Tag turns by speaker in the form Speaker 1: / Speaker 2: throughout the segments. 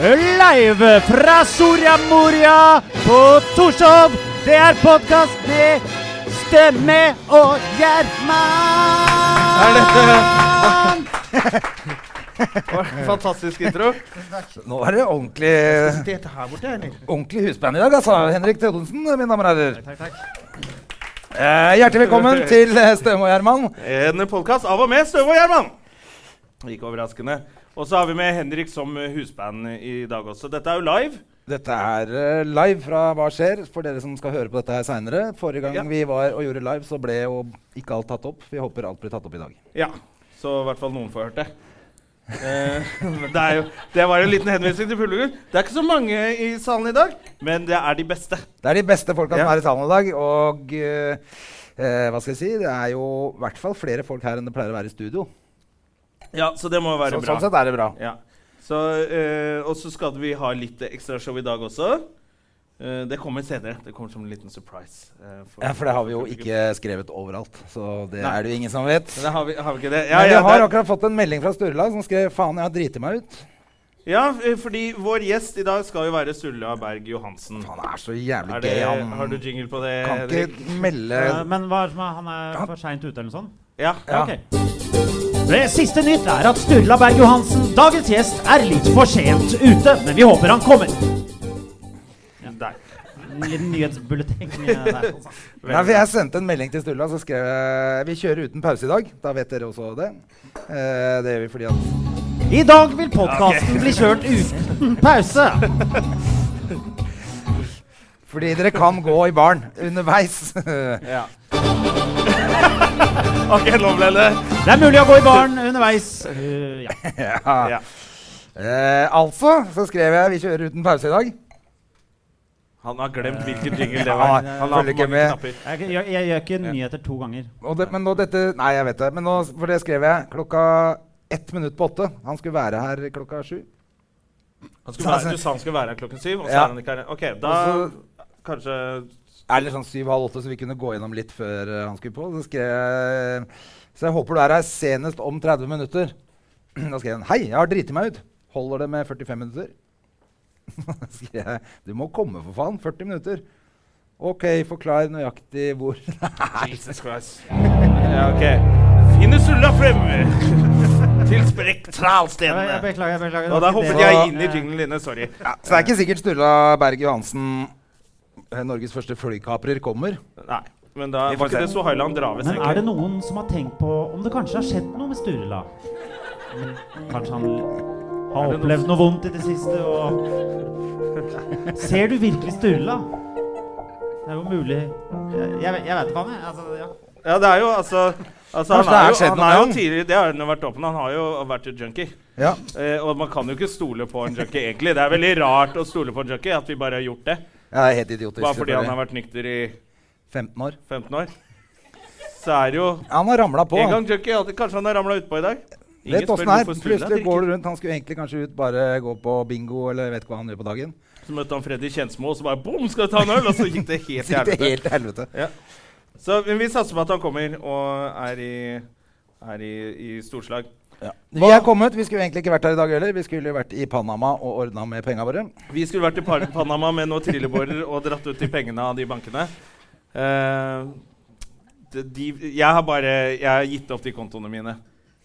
Speaker 1: Live fra Soria Moria på Torshov. Det er podkast med Stemme og Gjerman.
Speaker 2: Er dette Fantastisk intro.
Speaker 3: Nå er det ordentlig,
Speaker 2: Dette her borte, eller?
Speaker 3: ordentlig husband i dag, altså. Henrik Tønnesen, mine damer og herrer. Eh, hjertelig velkommen til eh, Støme og Gjerman.
Speaker 2: En podkast eh, av og med Støve og Gjerman. Ikke overraskende. Og så har vi med Henrik som eh, husband i dag også. Dette er jo live.
Speaker 3: Dette er eh, live fra Hva skjer? For dere som skal høre på dette her seinere. Forrige gang
Speaker 2: Ja.
Speaker 3: vi var og gjorde live, så ble jo ikke alt tatt opp. Vi håper alt blir tatt opp i dag.
Speaker 2: Ja. Så i hvert fall noen får hørt det. Eh, men det, er jo, det var en liten henvisning til publikum. Det er ikke så mange i salen i dag, men det er de beste.
Speaker 3: Det er de beste folka
Speaker 2: Ja.
Speaker 3: som er i salen i dag. Og eh, eh, hva skal jeg si? Det er jo i hvert fall flere folk her enn det pleier å være i studio.
Speaker 2: Ja, så det må jo
Speaker 3: Så,
Speaker 2: være bra.
Speaker 3: sånn sett er det bra.
Speaker 2: Ja. Så, eh, og så skal vi ha litt ekstrashow i dag også. Eh, det kommer senere. Det kommer som en liten surprise. eh,
Speaker 3: Ja, For det har vi jo ikke skrevet overalt. Så det er det jo ingen som vet.
Speaker 2: Men det har, vi, har vi ikke det?
Speaker 3: Men
Speaker 2: ja,
Speaker 3: vi har
Speaker 2: det-
Speaker 3: akkurat fått en melding fra Sturla som skrev faen, jeg har driti meg ut.
Speaker 2: ja, eh, fordi vår gjest i dag skal jo være Sturla Berg Johansen.
Speaker 3: Han er så jævlig
Speaker 2: Er
Speaker 3: gøy.
Speaker 2: det,
Speaker 3: Han
Speaker 2: har du eh, jingle på det?
Speaker 3: kan
Speaker 2: Henrik?
Speaker 3: ikke melde
Speaker 1: Eh, Men hva er det som er, han er for seint ute, eller noe sånt?
Speaker 2: Ja.
Speaker 3: Ja.
Speaker 1: Ok. Det siste nytt er at Sturla Berg Johansen, dagens gjest, er litt for sent ute, men vi håper han kommer.
Speaker 2: Der.
Speaker 1: En liten nyhetsbulleteng eh, der. altså.
Speaker 3: Nei, for Jeg sendte en melding til Sturla, så skrev jeg vi kjører uten pause i dag. Da vet dere også det. Eh, det gjør vi fordi at
Speaker 1: I dag vil podkasten bli kjørt uten pause.
Speaker 3: Fordi dere kan gå i baren underveis. ja,
Speaker 2: Ja. OK, nå ble det
Speaker 1: Det er mulig å gå i baren underveis. Eh, ja.
Speaker 2: ja.
Speaker 3: Eh, altså så skrev jeg vi kjører uten pause i dag.
Speaker 2: Han har glemt hvilken jingle det
Speaker 3: Ja,
Speaker 2: var.
Speaker 3: jeg
Speaker 2: Han
Speaker 3: følger
Speaker 2: har for
Speaker 3: ikke
Speaker 2: mange
Speaker 3: med.
Speaker 2: knapper.
Speaker 1: Jeg, jeg, jeg gjør ikke nyheter to ganger.
Speaker 3: Og det, men nå dette Nei, jeg vet det. Men nå, for det skrev jeg klokka ett minutt på åtte. Han skulle være her klokka sju. Altså,
Speaker 2: Han skulle være, du sa han skulle være her klokken syv, og så
Speaker 3: Ja.
Speaker 2: er han ikke her. OK, da
Speaker 3: Og
Speaker 2: kanskje
Speaker 3: Eller sånn syv-halv åtte, så vi kunne gå gjennom litt før eh, han skulle på. Så skrev jeg Så jeg håper du er her senest om 30 minutter. Da skrev han Hei, jeg har driti meg ut. Holder det med 45 minutter? Da skrev jeg Du må komme, for faen. 40 minutter. OK, forklar nøyaktig hvor
Speaker 2: Jesus Christ. Ja, ok. Finne sulla frem til
Speaker 1: Jeg, jeg
Speaker 2: spektralstenene.
Speaker 1: beklager. jeg beklager.
Speaker 2: Og da
Speaker 1: Det var ikke
Speaker 2: hoppet
Speaker 1: det.
Speaker 2: jeg inn i jinglen dine. Sorry.
Speaker 3: Så det er ikke sikkert Sturla Berg Johansen, eh, Norges første flykaprer, kommer.
Speaker 2: Nei, men da
Speaker 3: Vi får
Speaker 2: var ikke
Speaker 3: se.
Speaker 2: det så Hailand Draves,
Speaker 1: Men er det
Speaker 2: egentlig.
Speaker 1: noen som har tenkt på om det kanskje har skjedd noe med Sturla? Kanskje han har opplevd noe vondt i det siste og Ser du virkelig Sturla? Det er jo mulig Jeg, jeg, vet- jeg vet ikke, jeg. Altså, ja.
Speaker 2: Ja, det er jo altså Altså,
Speaker 3: Kanskje det har
Speaker 2: han er jo,
Speaker 3: skjedd
Speaker 2: han
Speaker 3: noe
Speaker 2: er
Speaker 3: med
Speaker 2: jo
Speaker 3: han.
Speaker 2: tidligere, Det har han jo vært åpen Han har jo vært et junkie.
Speaker 3: Ja.
Speaker 2: Eh, og man kan jo ikke stole på en junkie, egentlig. Det er veldig rart å stole på en junkie, at vi bare har gjort det.
Speaker 3: ja det er helt idiotisk.
Speaker 2: Bare fordi han har
Speaker 3: selvfølgelig.
Speaker 2: vært nykter i
Speaker 3: 15 år.
Speaker 2: 15 år. Så er det jo
Speaker 3: Han har ramla på.
Speaker 2: En gang junkie, alltid Kanskje han har ramla utpå i dag. Ingen
Speaker 3: Vet
Speaker 2: spør
Speaker 3: åssen det er.
Speaker 2: hvorfor Sturla
Speaker 3: Plutselig
Speaker 2: drikker.
Speaker 3: går du rundt. Han skulle egentlig kanskje ut, bare gå på bingo eller vet ikke hva han gjør på dagen.
Speaker 2: Så møtte han Freddy Kjensmo, og så bare bom, skal du ta en øl? Og så gikk det helt
Speaker 3: Så gikk det
Speaker 2: jævlig.
Speaker 3: helt til helvete.
Speaker 2: Så men vi satser på at han kommer og er i, er i, i storslag.
Speaker 3: Vi er kommet. Vi skulle egentlig ikke vært her i dag heller. Vi skulle jo vært i Panama og ordna med penga våre.
Speaker 2: Vi skulle vært i Par- Panama med noen trillebårer og dratt ut de pengene av de bankene. Eh, de, de, jeg har bare jeg har gitt opp de kontoene mine.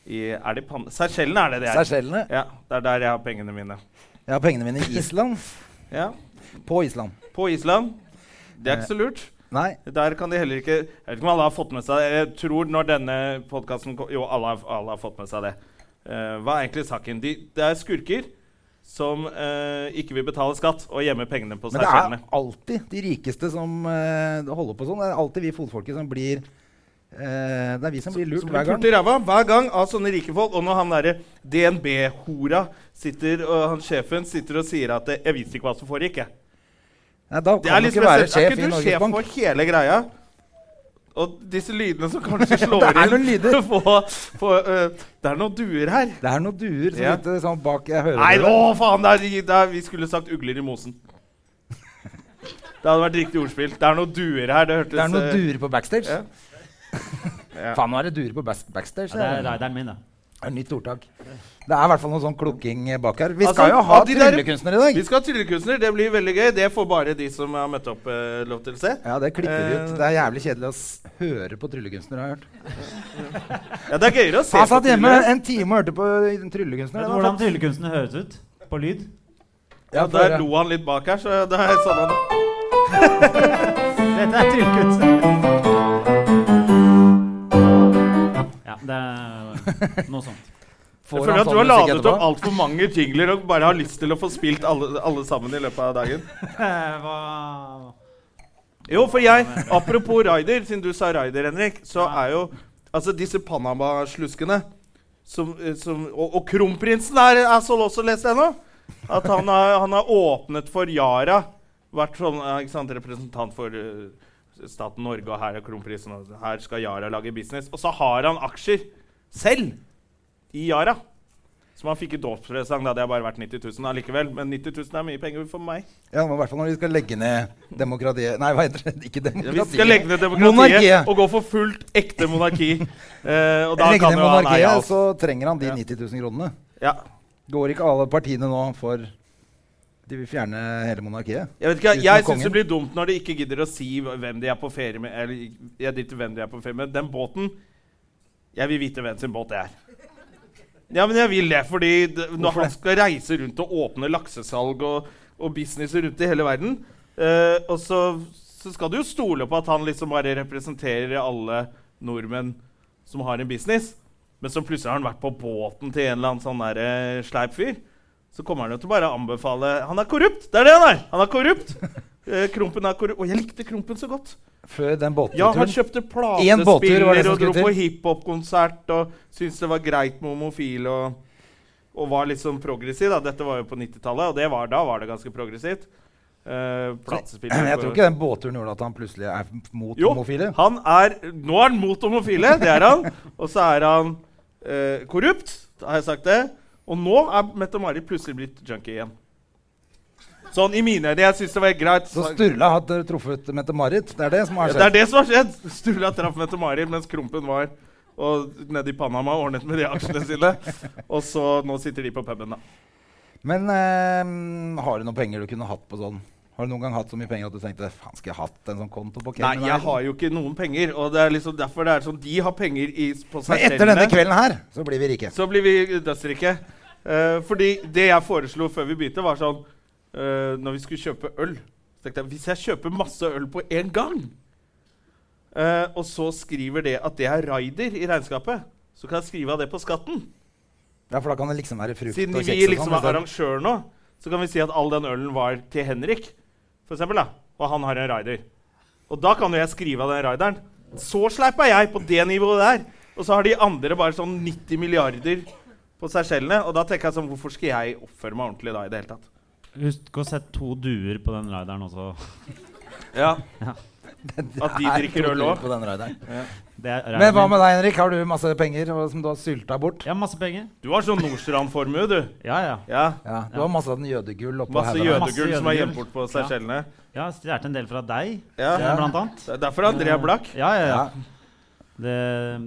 Speaker 2: I, er det Pan... Seychellene er det det er.
Speaker 3: Seychellene.
Speaker 2: Ja, det er der jeg har pengene mine.
Speaker 3: Jeg har pengene mine i Island.
Speaker 2: Ja,
Speaker 3: På Island.
Speaker 2: På Island. Det er ikke så lurt.
Speaker 3: Nei.
Speaker 2: Der kan de heller ikke Jeg vet ikke om alle har fått med seg det. Jeg tror når denne podkasten Jo, alle har, alle har fått med seg det. Eh, hva er egentlig saken? De, det er skurker som eh, ikke vil betale skatt og gjemmer pengene på
Speaker 3: Men det er
Speaker 2: Seychellene.
Speaker 3: alltid de rikeste som eh, holder på sånn. Det er alltid vi fotfolket som blir Eh, det er vi som blir lurt
Speaker 2: Som
Speaker 3: hver
Speaker 2: blir
Speaker 3: gang.
Speaker 2: pult i ræva hver gang av sånne rike folk. Og når han derre DNB-hora sitter, og han sjefen sitter og sier at eh, 'jeg visste ikke hva som foregikk', jeg.
Speaker 3: Nei, da
Speaker 2: Det er
Speaker 3: kan du
Speaker 2: liksom
Speaker 3: ikke være
Speaker 2: spesielt.
Speaker 3: sjef i
Speaker 2: er ikke du
Speaker 3: Norges
Speaker 2: sjef
Speaker 3: Bank.
Speaker 2: for hele greia? Og disse lydene som kanskje slår
Speaker 3: Det er noen
Speaker 2: inn
Speaker 3: lyder.
Speaker 2: på, på, eh, Det er noen duer her.
Speaker 3: Det er noen duer som
Speaker 2: Ja.
Speaker 3: sitter sånn bak Jeg hører
Speaker 2: Nei,
Speaker 3: dere.
Speaker 2: å faen! Det er, det er, vi skulle sagt 'ugler i mosen'. Det hadde vært riktig ordspill. Det er noen duer her. Det hørtes
Speaker 3: Det er noen
Speaker 2: eh,
Speaker 3: duer på backstage.
Speaker 2: Ja. Ja.
Speaker 3: Faen, nå er det duer på bas- backstage.
Speaker 1: Ja, det er
Speaker 3: det
Speaker 1: raideren min, det.
Speaker 3: er et nytt ordtak. Det er i hvert fall noe sånn klukking eh, bak her. Vi
Speaker 2: Altså,
Speaker 3: skal jo ha
Speaker 2: av de der-
Speaker 3: tryllekunstner i dag.
Speaker 2: Vi skal ha tryllekunstner. Det blir veldig gøy. Det får bare de som har møtt opp, eh, lov til å se.
Speaker 3: Ja, det klipper vi ut.
Speaker 2: Eh.
Speaker 3: Det er jævlig kjedelig å s høre på tryllekunstner, har jeg hørt.
Speaker 2: Ja, det er gøyere å se
Speaker 3: Han satt
Speaker 2: på
Speaker 3: hjemme
Speaker 2: tryllet.
Speaker 3: en time og hørte på i den
Speaker 1: Vet
Speaker 3: tryllekunstner.
Speaker 1: du hvordan tryllekunsten høres ut? På lyd?
Speaker 2: Ja, Der lo han litt bak her, så det er sånn han
Speaker 1: Dette er tryllekunsten. Ja, det er noe sånt.
Speaker 3: Får
Speaker 2: Jeg føler
Speaker 3: han
Speaker 2: at
Speaker 3: sånn musikk
Speaker 2: du har ladet
Speaker 3: etterpå?
Speaker 2: opp altfor mange jingler og bare har lyst til å få spilt alle, alle sammen i løpet av dagen.
Speaker 1: Eh, Hva
Speaker 2: Jo, for jeg Apropos Raider, siden du sa Raider, Henrik, så
Speaker 1: Ja.
Speaker 2: er jo Altså, disse Panama-sluskene som, eh, som Og, og kronprinsen er, er så også lest ennå. At han har, han har åpnet for Yara. Vært sånn eh, ikke sant, representant for eh, staten Norge, og her er kronprinsen, og her skal Yara lage business. Og så har han aksjer selv i Yara. Som han fikk i dåpspresang. da. Det har bare vært 90 000 allikevel. Men 90 000 er mye penger for meg.
Speaker 3: Ja, men i hvert fall når de skal legge ned demokratiet Nei, hva heter det? Ikke
Speaker 2: Ja,
Speaker 3: demokratiet.
Speaker 2: Vi skal legge ned demokratiet
Speaker 3: Monarkiet.
Speaker 2: og gå for fullt ekte monarki. Eh, og da
Speaker 3: legge
Speaker 2: kan
Speaker 3: ned
Speaker 2: jo han eie
Speaker 3: monarkiet, altså.
Speaker 2: alt.
Speaker 3: så trenger han de
Speaker 2: Ja.
Speaker 3: 90 000 kronene.
Speaker 2: Ja.
Speaker 3: Går ikke alle partiene nå for De vil fjerne hele monarkiet?
Speaker 2: Jeg vet ikke,
Speaker 3: Uten
Speaker 2: jeg
Speaker 3: kongen.
Speaker 2: syns det blir dumt når de ikke gidder å si hv- hvem de er på ferie med. Eller jeg driter i hvem de er på ferie med. Den båten Jeg vil vite hvem sin båt det er. Ja, men jeg vil det, fordi d når han skal reise rundt og åpne laksesalg og, og businesser rundt i hele verden eh, Og så, så skal du jo stole på at han liksom bare representerer alle nordmenn som har en business. Men så plutselig har han vært på båten til en eller annen sånn der, eh, sleip fyr. Så kommer han jo til bare å anbefale Han er korrupt! Det er det han er! Han er korrupt! Eh, Krompen er korrupt. Og jeg likte Krompen så godt.
Speaker 3: Før den
Speaker 2: Ja, han
Speaker 3: båtturen
Speaker 2: kjøpte
Speaker 3: Én båttur var det
Speaker 2: platespiller
Speaker 3: som
Speaker 2: og dro
Speaker 3: skulle
Speaker 2: på
Speaker 3: til.
Speaker 2: hiphop-konsert og syntes det var greit med homofile og, og var liksom progressiv. da. Dette var jo på 90-tallet, og det var, da var det ganske progressivt. Eh, platespiller
Speaker 3: Jeg tror ikke den båtturen gjorde at han plutselig er mot
Speaker 2: jo,
Speaker 3: homofile.
Speaker 2: han er Nå er han mot homofile, det er han. Og så er han eh, korrupt, har jeg sagt det. Og nå er Mette-Marit plutselig blitt junkie igjen. Sånn i mine øyne. Jeg syns det var greit.
Speaker 3: Så Sturla har t- truffet Mette-Marit. Det er det som har
Speaker 2: Ja, det
Speaker 3: skjedd.
Speaker 2: er det som har skjedd. Sturla traff Mette-Marit mens Krompen var og nede i Panama og ordnet med de aksjene sine. Og så nå sitter de på puben, da.
Speaker 3: Men ehm, har du noen penger du kunne hatt på sånn? Har du noen gang hatt så mye penger at du tenkte faen, skulle jeg hatt en sånn konto på Cayman
Speaker 2: Nei, jeg
Speaker 3: Island?»
Speaker 2: har jo ikke noen penger. Og det er liksom derfor det er sånn De har penger i, på seg
Speaker 3: Men etter denne kvelden her, så blir vi rike.
Speaker 2: Så blir vi dødsrike. Eh, fordi det jeg foreslo før vi begynte, var sånn eh, Når vi skulle kjøpe øl så tenkte jeg, Hvis jeg kjøper masse øl på én gang, eh, og så skriver det at det er raider i regnskapet, så kan jeg skrive av det på skatten.
Speaker 3: Ja, for da kan det liksom være frukt
Speaker 2: Siden
Speaker 3: og kjeks.
Speaker 2: vi
Speaker 3: og
Speaker 2: liksom
Speaker 3: sånn,
Speaker 2: er
Speaker 3: i stedet.
Speaker 2: arrangør nå, så kan vi si at all den ølen var til Henrik, for eksempel, da. Og han har en raider. Og da kan jo jeg skrive av den raideren. Så sleip er jeg på det nivået der. Og så har de andre bare sånn 90 milliarder på Seychellene. Og da tenker jeg sånn Hvorfor skal jeg oppføre meg ordentlig da i det hele tatt?
Speaker 1: Husk å sette to duer på den raideren også.
Speaker 2: Ja.
Speaker 3: Det
Speaker 2: At de
Speaker 3: er
Speaker 2: drikker
Speaker 3: to
Speaker 2: øl
Speaker 3: turer
Speaker 2: også.
Speaker 3: på den raideren.
Speaker 1: Det er raideren
Speaker 3: Men hva
Speaker 1: min.
Speaker 3: med deg, Henrik? Har du masse penger og, som du har sylta bort?
Speaker 1: Jeg har masse penger.
Speaker 2: Du har sånn Nordstrand-formue, du.
Speaker 1: Ja, ja.
Speaker 2: Ja.
Speaker 3: Ja, Du har masse av den jødegull oppå
Speaker 2: Masse
Speaker 3: haugen.
Speaker 1: Masse
Speaker 2: jødegull som er
Speaker 1: jødegull.
Speaker 2: gjemt bort på Seychellene.
Speaker 1: Jeg har stjålet en del fra deg,
Speaker 2: Ja.
Speaker 1: eh, blant annet.
Speaker 2: Det er derfor André er blakk.
Speaker 1: Ja, ja, ja.
Speaker 3: Ja.
Speaker 1: Det,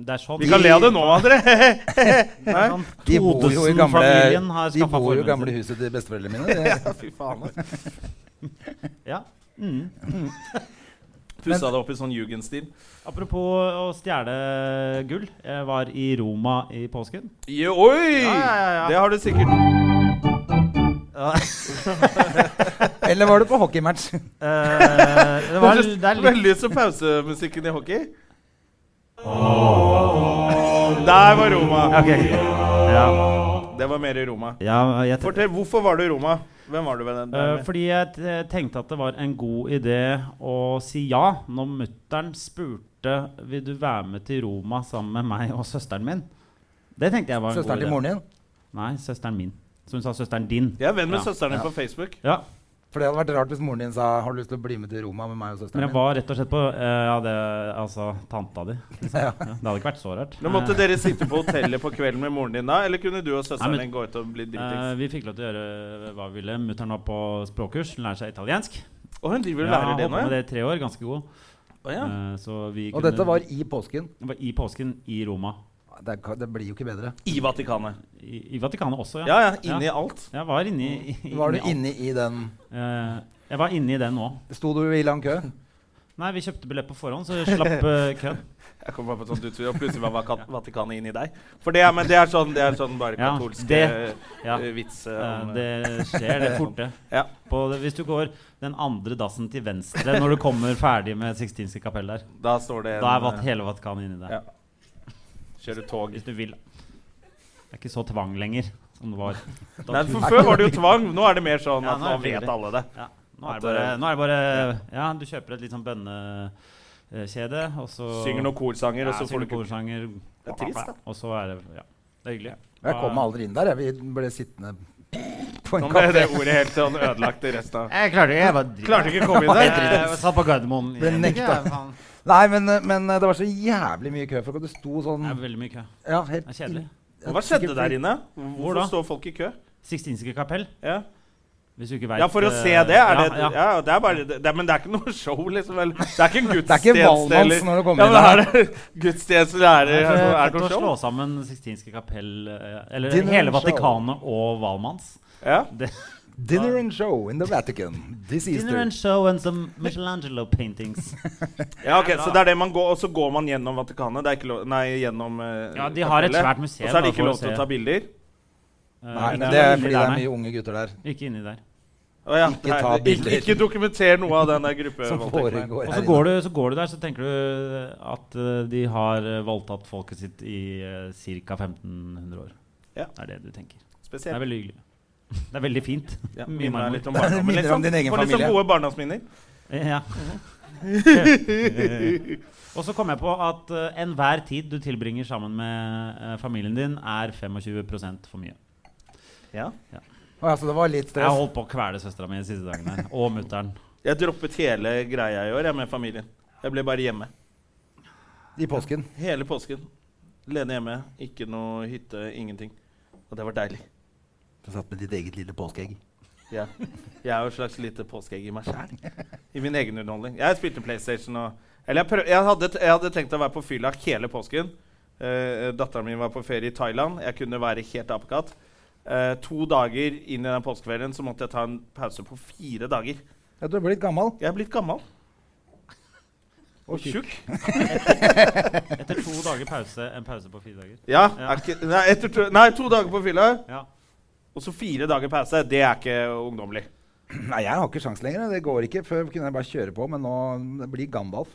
Speaker 1: det er sånn.
Speaker 2: Vi kan le av det nå, André.
Speaker 1: Det er sånn
Speaker 3: De bor jo i
Speaker 1: 2000
Speaker 3: gamle,
Speaker 1: familien har
Speaker 3: de
Speaker 1: skaffet
Speaker 3: bor jo i
Speaker 1: formuen
Speaker 3: gamle
Speaker 1: sin.
Speaker 3: huset til besteforeldrene mine. Det-
Speaker 2: Fy faen. ass.
Speaker 1: Ja. Mm.
Speaker 2: Pussa det opp i sånn jugendstil.
Speaker 1: Apropos å stjele gull. Jeg var i Roma i påsken.
Speaker 2: Jo, oi!
Speaker 1: Ja, ja, ja, ja.
Speaker 2: Det har du sikkert.
Speaker 3: Eller var du på hockeymatch?
Speaker 1: Eh, det, var,
Speaker 2: Høres
Speaker 1: det er litt
Speaker 2: Veldig som pausemusikken i hockey. Der var Roma.
Speaker 1: Ok, ok. Ja.
Speaker 2: Det var mer i Roma.
Speaker 1: ja jeg tenkte,
Speaker 2: Fortell, hvorfor var du i Roma? Hvem var du ved den?
Speaker 1: Eh, fordi jeg t- tenkte at det var en god idé å si ja når mutter'n spurte Marte, vil du være med til Roma sammen med meg og søsteren min? Det tenkte jeg var en
Speaker 3: Søsteren
Speaker 1: god
Speaker 3: til moren din.
Speaker 1: Nei, søsteren min. Så hun sa søsteren din.
Speaker 2: Jeg er venn med
Speaker 1: Ja.
Speaker 2: søsteren din
Speaker 3: Ja.
Speaker 2: på Facebook.
Speaker 1: Ja,
Speaker 3: For det hadde vært rart hvis moren din sa 'Har du lyst til å bli med til Roma med meg og
Speaker 1: Men
Speaker 3: søsteren
Speaker 1: jeg var rett og slett på eh, ja, det, altså, tanta di.
Speaker 3: min?' Ja.
Speaker 1: Ja, det hadde ikke vært så rart.
Speaker 2: Nå måtte
Speaker 1: Eh,
Speaker 2: dere sitte på hotellet på kvelden med moren din da, eller kunne du og søsteren
Speaker 1: Nei, men-
Speaker 2: din gå ut og bli
Speaker 1: eh,
Speaker 2: dritings?
Speaker 1: vi fikk lov til å gjøre eh, hva vi ville. Mutter'n var på språkkurs, hun lærer seg italiensk.
Speaker 2: Å, hun driver og
Speaker 1: Ja,
Speaker 2: lærer det
Speaker 1: holdt
Speaker 2: nå,
Speaker 1: på med
Speaker 2: ja?
Speaker 1: det i tre år, ganske god.
Speaker 2: Å, ja.
Speaker 1: Eh, så vi
Speaker 3: Og
Speaker 1: kunne-
Speaker 3: dette var i påsken. Ah,
Speaker 1: det var i påsken i Roma.
Speaker 3: Det, kan- det blir jo ikke bedre.
Speaker 2: I Vatikanet.
Speaker 1: I, i Vatikanet også,
Speaker 2: Ja ja, inni alt.
Speaker 1: Jeg var inni i-
Speaker 2: Mm.
Speaker 1: i-
Speaker 3: Var du
Speaker 1: alt.
Speaker 3: inne i den
Speaker 1: Eh, jeg var inni den nå.
Speaker 3: Sto du i lang kø?
Speaker 1: Nei, vi kjøpte billett på forhånd, så slapp eh, køen.
Speaker 2: Jeg kom bare på et sånt utspill, og plutselig var Vaka- Vatikanet inni deg. For det er, men det er sånn, det er sånn bare
Speaker 1: Ja,
Speaker 2: katolske
Speaker 1: det- Ja,
Speaker 2: eh, vits eh,
Speaker 1: eh,
Speaker 2: om eh,
Speaker 1: det skjer, det er fort, det.
Speaker 2: Ja.
Speaker 1: På, hvis du går den andre dassen til venstre når du kommer ferdig med Sixtinske kapell der,
Speaker 2: Da står det en,
Speaker 1: da er vat
Speaker 2: eh,
Speaker 1: hele Vatikanet inni der.
Speaker 2: Ja. Kjører tog.
Speaker 1: Hvis du vil. Det er ikke så tvang lenger som det var. Da
Speaker 2: Nei,
Speaker 1: tror-
Speaker 2: for Før var det jo tvang. Nå er det mer sånn
Speaker 1: Ja,
Speaker 2: at nå
Speaker 1: nå er det
Speaker 2: vet
Speaker 1: veldig.
Speaker 2: alle det.
Speaker 1: Ja, nå er
Speaker 2: At,
Speaker 1: det bare,
Speaker 2: eh,
Speaker 1: nå er det bare Ja, du kjøper et litt sånn bønnekjede, og så
Speaker 2: Synger noen korsanger,
Speaker 1: ja,
Speaker 2: og så får du
Speaker 1: synger
Speaker 2: ikke
Speaker 1: korsanger.
Speaker 2: Det er trist, da.
Speaker 1: Og så er det Ja, det er hyggelig.
Speaker 3: Jeg
Speaker 1: Ah.
Speaker 3: kom aldri inn der. Jeg Vi ble sittende på en
Speaker 2: Nå ble det
Speaker 3: kafé.
Speaker 2: ordet helt sånn ødelagt i resten av
Speaker 1: Jeg klarte ikke jeg var
Speaker 2: Klarte ikke å komme inn der.
Speaker 1: Jeg satt på Gardermoen.
Speaker 3: Ble
Speaker 1: Jeg-
Speaker 3: nekta.
Speaker 1: Ja, faen.
Speaker 3: Nei, men, men det var så jævlig mye kø. For det sto
Speaker 1: Det er
Speaker 3: sånn
Speaker 1: veldig mye kø.
Speaker 3: ja, helt
Speaker 1: Det er kjedelig.
Speaker 3: inn-
Speaker 2: Hva skjedde der inne?
Speaker 1: Hvor
Speaker 2: Hvorfor
Speaker 1: da?
Speaker 2: står folk i kø?
Speaker 1: Sixtinske kapell,
Speaker 2: Ja,
Speaker 1: hvis du ikke vet
Speaker 2: ja for å
Speaker 1: eh,
Speaker 2: se det, er det
Speaker 1: ja, ja.
Speaker 2: Ja, det er bare det, Men det er ikke noe show, liksom. Eller, det er ikke en
Speaker 3: Det er ikke
Speaker 2: gudstjeneste
Speaker 3: Valmanns
Speaker 2: eller
Speaker 3: når du
Speaker 2: ja,
Speaker 3: kommer
Speaker 2: men
Speaker 3: inn
Speaker 2: er
Speaker 3: der.
Speaker 2: det gudstjeneste eller er
Speaker 1: Det
Speaker 2: det, er
Speaker 1: er
Speaker 2: det
Speaker 1: fett å
Speaker 2: noe
Speaker 1: slå
Speaker 2: show?
Speaker 1: sammen Sixtinske kapell eh, Eller
Speaker 3: Din
Speaker 1: hele
Speaker 3: show.
Speaker 1: Vatikanet og Valmanns.
Speaker 2: Ja.
Speaker 1: Det-
Speaker 3: Dinner and show in the Vatican this
Speaker 1: Dinner
Speaker 3: Easter.
Speaker 1: and show and some Michelangelo paintings. Eh,
Speaker 2: Ja, ok, Så det er det man går, og så går man gjennom Vatikanet? Det er ikke lov, nei, gjennom eh,
Speaker 1: Ja, de har et
Speaker 2: kapellet.
Speaker 1: svært museum,
Speaker 2: Og så er
Speaker 1: da,
Speaker 2: det ikke
Speaker 1: for å
Speaker 2: lov til
Speaker 1: se.
Speaker 2: å ta bilder?
Speaker 1: Eh,
Speaker 3: Nei,
Speaker 1: ikke
Speaker 3: men
Speaker 1: noe
Speaker 3: det er fordi
Speaker 1: inni
Speaker 3: det
Speaker 1: der,
Speaker 3: er
Speaker 1: nei.
Speaker 3: mye unge gutter der
Speaker 1: Ikke inni der.
Speaker 2: Å ja,
Speaker 3: Ikke ta bilder.
Speaker 2: Ikke, ikke dokumenter noe av den der
Speaker 3: som
Speaker 2: gruppevoldtekten.
Speaker 3: foregår
Speaker 1: Og
Speaker 3: her
Speaker 1: så
Speaker 3: inne.
Speaker 1: går, du, så går du der, så tenker du at eh, de har eh, voldtatt folket sitt i eh, ca. 1500 år.
Speaker 2: Ja.
Speaker 1: Det er det du tenker.
Speaker 2: her.
Speaker 1: Det er
Speaker 2: Spesielt.
Speaker 1: veldig hyggelig. Det er veldig fint.
Speaker 2: Ja,
Speaker 1: Mye
Speaker 2: minner meg
Speaker 1: marmor.
Speaker 2: litt om barndommen.
Speaker 3: Minner
Speaker 2: liksom.
Speaker 3: om din egen
Speaker 2: Får litt sånn
Speaker 3: familie.
Speaker 2: gode barndomsminner.
Speaker 1: Ja. Og så kom jeg på at eh, enhver tid du tilbringer sammen med eh, familien din, er 25 for mye.
Speaker 2: Ja.
Speaker 3: Å, ja, så det var litt
Speaker 1: Jeg har
Speaker 3: stress.
Speaker 1: holdt på å kvele søstera mi de siste dagene. her, Og mutter'n.
Speaker 2: Jeg droppet hele greia i år jeg, med familien. Jeg ble bare hjemme.
Speaker 3: I påsken.
Speaker 2: Hele påsken. Lene hjemme. Ikke noe hytte, ingenting. Og det var deilig.
Speaker 3: Du satt med ditt eget lille påskeegg.
Speaker 2: Ja. Jeg er jo et slags lite påskeegg i meg sjæl. I min egen underholdning. Jeg spilte PlayStation og Eller jeg, prøv, jeg, hadde, t- jeg hadde tenkt å være på fylla hele påsken. Uh, Datteren min var på ferie i Thailand. Jeg kunne være helt apekatt. Eh, to dager inn i den påskeferien så måtte jeg ta en pause på fire dager.
Speaker 3: Ja, du er blitt gammel.
Speaker 2: Jeg er blitt gammel
Speaker 3: Og
Speaker 2: og
Speaker 3: tjukk.
Speaker 2: tjukk.
Speaker 1: Etter to dager pause, en pause på fire dager.
Speaker 2: Ja,
Speaker 1: Ja.
Speaker 2: Er ikke, nei, etter to, nei, to dager på fylla
Speaker 1: Ja.
Speaker 2: og så fire dager pause. Det er ikke ungdommelig.
Speaker 3: Nei, jeg har ikke sjans lenger. Det går ikke. Før kunne jeg bare kjøre på, men nå det blir Gandalf.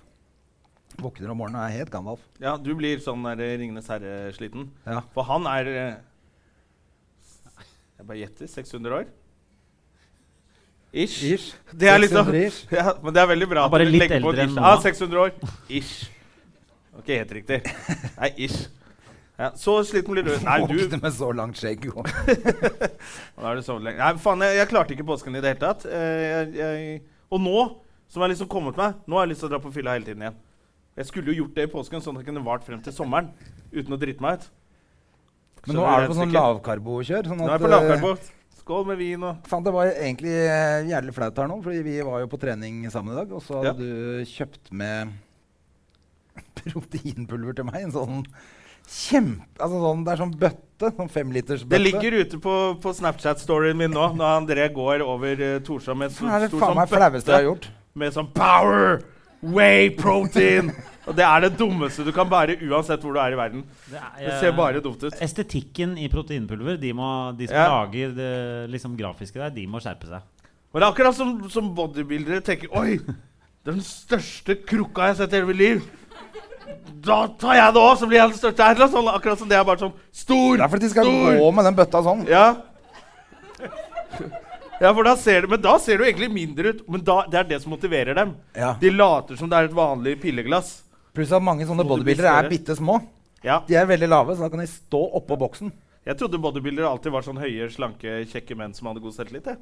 Speaker 3: Våkner om morgenen og er helt Gandalf.
Speaker 2: Ja, Du blir sånn der Ringenes herre-sliten.
Speaker 3: Ja.
Speaker 2: For han er eh, Jeg bare gjetter 600 år? Ish.
Speaker 3: Ish.
Speaker 2: Det er liksom
Speaker 3: 600 ish.
Speaker 2: ja, Men det er veldig bra
Speaker 1: Han er bare
Speaker 2: dere
Speaker 1: litt
Speaker 2: legger på et
Speaker 1: eldre enn
Speaker 2: ish.
Speaker 1: Mona.
Speaker 2: Ah, 600 år. Ish. Ok, helt riktig. Nei, ish. Ja, så sliten blir du. Nei, du
Speaker 3: Våkner med så langt skjegg. og-
Speaker 2: Da er det sovet lenge. Nei, faen, jeg, jeg klarte ikke påsken i det hele tatt. Eh, jeg, jeg, og nå, som har liksom kommet meg, nå har jeg lyst til å dra på fylla hele tiden igjen. Jeg skulle jo gjort det i påsken, sånn at jeg kunne vart frem til sommeren uten å drite meg ut.
Speaker 3: Men
Speaker 2: Så
Speaker 3: nå
Speaker 2: det
Speaker 3: er
Speaker 2: er
Speaker 3: du på sånn
Speaker 2: sikkert.
Speaker 3: lavkarbokjør. Sånn
Speaker 2: Nå er
Speaker 3: at,
Speaker 2: jeg
Speaker 3: eh,
Speaker 2: på lavkarbo. Skål med vin og
Speaker 3: Faen, det var egentlig eh, jævlig flaut her nå, fordi vi var jo på trening sammen i dag, og så
Speaker 2: Ja.
Speaker 3: hadde du kjøpt med proteinpulver til meg. En sånn kjempe... Altså sånn, det er sånn bøtte. Sånn femliters bøtte.
Speaker 2: Det ligger ute på, på Snapchat-storyen min nå, når André går over uh, Torshov med en
Speaker 3: Det er
Speaker 2: stor
Speaker 3: det faen
Speaker 2: sånn
Speaker 3: meg flaueste jeg har
Speaker 2: bøtte
Speaker 3: gjort.
Speaker 2: med sånn power, way protein. og det er det dummeste du kan bære uansett hvor du er i verden.
Speaker 1: Det, er,
Speaker 2: Det
Speaker 1: eh,
Speaker 2: ser bare dumt ut.
Speaker 1: Estetikken i proteinpulver De, må, de som
Speaker 2: Ja.
Speaker 1: lager det liksom, grafiske der, de må skjerpe seg.
Speaker 2: Men det er akkurat som, som bodybuildere tenker Oi, den største krukka jeg har sett i hele mitt liv. Da tar jeg det òg, så blir jeg den største. Eller sånn, akkurat som det er bare sånn stor,
Speaker 3: Det er fordi de skal
Speaker 2: stor.
Speaker 3: gå med den bøtta sånn.
Speaker 2: Ja. Ja, for da ser du, Men da ser du egentlig mindre ut. Men da, det er det som motiverer dem.
Speaker 3: Ja.
Speaker 2: De later som det er et vanlig pilleglass.
Speaker 3: Pluss at mange sånne
Speaker 2: Bodybuildere.
Speaker 3: bodybuildere er bitte små.
Speaker 2: Ja.
Speaker 3: De er veldig lave, så da kan de stå oppå boksen.
Speaker 2: Jeg trodde bodybuildere alltid var sånn høye, slanke, kjekke menn som hadde god selvtillit. jeg.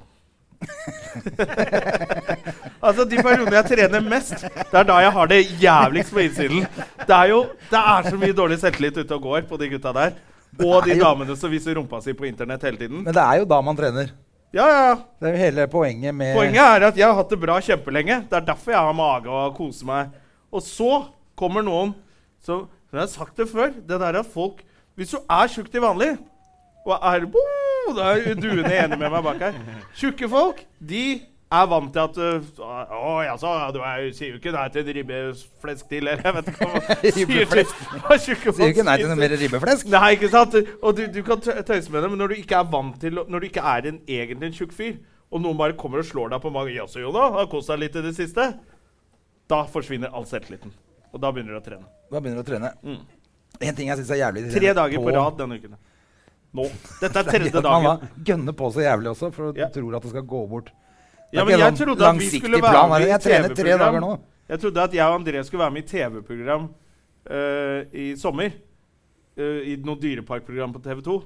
Speaker 2: altså, de periodene jeg trener mest, det er da jeg har det jævligst på innsiden. Det er jo det er så mye dårlig selvtillit ute og går på de gutta der. Og de
Speaker 3: Det er jo-
Speaker 2: damene som viser rumpa si på internett hele tiden.
Speaker 3: Men det er jo da man trener.
Speaker 2: Ja, ja, ja.
Speaker 3: Det er jo hele poenget med
Speaker 2: Poenget er at jeg har hatt det bra kjempelenge. Det er derfor jeg har mage og koser meg. Og så kommer noen som men Jeg har sagt det før. Det der at folk Hvis du er tjukk til vanlig og er bo, Da er duene enig med meg bak her. Tjukke folk, de er vant til at øh, Å, jaså, du er, sier jo ikke nei til en ribbeflesk til, eller jeg vet ikke hva man sier til hva tjukke folk
Speaker 3: Sier jo ikke nei til
Speaker 2: spiser.
Speaker 3: noe mer ribbeflesk.
Speaker 2: Nei, ikke sant? Og du, du kan tø- tøyse med det, men når du ikke er vant til å- Når du ikke er en, egentlig en tjukk fyr, og noen bare kommer og slår deg på magen 'Jaså, Jona, har kost deg litt i det siste?' Da forsvinner all selvtilliten. Og da begynner du å trene.
Speaker 3: Da begynner du å trene. En ting jeg syns er jævlig
Speaker 2: Mm. Tre dager på rad denne uken. Nå. Dette er
Speaker 3: Tredje
Speaker 2: tredje
Speaker 3: dagen. Man
Speaker 2: dagen.
Speaker 3: da gønner på så jævlig også, for du
Speaker 2: Ja.
Speaker 3: tror at det skal gå bort. Det er
Speaker 2: Ja,
Speaker 3: ikke
Speaker 2: men
Speaker 3: en
Speaker 2: jeg
Speaker 3: sånn
Speaker 2: trodde at vi
Speaker 3: langsiktig
Speaker 2: skulle være
Speaker 3: plan,
Speaker 2: med
Speaker 3: er det?
Speaker 2: i
Speaker 3: Jeg trener tre dager
Speaker 2: TV-program.
Speaker 3: nå.
Speaker 2: Jeg trodde at jeg og André skulle være med i TV-program eh, i sommer. eh, I noe dyreparkprogram på TV 2.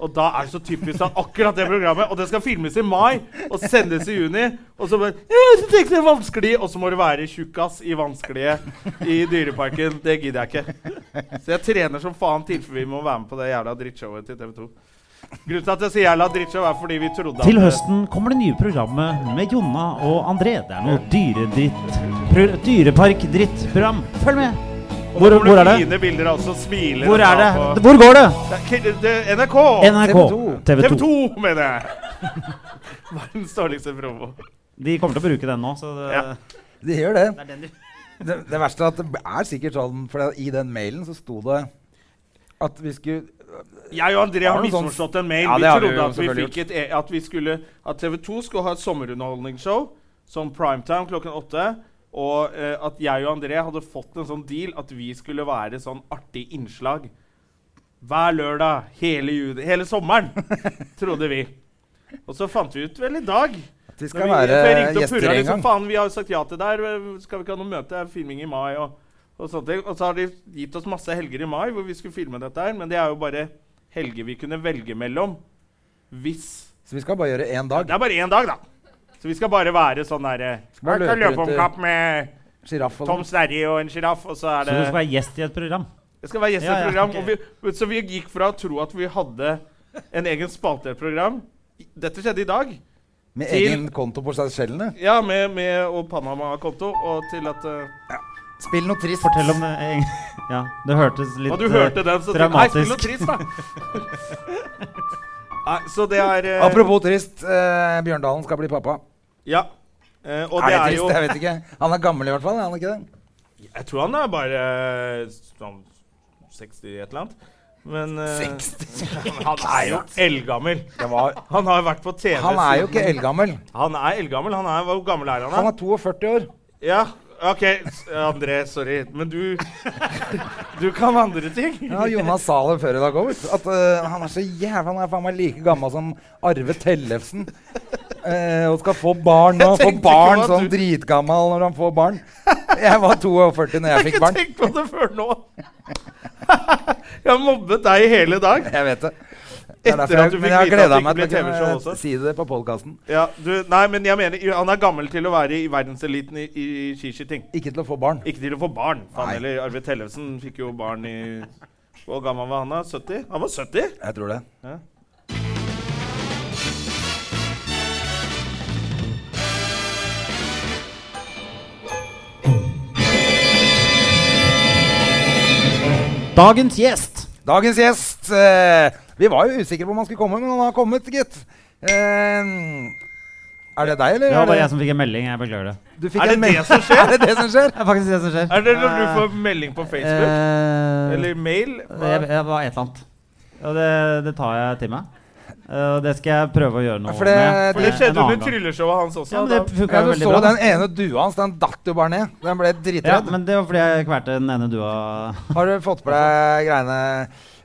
Speaker 2: Og da er det så typisk at akkurat det programmet Og det skal filmes i mai og sendes i juni. Og så bare «Ja, så tenker jeg vanskelig Og så må du være tjukkas i vanskelige i Dyreparken. Det gidder jeg ikke. Så jeg trener som faen til for vi må være med på det jævla drittshowet til TV 2. Grunnen til at jeg sier jævla drittshow, er fordi vi trodde at
Speaker 1: Til høsten kommer det nye programmet med Jonna og André. Det er noe dyredritt pro- Dyreparkdrittprogram. Følg med!
Speaker 2: Og
Speaker 1: Hvor,
Speaker 2: da kommer
Speaker 1: hvor er
Speaker 2: det
Speaker 1: det?
Speaker 2: fine bilder av oss som smiler.
Speaker 1: Hvor
Speaker 2: og
Speaker 1: er det?
Speaker 2: tar på-
Speaker 1: Hvor går det?
Speaker 2: Det er ikke- det er NRK!
Speaker 1: NRK.
Speaker 3: TV2.
Speaker 1: TV 2.
Speaker 2: TV2, mener jeg! Verdens dårligste promo.
Speaker 1: De kommer til å bruke den nå, så det,
Speaker 2: Ja.
Speaker 3: De gjør det.
Speaker 1: det er den du
Speaker 3: Det, det verste er at det er sikkert sånn, for i den mailen så sto det at vi skulle
Speaker 2: Jeg og André har
Speaker 3: Har du sånn-
Speaker 2: misforstått en mail.
Speaker 3: Ja,
Speaker 2: vi
Speaker 3: det har vi
Speaker 2: trodde
Speaker 3: jo
Speaker 2: at, vi
Speaker 3: selvfølgelig
Speaker 2: fikk et, e- at, vi skulle, at TV2 skulle ha et sommerunderholdningsshow som primetime klokken åtte. Og eh, at jeg og André hadde fått en sånn deal at vi skulle være sånn artig innslag hver lørdag hele, juni, hele sommeren, trodde vi. Og så fant vi ut vel i dag
Speaker 3: At vi
Speaker 2: Når
Speaker 3: skal
Speaker 2: vi- for jeg
Speaker 3: være
Speaker 2: ringte og
Speaker 3: gjester
Speaker 2: purra
Speaker 3: en
Speaker 2: liksom,
Speaker 3: gang.
Speaker 2: Faen, vi har jo sagt ja til der. øh, Skal vi ikke ha noe møte? Det er Filming i mai og, og sånne ting. Og så har de gitt oss masse helger i mai hvor vi skulle filme dette her, men det er jo bare helger vi kunne velge mellom. Hvis
Speaker 3: Så vi skal bare gjøre én dag.
Speaker 2: Det er bare én dag, da. Så vi skal bare være sånn derre
Speaker 3: bare
Speaker 2: Jeg kan
Speaker 3: løpe
Speaker 2: løpe om
Speaker 3: rundt,
Speaker 2: kapp med
Speaker 3: Sjiraff og
Speaker 2: Tom
Speaker 3: sånn.
Speaker 2: Sverre og en sjiraff, og så er
Speaker 1: Så du skal
Speaker 2: det
Speaker 1: være gjest i et program?
Speaker 2: Jeg skal være gjest i
Speaker 1: Ja,
Speaker 2: et
Speaker 1: ja,
Speaker 2: program.
Speaker 1: ok.
Speaker 2: Og vi, så vi gikk fra å tro at vi hadde en egen spalte i et program Dette skjedde i dag.
Speaker 3: Med
Speaker 2: til-
Speaker 3: egen konto på Seychellene.
Speaker 2: Ja, med, med og Panama-konto, og til at øh,
Speaker 3: Spill noe trist.
Speaker 1: Fortell om det. eh, Ja, det hørtes litt
Speaker 2: Og du hørte
Speaker 1: eh,
Speaker 2: den, så tenkte jeg, Nei, spill noe
Speaker 1: dramatisk
Speaker 2: trist, da! Nei, så det er eh,
Speaker 3: Apropos trist. eh, Bjørndalen skal bli pappa.
Speaker 2: Ja. Eh, og
Speaker 3: er
Speaker 2: det
Speaker 3: det
Speaker 2: er
Speaker 3: trist?
Speaker 2: jo
Speaker 3: Jeg vet ikke. Han er gammel i hvert fall. er han ikke det?
Speaker 2: Jeg tror han er bare eh, sånn 60 et eller annet. Men eh, Han er jo eldgammel.
Speaker 3: Det var,
Speaker 2: Han har vært på TV
Speaker 3: han er jo
Speaker 2: siden-
Speaker 3: ikke eldgammel.
Speaker 2: Han er eldgammel. Han er, hvor gammel er han?
Speaker 3: Han
Speaker 2: da?
Speaker 3: er 42 år.
Speaker 2: Ja, OK, s- André, sorry. Men du Du kan andre ting.
Speaker 3: Ja, Jonas sa det før i dag òg. At eh, han er så jævla Han er faen meg like gammel som Arve Tellefsen. Eh, og skal få barn nå.
Speaker 2: Jeg
Speaker 3: Få
Speaker 2: tenkte ikke
Speaker 3: barn
Speaker 2: på at
Speaker 3: sånn
Speaker 2: du-
Speaker 3: dritgammal når han får barn. Jeg var 42 når jeg fikk
Speaker 2: ikke
Speaker 3: barn.
Speaker 2: tenkt på det før nå. Jeg har mobbet deg i hele dag.
Speaker 3: Jeg vet det. Det er
Speaker 2: Etter
Speaker 3: derfor
Speaker 2: at du
Speaker 3: jeg, men
Speaker 2: fikk
Speaker 3: jeg har
Speaker 2: vite at
Speaker 3: gleda
Speaker 2: det
Speaker 3: meg
Speaker 2: ikke
Speaker 3: til å
Speaker 2: ble TV-show
Speaker 3: kunne eh,
Speaker 2: også.
Speaker 3: si det på podkasten.
Speaker 2: Ja, du, nei, men jeg mener, jo, han er gammel til å være i verdenseliten i, i skiskyting.
Speaker 3: Ikke til å få barn.
Speaker 2: Ikke til å få barn. Faen
Speaker 3: Nei.
Speaker 2: heller. Arve Tellefsen fikk jo barn i Hvor gammel var han da? 70? Han var 70?
Speaker 3: Jeg tror det.
Speaker 1: Dagens gjest!
Speaker 3: Dagens gjest. eh, vi var jo usikre på om han skulle komme, men han har kommet, gitt. Eh, er det deg, eller?
Speaker 1: Det var
Speaker 3: er
Speaker 1: bare jeg som fikk en melding. Jeg beklager det.
Speaker 3: du fikk
Speaker 2: Er det
Speaker 3: en
Speaker 2: det
Speaker 3: melding-
Speaker 2: som skjer?
Speaker 3: er det det som skjer?
Speaker 1: Det er faktisk det som skjer.
Speaker 2: Er det når du får melding på Facebook?
Speaker 1: Eh,
Speaker 2: Eller mail?
Speaker 1: det,
Speaker 2: Hva-
Speaker 1: det var et eller annet. Og det, det tar jeg til meg. Eh, Og det skal jeg prøve å gjøre noe
Speaker 3: Ja, for det-
Speaker 1: med.
Speaker 2: For det
Speaker 1: eh, en
Speaker 2: skjedde
Speaker 1: annen
Speaker 2: under
Speaker 1: gang.
Speaker 2: trylleshowet hans også.
Speaker 1: Ja, men det
Speaker 2: da.
Speaker 1: funka
Speaker 3: Ja, du
Speaker 1: veldig
Speaker 3: så
Speaker 1: bra.
Speaker 3: den ene dua hans, den datt jo bare ned. Den ble
Speaker 1: ja,
Speaker 3: dritredd.
Speaker 1: men det var fordi jeg kvalte den ene dua
Speaker 3: Har du fått på deg greiene?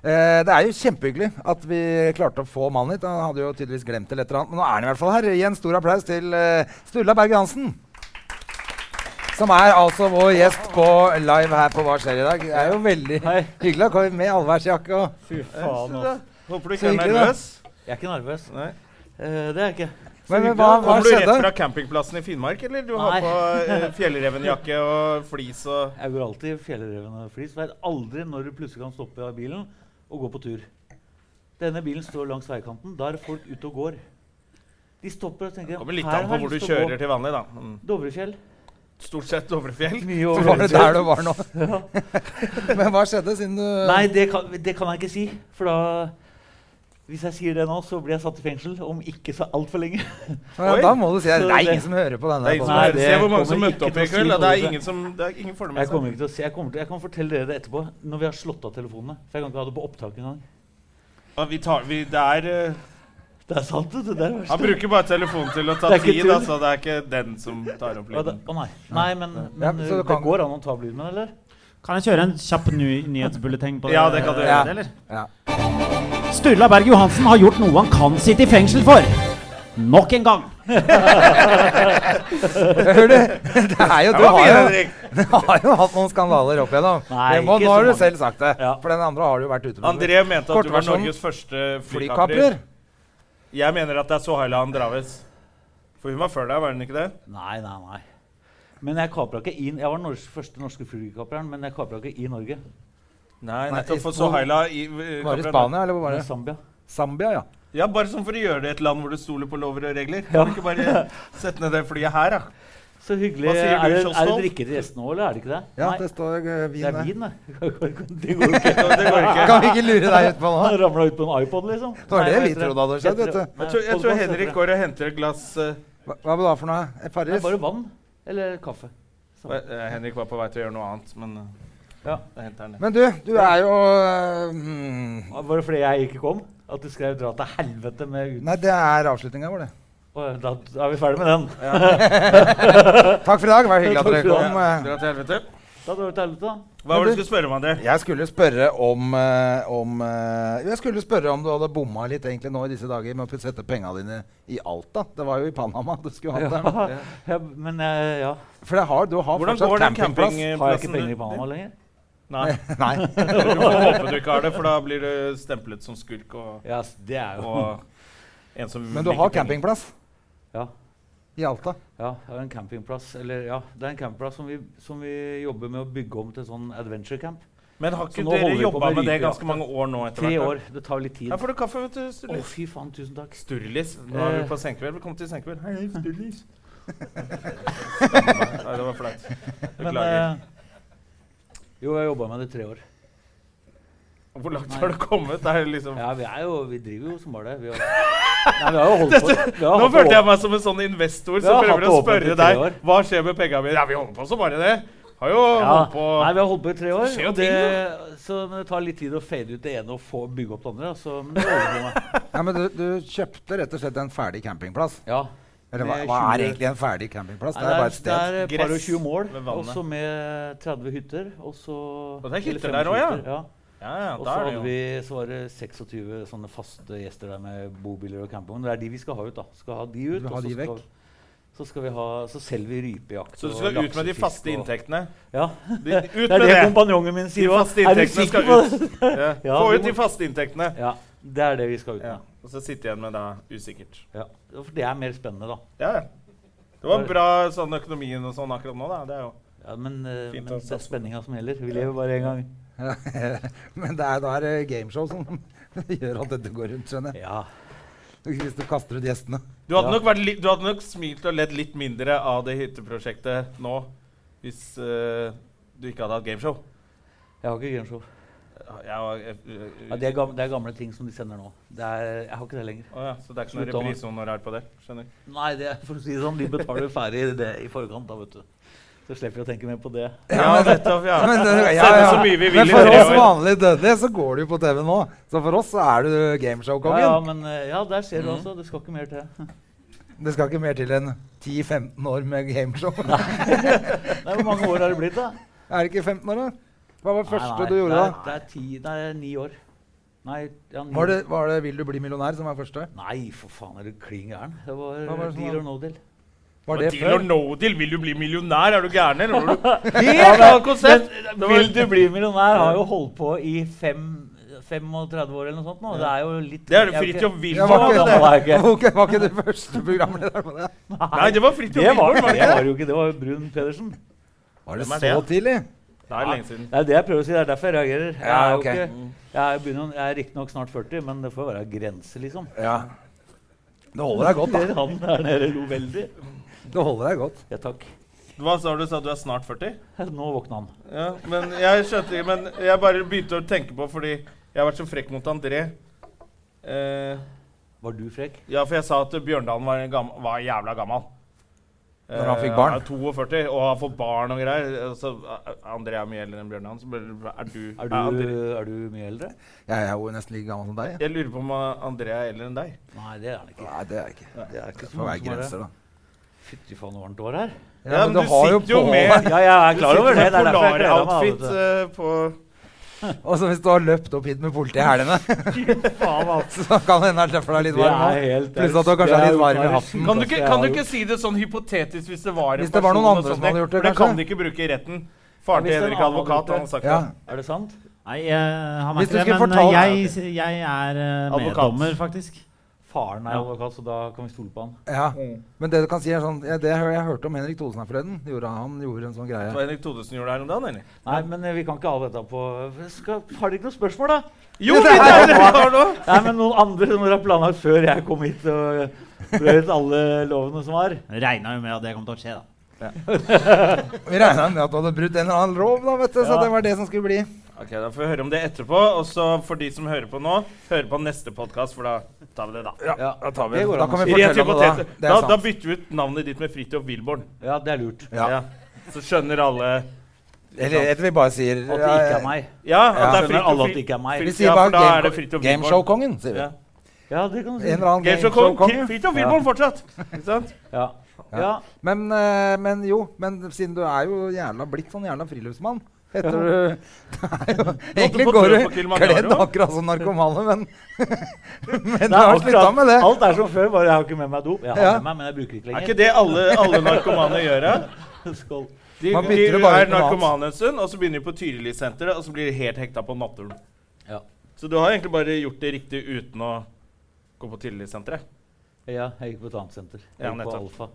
Speaker 3: Eh, det er jo kjempehyggelig at vi klarte å få mannen hit. Han hadde jo tydeligvis glemt det eller et eller annet, men nå er han i hvert fall her. Gi en stor applaus til eh, Sturla Berge Hansen. Som er altså vår gjest på live her på Hva skjer i dag. Det er jo veldig
Speaker 4: Hei.
Speaker 3: hyggelig. Han kommer med allværsjakke og
Speaker 4: Fy faen, ass.
Speaker 2: Håper du
Speaker 3: Så
Speaker 2: ikke er
Speaker 3: hyggelig, da.
Speaker 2: nervøs.
Speaker 4: Jeg er ikke nervøs.
Speaker 2: Nei.
Speaker 4: Eh, det er jeg ikke.
Speaker 3: Men, men hva, hva
Speaker 2: Kommer du rett
Speaker 3: skjedde?
Speaker 2: fra campingplassen i Finnmark, eller? Du
Speaker 4: Nei.
Speaker 2: har på eh, fjellrevenjakke og flis og
Speaker 4: Jeg går alltid i fjellreven og flis. Vet aldri når du plutselig kan stoppe av bilen og gå på tur. Denne bilen står langs veikanten. Da er det folk ute og går. De stopper og tenker
Speaker 2: Kommer litt
Speaker 4: "Her
Speaker 2: an
Speaker 4: har
Speaker 2: på
Speaker 4: jeg
Speaker 2: hvor du
Speaker 4: lyst til å
Speaker 2: kjører
Speaker 4: gå."
Speaker 2: til vanlig, da. Mm.
Speaker 4: Dovrefjell.
Speaker 2: Stort sett Dovrefjell.
Speaker 4: Mye
Speaker 3: Så var det
Speaker 4: overlevelser.
Speaker 3: der du var nå. Men hva skjedde siden du
Speaker 4: Nei, det kan, det kan jeg ikke si. For da Hvis jeg sier det nå, så blir jeg satt i fengsel om ikke så altfor lenge.
Speaker 3: Ja, Da må du si at
Speaker 4: Så
Speaker 3: det er
Speaker 4: det-
Speaker 3: ingen som hører på
Speaker 2: Det
Speaker 3: denne.
Speaker 2: er ingen som
Speaker 4: Nei,
Speaker 2: hører-
Speaker 4: det
Speaker 2: Se hvor mange som
Speaker 4: kommer
Speaker 2: møtte opp
Speaker 4: ikke
Speaker 2: i
Speaker 4: til å
Speaker 2: kveld.
Speaker 4: si
Speaker 2: da. Det er
Speaker 4: noe.
Speaker 2: ingen som det er ingen får det med
Speaker 4: Jeg kommer
Speaker 2: seg.
Speaker 4: ikke til å si, jeg, kommer til, jeg kan fortelle dere det etterpå, når vi har slått av telefonene. For jeg kan ikke ha det på opptak engang.
Speaker 2: Ja, Vi tar, vi, det er, eh,
Speaker 4: Det er sant, vet du. Det er verst.
Speaker 2: han bruker bare telefonen til å ta
Speaker 4: Det er ikke
Speaker 2: tid, da,
Speaker 4: tull.
Speaker 2: så det er ikke den som tar opp
Speaker 4: Å det-
Speaker 2: lyden.
Speaker 4: å nei. nei, men, men
Speaker 3: Ja,
Speaker 4: uh,
Speaker 3: så du
Speaker 4: det
Speaker 3: kan-
Speaker 4: går an å ta opp lyden, eller?
Speaker 1: Kan jeg kjøre en kjapp ny nyhetsbulleteng på
Speaker 2: Ja, det kan du
Speaker 3: Ja.
Speaker 2: gjøre.
Speaker 1: eller?
Speaker 3: Ja.
Speaker 1: Sturla Berg Johansen har gjort noe han kan sitte i fengsel for. Nok en gang.
Speaker 3: Hører du? Det er jo,
Speaker 2: Det
Speaker 3: du
Speaker 2: var
Speaker 3: har
Speaker 2: fint,
Speaker 3: jo,
Speaker 2: Henrik.
Speaker 3: du har jo hatt noen skandaler opp igjennom.
Speaker 4: Nei,
Speaker 3: Det må, nå
Speaker 4: ikke så
Speaker 3: har du
Speaker 4: mange.
Speaker 3: selv sagt det.
Speaker 4: Ja.
Speaker 3: For den andre har du jo vært ute med.
Speaker 2: André mente at du var
Speaker 3: Kortversjonen.
Speaker 2: Norges første flykaprer.
Speaker 3: Flykaprer?
Speaker 2: Jeg mener at det er Sohailan Draves. For hun var før deg, var hun ikke det?
Speaker 4: Nei, nei, nei. Men jeg kapra ikke i Jeg var den norsk, første norske flygekapreren, men jeg kapra ikke i Norge.
Speaker 2: Nei,
Speaker 3: Nei,
Speaker 2: nettopp for
Speaker 3: i-
Speaker 2: Sohaila i
Speaker 3: Var det i
Speaker 2: kaprer-
Speaker 3: Spania, eller hvor var
Speaker 4: I
Speaker 3: det?
Speaker 4: Zambia.
Speaker 3: Zambia, ja.
Speaker 2: Ja, bare sånn for å gjøre det et land hvor du stoler på lover og regler. Kan du ikke bare sette ned det flyet her, da?
Speaker 4: Så hyggelig.
Speaker 2: Hva sier du,
Speaker 4: Er det, er det
Speaker 2: Kjostov?
Speaker 4: drikke til gjestene òg, eller er det ikke det?
Speaker 3: Ja,
Speaker 4: nei,
Speaker 3: det står eh,
Speaker 4: det
Speaker 3: vin
Speaker 4: er
Speaker 3: der.
Speaker 4: vin, det. Det går jo ikke.
Speaker 2: Det, det går ikke.
Speaker 3: Kan vi ikke lure deg utpå nå?
Speaker 4: Han ramla ut på en iPod, liksom.
Speaker 3: Det var
Speaker 4: Nei,
Speaker 3: det
Speaker 4: hva
Speaker 3: vi
Speaker 4: heter
Speaker 3: trodde hadde skjedd,
Speaker 4: Heter det-
Speaker 3: vet
Speaker 4: Nei,
Speaker 2: Jeg tror, jeg
Speaker 4: podcast
Speaker 2: tror
Speaker 4: heter
Speaker 2: Henrik
Speaker 4: det.
Speaker 2: går og henter et glass eh,
Speaker 3: Hva hva var det for noe? Eh,
Speaker 4: Det er
Speaker 3: Farris?
Speaker 4: bare vann eller kaffe.
Speaker 2: hva- eh, Henrik var på vei til å gjøre noe annet, men eh,
Speaker 4: Ja.
Speaker 2: da henter han det.
Speaker 3: Men du, du er jo eh, mm,
Speaker 4: Var det fordi jeg ikke kom? At du skrev 'dra til helvete' med ut...
Speaker 3: Nei, det er avslutninga vår, det.
Speaker 4: Å, Da, da er vi ferdig med den.
Speaker 3: Takk for i dag. Det var hyggelig at dere
Speaker 4: Takk for i
Speaker 3: kom. eh.
Speaker 2: Dra til helvete.
Speaker 4: Da drar vi til helvete, da.
Speaker 2: Hva var det du skulle spørre om, André?
Speaker 3: Jeg skulle spørre om, eh, om eh, Jeg skulle spørre om du hadde bomma litt egentlig nå i disse dager med å sette penga dine i Alta. Det var jo i Panama du skulle hatt det.
Speaker 4: Ja, ja, men eh, ja.
Speaker 3: For det har, du har
Speaker 2: Hvordan
Speaker 3: fortsatt
Speaker 2: går den
Speaker 3: campingplass.
Speaker 4: Har jeg ikke penger i
Speaker 2: campingplassen?
Speaker 4: Panama lenger?
Speaker 2: Nei,
Speaker 3: Nei.
Speaker 2: du får håpe du ikke har det, for da blir du stemplet som skurk og,
Speaker 4: Ja, s- det er jo
Speaker 2: og en som
Speaker 3: Men du
Speaker 2: liker
Speaker 3: har
Speaker 2: penger.
Speaker 3: campingplass
Speaker 4: Ja.
Speaker 3: i Alta.
Speaker 4: Ja, det er en campingplass. Eller ja, det er en campingplass som vi, som vi jobber med å bygge om til sånn adventure camp.
Speaker 2: Men har ikke
Speaker 4: Så nå
Speaker 2: dere
Speaker 4: holder vi på
Speaker 2: jobba
Speaker 4: med
Speaker 2: med det
Speaker 4: rypejakt,
Speaker 2: ganske mange år nå? etter
Speaker 4: Tre
Speaker 2: hvert, da?
Speaker 4: år. Det tar litt tid.
Speaker 2: Her får du kaffe, vet du,
Speaker 4: Å,
Speaker 2: Sturlis.
Speaker 4: fy faen, tusen takk.
Speaker 2: Sturlis. Nå er vi
Speaker 4: Eh.
Speaker 2: på senkveld. Velkommen til senkveld. Hei, Sturlis. Nei, det var flaut.
Speaker 4: Men
Speaker 2: Beklager.
Speaker 4: eh, Jo, jeg jobba med det i tre år.
Speaker 2: Hvor langt
Speaker 4: nei.
Speaker 2: har du kommet? Det er liksom
Speaker 4: Ja, vi er jo Vi driver jo som bare det. Vi har, nei, vi har jo holdt på. vi har
Speaker 2: Nå
Speaker 4: hatt det
Speaker 2: følte jeg
Speaker 4: åpent.
Speaker 2: meg som en sånn investor
Speaker 4: Vi
Speaker 2: som
Speaker 4: har
Speaker 2: prøver å
Speaker 4: hatt det åpent i
Speaker 2: spørre
Speaker 4: tre
Speaker 2: deg
Speaker 4: år.
Speaker 2: hva skjer med pengene mine. Ja, vi holder på så bare det. Har jo
Speaker 4: Ja.
Speaker 2: holdt på
Speaker 4: Nei, vi har holdt på i tre år.
Speaker 2: skjer jo
Speaker 4: og det, så men det tar litt tid å fade ut det ene og få bygge opp det andre. da, Så, men det overgår meg.
Speaker 3: Ja, men du, du kjøpte rett og slett en ferdig campingplass.
Speaker 4: Ja.
Speaker 3: Eller hva,
Speaker 4: Med
Speaker 3: hva
Speaker 4: 20
Speaker 3: er egentlig en ferdig campingplass?
Speaker 2: Altså,
Speaker 4: Nei,
Speaker 3: Det er bare et
Speaker 4: det
Speaker 3: sted.
Speaker 4: er et
Speaker 2: Gress
Speaker 4: par og 20 mål,
Speaker 2: ved vannet.
Speaker 4: og så med 30 hytter. Og så
Speaker 2: det er
Speaker 4: eller
Speaker 2: hytter der
Speaker 4: 25
Speaker 2: også, ja.
Speaker 4: hytter,
Speaker 2: Ja, ja,
Speaker 4: Og
Speaker 2: da
Speaker 4: så
Speaker 2: er det
Speaker 4: hadde
Speaker 2: jo
Speaker 4: vi, så var det 26 sånne faste gjester der med bobiler og campingvogn. Det er de vi skal ha ut, da. Skal ha de ut,
Speaker 3: vil ha
Speaker 4: og
Speaker 3: de
Speaker 4: så skal,
Speaker 3: vekk.
Speaker 4: så skal vi ha Så selger vi rypejakt
Speaker 2: Så du skal ut med de
Speaker 4: laksefisk
Speaker 2: faste
Speaker 4: og-
Speaker 2: inntektene?
Speaker 4: Ja.
Speaker 2: De, ut
Speaker 4: Det er
Speaker 2: med
Speaker 4: det
Speaker 2: det!
Speaker 4: kompanjongen min
Speaker 2: De
Speaker 4: sier også.
Speaker 2: faste
Speaker 4: Er du
Speaker 2: inntektene
Speaker 4: sikker
Speaker 2: skal
Speaker 4: på det?
Speaker 2: ut. Ja.
Speaker 4: Ja,
Speaker 2: Få
Speaker 4: vi
Speaker 2: ut de
Speaker 4: må-
Speaker 2: faste inntektene.
Speaker 4: Ja, det er det vi skal ut
Speaker 2: Ja.
Speaker 4: med.
Speaker 2: Og så sitte igjen med da usikkert.
Speaker 4: Ja. For det er mer spennende, da.
Speaker 2: Ja, ja. Det var bra sånn økonomien og sånn akkurat nå, da. Det er jo
Speaker 4: Ja, men eh,
Speaker 2: Fint
Speaker 4: men
Speaker 2: å
Speaker 4: det er
Speaker 2: satse på.
Speaker 4: spenninga som gjelder. Vi lever bare én gang.
Speaker 3: Men det er, da er det gameshow som gjør at dette går rundt, skjønner jeg.
Speaker 4: Ja.
Speaker 3: Hvis du kaster ut gjestene.
Speaker 2: Du hadde,
Speaker 4: Ja.
Speaker 2: nok vært li du hadde nok smilt og ledd litt mindre av det hytteprosjektet nå hvis eh, du ikke hadde hatt gameshow.
Speaker 4: Jeg har ikke gameshow.
Speaker 2: Jeg var, jeg,
Speaker 4: Ja, det, er gamle, det er gamle ting som de sender nå. Det er, jeg har ikke det lenger.
Speaker 2: Å ja, så det er ikke noe
Speaker 4: Slutt om.
Speaker 2: reprisehonorar på det? Skjønner.
Speaker 4: Nei, det er for å si det sånn, de betaler ferdig det i forkant, da, vet du. Så slipper vi å tenke mer på det.
Speaker 2: Ja, nettopp. Ja.
Speaker 3: Men, det- ja,
Speaker 2: Sende så
Speaker 3: ja.
Speaker 2: mye vi
Speaker 3: men
Speaker 2: vil i
Speaker 3: for
Speaker 2: tre
Speaker 3: oss
Speaker 2: år.
Speaker 3: vanlige dødelige så går du jo på TV nå. Så for oss så er du
Speaker 4: Ja, ja,
Speaker 3: gameshow-kongen.
Speaker 4: men eh, ja, der ser du altså. Det skal ikke mer til.
Speaker 3: Det skal ikke mer til enn 10-15 år med gameshow.
Speaker 4: Nei, hvor mange år har det blitt, da?
Speaker 3: Er det ikke 15 år, da? Hva var det første
Speaker 4: nei, nei,
Speaker 3: du gjorde
Speaker 4: det er,
Speaker 3: da?
Speaker 4: Det er ti, det er ni år. Nei, ja, ni
Speaker 3: Var det,
Speaker 4: år.
Speaker 3: var det 'Vil du bli millionær' som var første?
Speaker 4: Nei, for faen, er du klin gæren? Det var,
Speaker 3: Hva var det som
Speaker 4: deal
Speaker 3: var-
Speaker 4: or no deal.
Speaker 3: Var
Speaker 2: Men
Speaker 3: det
Speaker 2: Deal or
Speaker 3: før?
Speaker 2: no deal? Vil du bli millionær? Er du gæren, eller? Var du- Helt
Speaker 4: Ja, men-
Speaker 2: annet konsept! Det
Speaker 4: men
Speaker 2: var-
Speaker 4: Vil du bli millionær har jo holdt på i fem, 35 år eller noe sånt nå. Det er jo litt
Speaker 2: Det er det
Speaker 4: jeg vet
Speaker 2: Fridtjof
Speaker 4: ikke-
Speaker 3: Ja,
Speaker 2: Wilhelm.
Speaker 3: var,
Speaker 4: Så gammel er jeg
Speaker 3: ikke
Speaker 4: ikke.
Speaker 3: det, var, ikke, var ikke det første programleder på det?
Speaker 2: Nei, det var Fridtjof
Speaker 4: Det var,
Speaker 2: Wilhelm.
Speaker 4: det
Speaker 2: var det ikke
Speaker 4: var
Speaker 2: det?
Speaker 4: jo ikke det. var jo Brun Pedersen.
Speaker 3: Var det
Speaker 2: Hvem er
Speaker 3: så
Speaker 2: det?
Speaker 3: tidlig?
Speaker 2: Det er lenge siden.
Speaker 4: Det er det jeg prøver å si. Det er derfor jeg reagerer. Jeg
Speaker 3: Ja,
Speaker 4: er, jo
Speaker 3: ok.
Speaker 4: ikke, jeg er, begynner, jeg er riktignok snart 40, men det får være grenser, liksom.
Speaker 3: Ja. Det holder deg godt, da.
Speaker 4: Han der nede lo veldig.
Speaker 3: Det holder deg godt.
Speaker 4: Ja, takk.
Speaker 2: Hva sa du? Sa du er snart 40?
Speaker 4: Nå våkna han.
Speaker 2: Ja, men jeg skjønte ikke Men jeg bare begynte å tenke på fordi jeg har vært så frekk mot André. Eh,
Speaker 4: Var du frekk?
Speaker 2: ja, for jeg sa at Bjørndalen var, gamm- var jævla gammal.
Speaker 3: Når han fikk barn.
Speaker 2: er 42 og har fått barn og greier. Og Så eh, André er mye eldre enn Bjørndalen. Så bare, er du,
Speaker 4: Er du,
Speaker 2: André,
Speaker 4: er du mye eldre?
Speaker 3: Jeg er jo nesten like gammel som deg. jeg.
Speaker 2: Jeg lurer på om eh, André er eldre enn deg.
Speaker 4: Nei, det er han ikke.
Speaker 3: Nei, det er jeg ikke.
Speaker 4: Det er ikke
Speaker 3: Det
Speaker 4: så
Speaker 3: får
Speaker 4: mange
Speaker 3: være
Speaker 4: som er det.
Speaker 3: grenser, da.
Speaker 4: Fytti faen, så varmt det var her.
Speaker 3: Ja, men du har jo
Speaker 2: sitter jo
Speaker 3: på
Speaker 2: med-
Speaker 3: deg-
Speaker 4: Ja, jeg er klar over det. Det er derfor jeg gleder meg.
Speaker 2: Polar-outfit
Speaker 4: da,
Speaker 2: eh,
Speaker 4: vet
Speaker 2: på
Speaker 3: Og så hvis du har løpt opp hit med politiet i helgene,
Speaker 4: du. Faen, altså.
Speaker 3: så kan det hende han treffer deg litt
Speaker 4: Det
Speaker 3: varm
Speaker 4: er
Speaker 3: òg.
Speaker 4: helt
Speaker 3: Pluss at du kanskje er litt varm i hatten.
Speaker 2: kan du, ikke, kan du ikke si det sånn hypotetisk hvis det var en
Speaker 3: Hvis det var noen
Speaker 2: person og
Speaker 3: andre
Speaker 2: sånt,
Speaker 3: som hadde
Speaker 2: det-
Speaker 3: gjort det,
Speaker 2: For det kan
Speaker 3: kanskje?
Speaker 2: de ikke bruke i retten. Faren til
Speaker 4: Ja, hvis
Speaker 2: Henrik
Speaker 4: en annen
Speaker 2: advokat,
Speaker 4: hadde
Speaker 2: han har sagt
Speaker 3: Ja.
Speaker 2: det.
Speaker 4: Er det sant?
Speaker 1: Nei, jeg har
Speaker 3: Hvis
Speaker 1: meg
Speaker 3: du
Speaker 1: ikke det,
Speaker 3: skulle
Speaker 1: men eh,
Speaker 3: fortalt-
Speaker 1: jeg, jeg er eh,
Speaker 2: Advokat.
Speaker 1: meddommer, faktisk.
Speaker 4: Faren er
Speaker 1: Ja.
Speaker 4: advokat, så da kan vi stole på han.
Speaker 3: Ja. Men det du kan si er sånn ja, Det hø- jeg hørte om Henrik Thodesen her forleden. Gjorde, han gjorde en sånn
Speaker 2: Det
Speaker 3: greie.
Speaker 2: var Henrik Thodesen gjorde det her om dagen, eller?
Speaker 4: Nei, men eh, vi kan ikke ha dette på skal, Har dere ikke noen spørsmål, da?
Speaker 2: Jo, det er det vi har nå!
Speaker 4: Nei, men noen andre som dere har planlagt før jeg kom hit og brøt alle lovene som var?
Speaker 1: Regna jo med at det kom til å skje, da.
Speaker 3: Vi regna med at du hadde brutt en eller annen lov, da, vet du. Så
Speaker 4: Ja.
Speaker 3: det var det som skulle bli.
Speaker 2: Ok, Da får vi høre om det etterpå. Og så for de som hører på nå, hører på neste podkast, for da tar vi det, da.
Speaker 4: Ja,
Speaker 3: da tar
Speaker 4: vi det.
Speaker 3: Da kan vi
Speaker 2: Rent
Speaker 3: fortelle om det, da.
Speaker 2: hypotete.
Speaker 3: Det
Speaker 2: Da,
Speaker 3: er
Speaker 2: da
Speaker 3: sant.
Speaker 2: bytter vi ut navnet ditt med Fridtjof Wilborn.
Speaker 4: Ja, det er lurt.
Speaker 3: Ja.
Speaker 2: Så skjønner alle
Speaker 3: Eller eller vi bare sier
Speaker 4: At det ikke er meg.
Speaker 2: Ja, at
Speaker 3: Ja.
Speaker 2: det er
Speaker 4: Skjønner alle at
Speaker 2: Fridtjof
Speaker 4: det ikke er meg.
Speaker 3: Vi
Speaker 2: Frid-
Speaker 3: sier
Speaker 2: Ja,
Speaker 3: bare
Speaker 2: for da er det
Speaker 3: game-
Speaker 2: Fridtjof Wilborg.
Speaker 3: Gameshow-kongen, sier vi.
Speaker 2: Ja.
Speaker 4: Ja, det kan
Speaker 3: En
Speaker 4: du si.
Speaker 3: eller annen
Speaker 2: Gameshow-kongen.
Speaker 3: gameshow-konge.
Speaker 2: Fridtjof Wilborg fortsatt. Ikke sant?
Speaker 4: Ja. ja.
Speaker 3: Men, eh, men jo, men siden du er jo jævla blitt sånn jævla friluftsmann Heter du det er jo, Egentlig
Speaker 2: på
Speaker 3: går
Speaker 2: tur på
Speaker 3: du
Speaker 2: Kilimanjaro?
Speaker 3: kledd akkurat som narkomane, men Men du
Speaker 4: Nei,
Speaker 3: har
Speaker 4: akkurat-
Speaker 3: slutta med det.
Speaker 4: Alt er som før, bare jeg har ikke med meg dop. Jeg har
Speaker 3: Ja.
Speaker 4: med meg, men jeg bruker ikke
Speaker 2: Er
Speaker 4: lenger.
Speaker 2: ikke det alle, alle narkomane gjør? da?
Speaker 4: Skål.
Speaker 2: De,
Speaker 3: Man
Speaker 2: de
Speaker 3: bytter det bare
Speaker 2: er
Speaker 3: ut med noe
Speaker 2: narkomane en stund, og så begynner de på Tyrilisenteret, og så blir de helt hekta på naturen.
Speaker 4: Ja.
Speaker 2: Så du har egentlig bare gjort det riktig uten å gå på Tyrilisenteret.
Speaker 4: Ja, jeg gikk på et annet senter. Jeg
Speaker 2: Ja,
Speaker 4: gikk på
Speaker 2: nettopp.
Speaker 4: Alfa.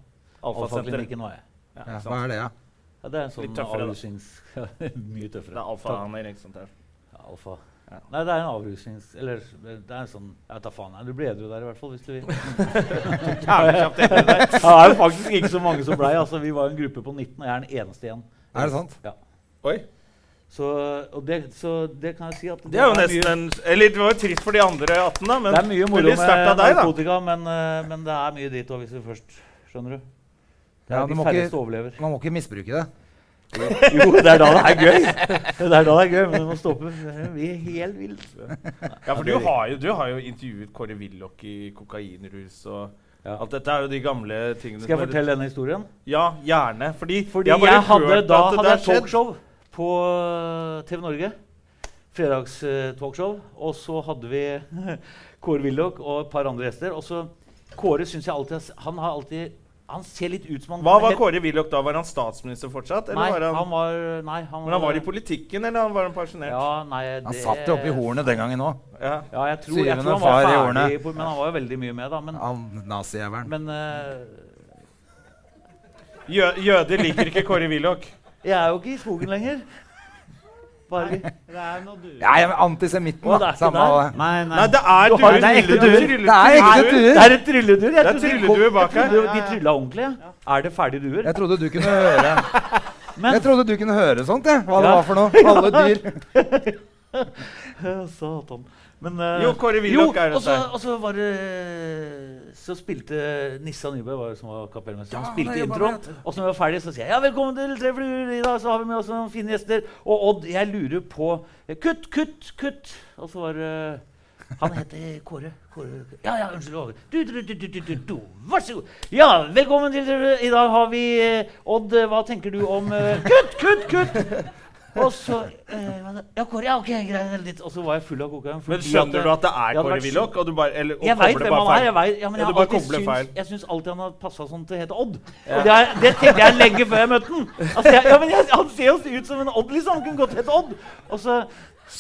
Speaker 2: Alfasenteret.
Speaker 4: Alfaklinikken var jeg.
Speaker 2: Ja,
Speaker 3: Ja, hva
Speaker 2: ikke sant?
Speaker 3: er det, ja?
Speaker 4: Ja, det er en
Speaker 2: Litt
Speaker 4: sånn
Speaker 2: tøffere, da.
Speaker 4: avrusnings... Mye
Speaker 2: Det
Speaker 4: tøffere.
Speaker 2: er alfa-anerikssenter.
Speaker 4: Ja, alfa.
Speaker 2: Ja.
Speaker 4: Nei, det er en avrusnings... Eller det er en sånn Jeg tar faen. nei, Du ble edru der i hvert fall, hvis du vil.
Speaker 2: Er
Speaker 4: Ja, det er jo faktisk ikke så mange som blei. Altså, vi var en gruppe på 19, og jeg er den eneste igjen.
Speaker 3: Er det sant?
Speaker 4: Ja.
Speaker 2: Oi.
Speaker 4: Så, og det, så det kan jeg si at
Speaker 2: Det er jo
Speaker 4: mye-
Speaker 2: nesten en Eller det var jo trist for de andre 18, da, men
Speaker 4: det er mye moro
Speaker 2: veldig
Speaker 4: med
Speaker 2: sterkt av deg, da.
Speaker 4: narkotika, men, eh, men det er mye dit òg, hvis du først skjønner du. Det er
Speaker 3: Ja, du
Speaker 4: de
Speaker 3: må
Speaker 4: færreste
Speaker 3: ikke-
Speaker 4: overlever.
Speaker 3: Man må ikke misbruke det.
Speaker 4: Jo, det er da det er gøy! Det er da det er gøy, men du må stoppe. Vi er helt ville.
Speaker 2: Ja, for du har jo, du har jo intervjuet Kåre Willoch i kokainrus og
Speaker 4: Ja.
Speaker 2: Alt dette er jo de gamle tingene
Speaker 4: Skal jeg
Speaker 2: som er-
Speaker 4: fortelle denne historien?
Speaker 2: Ja, gjerne. Fordi,
Speaker 4: Fordi
Speaker 2: har
Speaker 4: jeg,
Speaker 2: bare
Speaker 4: hadde,
Speaker 2: hørt
Speaker 4: da
Speaker 2: at det
Speaker 4: hadde
Speaker 2: der
Speaker 4: jeg
Speaker 2: skjedde.
Speaker 4: talkshow på eh, TV Norge. Fredagstalkshow. og så hadde vi Kåre Willoch og et par andre gjester. Og så Kåre synes jeg alltid har s- Han har alltid Han ser litt ut som han
Speaker 2: Hva var Kåre Willoch da? Var han statsminister fortsatt? Eller
Speaker 4: Nei,
Speaker 2: var han,
Speaker 4: han var Nei, han
Speaker 2: men han var i politikken, eller han var han pensjonert?
Speaker 4: Ja, nei,
Speaker 3: Han
Speaker 4: det-
Speaker 3: satt jo oppi hornet den gangen òg.
Speaker 2: Ja.
Speaker 4: Ja, jeg tror, jeg
Speaker 3: Syvende
Speaker 4: tror han var
Speaker 3: far i
Speaker 4: ferdig, på, men han var jo veldig mye med, da. Men,
Speaker 3: Han nazijævelen.
Speaker 4: men eh,
Speaker 2: Jø jøder liker ikke Kåre Willoch.
Speaker 4: jeg er jo ikke i skogen lenger. Bare vi.
Speaker 1: Det er noe du...
Speaker 3: Ja, ja, men antisemitten,
Speaker 4: Å, det
Speaker 3: da.
Speaker 4: er ikke
Speaker 3: Samme
Speaker 4: der.
Speaker 3: av det.
Speaker 1: Nei, nei.
Speaker 2: Nei, det er
Speaker 4: Du har-
Speaker 2: duer.
Speaker 4: det er ekte
Speaker 2: Tryllet-
Speaker 4: duer.
Speaker 2: tryllet-
Speaker 3: Det er ekte
Speaker 2: tryllet-
Speaker 4: Det
Speaker 3: duer!
Speaker 2: Det
Speaker 4: er en trylleduer. jeg
Speaker 2: er
Speaker 4: trodde de
Speaker 2: trylleduer
Speaker 4: kom-
Speaker 2: bak
Speaker 4: jeg
Speaker 2: her.
Speaker 4: trodde De trylla ordentlig. ja. Er det ferdige duer?
Speaker 3: Jeg trodde du kunne høre
Speaker 4: Men-
Speaker 3: Jeg trodde du kunne høre sånt, jeg. Hva det
Speaker 4: Ja.
Speaker 3: var for noe. Alle dyr.
Speaker 4: Ja, Satan. Men eh,
Speaker 2: Jo, Kåre Willoch er det
Speaker 4: og så-
Speaker 2: der.
Speaker 4: Og så var det Så spilte Nissa Nybø var det som var kapellmester. Han spilte
Speaker 3: det jobba
Speaker 4: introen.
Speaker 3: med, vet
Speaker 4: Og så når vi var ferdige, så sier jeg ja, velkommen til Tre fluer. I dag så har vi med oss noen fine gjester. Og Odd, jeg lurer på Kutt, kutt, kutt. Og så var det han heter Kåre. Kåre. Ja, ja, unnskyld. Over. Du, du, du, du, du, du, du. Vær så god. Ja, velkommen til I dag har vi eh, Odd, eh, hva tenker du om eh, Kutt, kutt, kutt! Og så eh, hva da? Ja, Kåre. Ja, ok, greit. helt litt. Og så var jeg full av kokain.
Speaker 2: Men
Speaker 4: fordi at, eh,
Speaker 2: skjønner du at det
Speaker 4: jeg
Speaker 2: er
Speaker 4: hadde
Speaker 2: Kåre
Speaker 4: vært-
Speaker 2: Willoch? Og du bare eller, og
Speaker 4: Jeg
Speaker 2: kobler
Speaker 4: veit hvem han
Speaker 2: bare
Speaker 4: er. Jeg, vet, ja,
Speaker 2: Ja,
Speaker 4: men jeg,
Speaker 2: du bare
Speaker 4: har alltid
Speaker 2: kobler feil.
Speaker 4: syns, jeg syns alltid han har passa sånn til å hete Odd. Og det, er, det tenkte jeg lenge før jeg møtte han. Altså, jeg, ja, men jeg, han ser jo ut som en Odd, liksom. Han kunne godt hete Odd. Og så,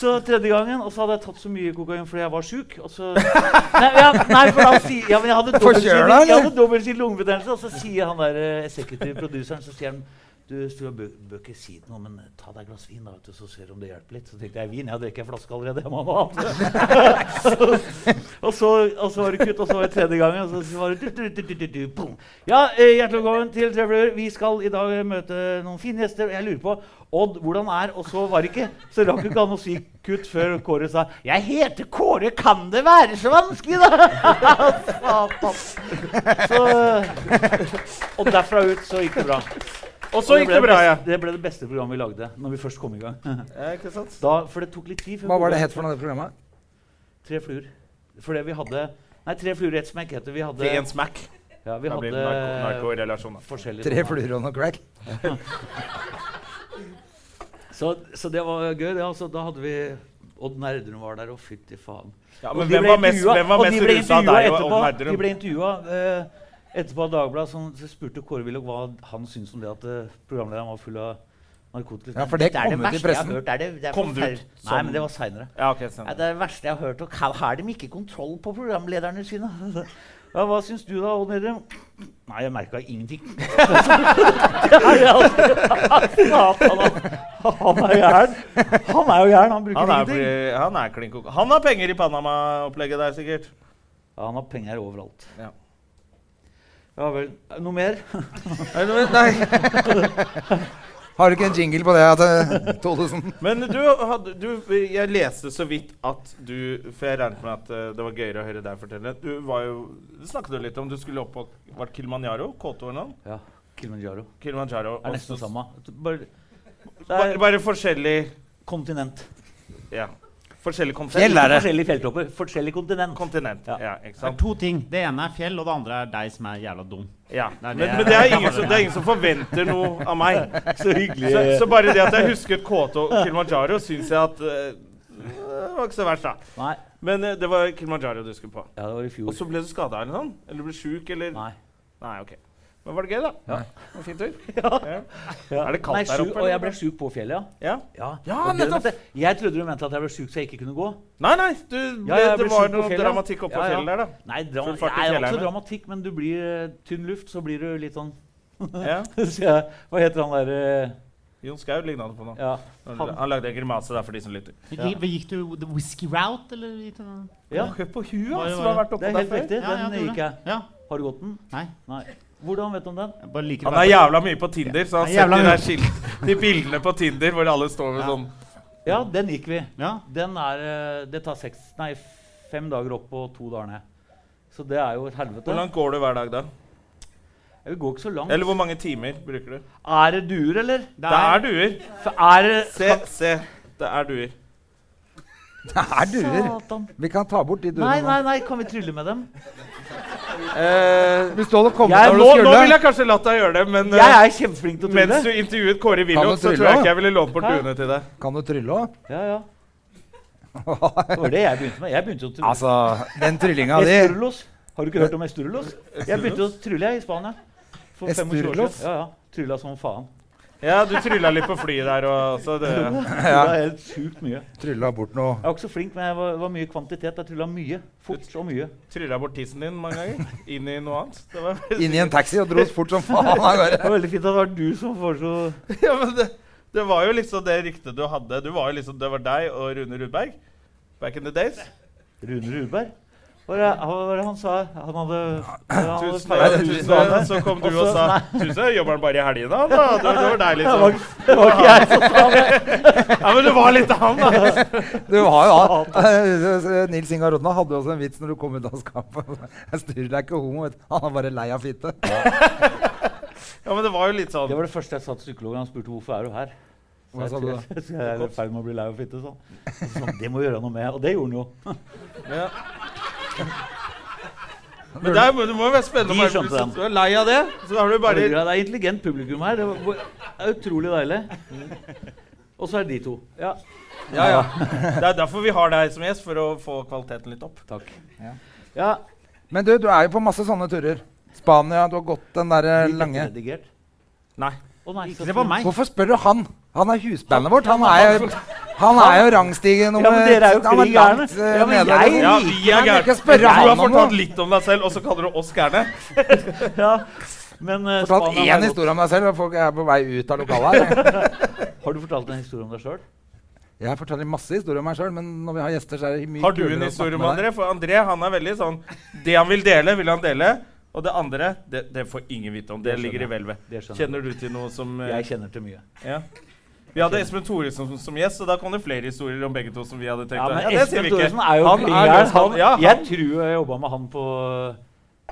Speaker 4: så tredje gangen, og så hadde jeg tatt så mye kokain fordi jeg var sjuk. Og så Nei, ja, nei for da sier ja, men jeg hadde dobbeltsidig-
Speaker 3: Forkjøla, eller?
Speaker 4: jeg hadde dobbeltsidig lungebetennelse, og så sier han der eh, executive produceren så sier han du Stua, bø bør ikke si noe, men ta deg et glass vin, da, vet du, så ser du om det hjelper litt. Så tenkte jeg vin, jeg drikker en flaske allerede. Jeg må ha noe annet. Og så, og så var det kutt, og så var det tredje gangen. Og så var det du, du, du, du, du, du, boom. Ja, eh, hjertelig velkommen til Trevler. Vi skal i dag møte noen fine gjester. Og jeg lurer på Odd, hvordan er Og så var det ikke. Så rakk det ikke an å si kutt før Kåre sa 'Jeg heter Kåre, kan det være så vanskelig', da? Satan. så, og derfra ut så gikk det bra.
Speaker 2: Og så gikk det bra, ja.
Speaker 4: beste, det ble det beste programmet vi lagde. når vi først kom i gang.
Speaker 2: ja ikke sant?
Speaker 4: Da, for det tok litt tid. før
Speaker 3: Hva var
Speaker 4: Kåre-
Speaker 3: det het for noe av det programmet?
Speaker 4: Tre fluer. For det vi hadde Nei, tre fluer i ett smekk heter vi hadde
Speaker 2: Det er en smack.
Speaker 4: Ja, vi
Speaker 2: Da
Speaker 4: hadde
Speaker 2: blir det narko- narkorelasjon. da.
Speaker 4: forskjellige
Speaker 3: Tre
Speaker 4: sånne.
Speaker 3: fluer og noe crack?
Speaker 4: Så, så det var gøy, det. altså. Da hadde vi Odd Nerdrum var der, og fytti faen.
Speaker 2: Ja,
Speaker 4: Og
Speaker 2: men
Speaker 4: de
Speaker 2: hvem
Speaker 4: ble
Speaker 2: var mest,
Speaker 4: intervjua-
Speaker 2: hvem var
Speaker 4: og de
Speaker 2: mest
Speaker 4: ble
Speaker 2: rusa av
Speaker 4: intervjua
Speaker 2: deg og Odd
Speaker 4: etterpå- De
Speaker 2: Nerdrum?
Speaker 4: ble intervjua eh, etterpå av Dagbladet, som så spurte Kåre Willoch hva han syntes om det at eh, programlederen var full av narkotika.
Speaker 3: Ja, for det
Speaker 4: er
Speaker 3: kom ut i
Speaker 4: verste jeg har
Speaker 3: pressen.
Speaker 4: hørt, det er det, det er
Speaker 2: Kom det ut
Speaker 4: forferdelig. Nei,
Speaker 2: som-
Speaker 4: men det var seinere.
Speaker 2: Ja, ok, sånn.
Speaker 4: Ja, det er det verste jeg har hørt. Og ka- har de ikke kontroll på programlederne sine? Ja, hva syns du da, Odd Nedrum? Nei, jeg merka ingenting. Det er det altså. Satan, han- han er gæren. Han er jo gæren. Han bruker
Speaker 2: Han er,
Speaker 4: ingenting.
Speaker 2: fordi- han er klin koko. Han har penger i Panama-opplegget der, sikkert.
Speaker 4: Ja, han har penger overalt.
Speaker 2: Ja.
Speaker 4: Ja vel. Noe mer?
Speaker 3: Nei. Har du ikke en jingle på det, at, eh, Thodesen?
Speaker 2: Men du, hadde, du Jeg leste så vidt at du For jeg regnet med at eh, det var gøyere å høre deg fortelle. Du var jo Det snakket du litt om. Du skulle opp på Var det Kilimanjaro? K2-en?
Speaker 4: Ja. Kilimanjaro.
Speaker 2: Kilimanjaro.
Speaker 4: Er
Speaker 2: og
Speaker 4: nesten
Speaker 2: så-
Speaker 4: det samme. Bare, det
Speaker 2: Bare,
Speaker 4: er
Speaker 2: bare forskjellig
Speaker 4: kontinent.
Speaker 2: Ja. Forskjellig konsept.
Speaker 3: Fjell er det.
Speaker 4: Forskjellige fjelltopper. Forskjellig kontinent.
Speaker 2: Kontinent.
Speaker 4: Ja.
Speaker 2: Ja, ikke
Speaker 1: Det er
Speaker 2: sant.
Speaker 1: to ting. Det ene er fjell, og det andre er deg som er jævla dum.
Speaker 2: Ja.
Speaker 1: Nei,
Speaker 2: Men,
Speaker 1: det er-
Speaker 2: men det, er ingen som, det er ingen som forventer noe av meg.
Speaker 4: Så hyggelig.
Speaker 2: Så, så bare det at jeg husket K2 og Kilimanjaro, syns jeg at eh, Det var ikke så verst, da.
Speaker 4: Nei.
Speaker 2: Men eh, det var Kilimanjaro du skulle på.
Speaker 4: Ja, det var i fjor.
Speaker 2: Og så ble du skada eller sånn? Eller ble sjuk, eller
Speaker 4: Nei.
Speaker 2: Nei, ok. Men var det gøy, da? Ja. En fin tur? Ja.
Speaker 4: Ja.
Speaker 2: Er det kaldt
Speaker 4: Nei,
Speaker 2: der
Speaker 4: sjuk-
Speaker 2: oppe,
Speaker 4: Og
Speaker 2: eller?
Speaker 4: jeg ble sjuk på fjellet,
Speaker 2: ja.
Speaker 4: ja.
Speaker 2: Ja,
Speaker 4: Og det
Speaker 2: nettopp.
Speaker 4: mente- Jeg trodde du mente at jeg ble sjuk så jeg ikke kunne gå.
Speaker 2: Nei, nei, du,
Speaker 4: Ja, ja, jeg
Speaker 2: det
Speaker 4: ble
Speaker 2: var
Speaker 4: sjuk på
Speaker 2: noe
Speaker 4: fjellet.
Speaker 2: dramatikk oppå
Speaker 4: Ja, ja.
Speaker 2: fjellet der,
Speaker 4: Nei, dram
Speaker 2: Full fart i
Speaker 4: Nei, det er
Speaker 2: fjellheimen.
Speaker 4: også dramatikk, men du blir eh, tynn luft, så blir du litt sånn
Speaker 2: da. Ja.
Speaker 4: så jeg, Hva heter han derre
Speaker 2: Jon Skau ligna det på noe.
Speaker 4: ja,
Speaker 2: Han,
Speaker 4: han-
Speaker 2: han lagde en grimase der for de som lytter.
Speaker 4: Ja.
Speaker 1: Gikk, gikk du the whisky route, eller? gikk du-
Speaker 4: ja,
Speaker 2: Hør på huet
Speaker 1: Hva-
Speaker 2: hans,
Speaker 1: hva-
Speaker 2: som har vært
Speaker 4: det
Speaker 2: oppå
Speaker 4: er
Speaker 2: der
Speaker 4: helt
Speaker 2: før.
Speaker 4: riktig.
Speaker 1: Ja, ja,
Speaker 4: Den
Speaker 1: det gjorde
Speaker 4: gikk jeg.
Speaker 1: det. Ja.
Speaker 4: Har du gått den?
Speaker 1: Nei.
Speaker 4: Nei. Hvordan vet du om den?
Speaker 1: Jeg bare liker å
Speaker 2: Han
Speaker 1: være
Speaker 2: er
Speaker 1: på-
Speaker 2: jævla mye på Tinder, så han
Speaker 1: Han er
Speaker 2: setter
Speaker 1: jævla
Speaker 2: de der
Speaker 1: mye.
Speaker 2: skilt, de bildene på Tinder hvor alle står med
Speaker 1: Ja.
Speaker 2: sånn
Speaker 4: Ja, den gikk vi.
Speaker 1: Ja.
Speaker 4: Den er eh, Det tar seks Nei, fem dager opp og to dager ned. Så det er jo et helvete.
Speaker 2: Hvor langt går du hver dag, da?
Speaker 4: Jeg går ikke så langt.
Speaker 2: Eller hvor mange timer bruker du?
Speaker 4: Er det duer, eller?
Speaker 1: Det
Speaker 2: Det er
Speaker 1: er,
Speaker 2: duer.
Speaker 4: For er det
Speaker 2: Se, se. Det er duer.
Speaker 3: Det er duer.
Speaker 4: Satan.
Speaker 3: Vi kan ta bort de
Speaker 4: Nei,
Speaker 3: duene
Speaker 4: nei,
Speaker 3: nå.
Speaker 4: nei, kan vi trylle med dem?
Speaker 3: Hvis du hadde kommet
Speaker 4: Jeg-
Speaker 3: når
Speaker 2: Nå,
Speaker 3: du
Speaker 2: nå ville
Speaker 3: skulle
Speaker 2: jeg kanskje latt deg gjøre det, men eh,
Speaker 4: Jeg er kjempeflink til å trylle.
Speaker 2: mens du intervjuet Kåre Willoch,
Speaker 3: Kan du
Speaker 2: så
Speaker 3: trylle,
Speaker 2: tror jeg ikke
Speaker 3: da?
Speaker 2: jeg ville lånt bort
Speaker 4: Hæ?
Speaker 2: duene til deg.
Speaker 3: Kan du trylle òg?
Speaker 4: Ja, ja. Det var det jeg begynte med. Jeg begynte å trylle.
Speaker 3: Altså, den tryllinga di
Speaker 4: Esturulos. Har du ikke hørt om Esturulos? Jeg begynte å trylle jeg, i Spania. For 25 år
Speaker 3: Esturulos?
Speaker 4: siden. Ja, ja. Trylla som faen.
Speaker 2: Ja, du trylla litt på flyet der og så det,
Speaker 4: Trylla helt sjukt mye. Jeg
Speaker 3: trylla bort noe.
Speaker 4: var ikke så flink, men jeg var, var mye kvantitet. Jeg trylla mye. Fort og mye.
Speaker 2: Trylla bort tissen din mange ganger. Inn i noe annet. Det var,
Speaker 3: Inn i en taxi og dro oss fort som faen av gårde.
Speaker 4: Det var veldig fint at det var du som foreslo
Speaker 2: ja, men det, det var jo liksom det ryktet du hadde. Du var jo liksom, det var deg og Rune Rudberg. Back in the days.
Speaker 4: Rune Rudberg. Hva var det- hva var det han sa? Han hadde, han hadde
Speaker 2: Tusen,
Speaker 4: feira
Speaker 3: det-
Speaker 2: tusen,
Speaker 4: tusen-
Speaker 2: så kom du
Speaker 4: Og
Speaker 2: og
Speaker 4: så-
Speaker 2: sa Tusen, jobber han bare i helgene, han, da? Det, det var deg,
Speaker 4: Det var
Speaker 2: liksom.
Speaker 4: ikke- det var ikke jeg som sa det.
Speaker 2: Ja, men det var litt han, da.
Speaker 3: Du har jo hatt- Nils Ingar Rodna hadde jo også en vits når du kom ut av skapet. Jeg styrer deg ikke homo, vet du. Han er bare lei av fitte.
Speaker 2: Ja, men det var jo litt sånn.
Speaker 4: Det var det første jeg sa til psykologen. Han spurte hvorfor er du her. Så
Speaker 3: Hva
Speaker 4: jeg
Speaker 3: sa du
Speaker 4: tror- Så jeg er i ferd med å bli lei av fitte. Sånn. Og så sa han, det må gjøre noe med. Og det gjorde han jo.
Speaker 2: Ja. Men der, må- det må jo være spennende om
Speaker 4: De skjønte
Speaker 2: Arntzen-
Speaker 4: den.
Speaker 2: Du er lei av det, så har du
Speaker 4: Det
Speaker 2: bare
Speaker 4: er intelligent publikum her. Det var det er utrolig deilig. Og så er det de to. Ja.
Speaker 2: Ja, ja. Det er derfor vi har deg som gjest, for å få kvaliteten litt opp. Takk.
Speaker 4: ja.
Speaker 3: Men du, du er jo på masse sånne turer. Spania, du har gått den der eh,
Speaker 4: Litt
Speaker 3: lange
Speaker 4: redigert.
Speaker 2: Nei.
Speaker 4: Å nei, så
Speaker 1: Se på
Speaker 4: fint.
Speaker 1: meg.
Speaker 3: Hvorfor spør du han? Han er husbandet vårt. Han er jo, han er jo rangstige nummer
Speaker 4: Ja, men dere er jo
Speaker 3: han
Speaker 4: krig gærne.
Speaker 3: langt, eh,
Speaker 4: Ja, men
Speaker 3: nede,
Speaker 4: jeg-
Speaker 3: liksom.
Speaker 2: Ja, vi
Speaker 3: Kan
Speaker 2: er
Speaker 3: du ikke
Speaker 2: gærne.
Speaker 3: spørre
Speaker 2: Du har
Speaker 3: han om
Speaker 2: fortalt
Speaker 3: noe?
Speaker 2: litt om deg selv, og så kaller du oss gærne?
Speaker 4: Ja. Men eh,
Speaker 3: fortalt
Speaker 4: Spania har
Speaker 3: én
Speaker 4: gått-
Speaker 3: historie om deg selv, og folk er på vei ut av lokalet her.
Speaker 4: Har du fortalt en historie om deg sjøl?
Speaker 3: Jeg forteller masse historier om meg sjøl, men når vi har gjester, så er det mye
Speaker 2: Har du
Speaker 3: kulere å
Speaker 2: en
Speaker 3: snakke
Speaker 2: historie om
Speaker 3: med deg.
Speaker 2: André? For André han er veldig sånn Det han vil dele, vil han dele. Og det andre, det, det får ingen vite om. Det
Speaker 4: Det skjønner
Speaker 2: ligger i
Speaker 4: jeg.
Speaker 2: hvelvet.
Speaker 4: Det skjønner jeg.
Speaker 2: Kjenner du til noe som eh,
Speaker 4: Jeg kjenner til mye.
Speaker 2: ja. Vi hadde Espen Thoresen som, som gjest, og da kom det flere historier om begge to. som vi hadde tenkt.
Speaker 4: Ja, men
Speaker 2: det sier
Speaker 4: Espen
Speaker 2: vi ikke.
Speaker 4: Thoresen er jo
Speaker 2: Han
Speaker 4: klin gæren.
Speaker 2: løsmann.
Speaker 4: Han-
Speaker 2: Ja,
Speaker 4: Jeg
Speaker 2: han-
Speaker 4: tror jeg jobba med han på,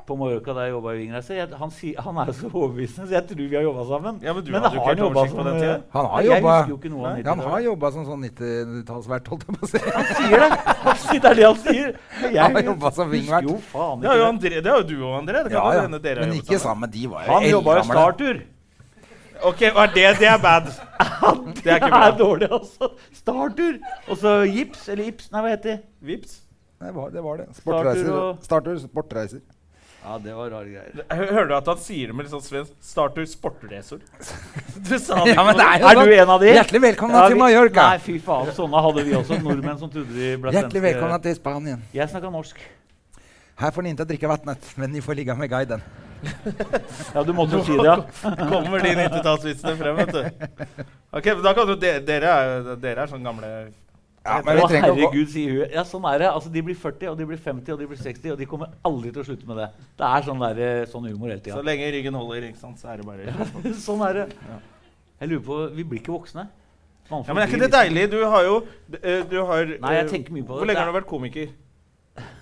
Speaker 4: på Mallorca da jeg jobba i Vingreiser. Jeg- Han, si- han er jo så overbevisende, så jeg tror vi har jobba sammen.
Speaker 2: Ja, men du
Speaker 4: men
Speaker 2: hadde jo ikke
Speaker 4: har han
Speaker 2: helt
Speaker 4: jobba
Speaker 2: oversikt på
Speaker 4: som
Speaker 2: den
Speaker 4: eh,
Speaker 2: tiden.
Speaker 3: Han har
Speaker 4: Nei, Jeg
Speaker 3: jobba-
Speaker 4: husker jo ikke noe av
Speaker 3: Han har
Speaker 4: 90-tallet.
Speaker 3: jobba som sånn 90-tallsvert, holdt jeg på å si.
Speaker 4: Han sier det! Han sier Altså, det er det han sier. Men Jeg
Speaker 3: Han har jobbet som
Speaker 4: husker
Speaker 3: wingvert.
Speaker 4: jo faen
Speaker 2: Det er jo
Speaker 4: ikke det.
Speaker 2: André, det er jo du og André. Det kan
Speaker 3: Ja,
Speaker 2: jo
Speaker 3: ja.
Speaker 2: hende dere har
Speaker 3: Men
Speaker 2: jobbet
Speaker 3: ikke sammen. De var jo
Speaker 4: Han jobba jo
Speaker 3: eldgamle.
Speaker 4: startur.
Speaker 2: Ok, og er det, det er bad. Det er ikke
Speaker 4: Det er
Speaker 2: bra.
Speaker 4: dårlig, altså. Startur. Og så Jips, eller Ips, nei, hva heter de?
Speaker 2: Vips.
Speaker 3: Det var det. Var det.
Speaker 4: Startur
Speaker 3: Sportreiser.
Speaker 4: og-
Speaker 3: Startur, sportreiser.
Speaker 4: Ja, det var rare greier.
Speaker 2: Hø- Hører du at han sier det med litt sånn svensk Starter sportresor. Du sa det
Speaker 3: Ja,
Speaker 2: ikke
Speaker 3: men det
Speaker 2: noe.
Speaker 3: er jo
Speaker 4: Er du
Speaker 3: sånn.
Speaker 4: en av de?
Speaker 3: Hjertelig velkommen
Speaker 4: Ja,
Speaker 3: til
Speaker 4: vi-
Speaker 3: Mallorca.
Speaker 4: Nei, fy faen, sånne hadde vi også. Nordmenn som trodde de ble
Speaker 3: Hjertelig
Speaker 4: svenske.
Speaker 3: velkommen til Spanien.
Speaker 4: Jeg snakka norsk.
Speaker 3: Her får ni ikke drikke vannet, men ni får ligge med guiden.
Speaker 4: Ja, du måtte jo si det, ja.
Speaker 2: Kommer de 90-tallsvitsene frem, vet du. Ok, men da kan du, de- dere, er, dere er sånn gamle
Speaker 3: Ja, men vi
Speaker 4: Å,
Speaker 3: trenger ikke å gå
Speaker 4: herregud, sier hun. Ja, sånn er det. Altså, de blir 40, og de blir 50, og de blir 60, og de kommer aldri til å slutte med det. Det er sånn, der, eh, sånn humor hele
Speaker 2: Så
Speaker 4: tida.
Speaker 2: lenge ryggen holder, ikke sant, så er det bare
Speaker 4: sånn er det. Jeg lurer på Vi blir ikke voksne.
Speaker 2: Ja, Men er ikke det deilig? Du har jo d- eh, du har,
Speaker 4: Nei, jeg
Speaker 2: eh,
Speaker 4: tenker mye på
Speaker 2: Hvor
Speaker 4: det.
Speaker 2: lenge har du vært komiker?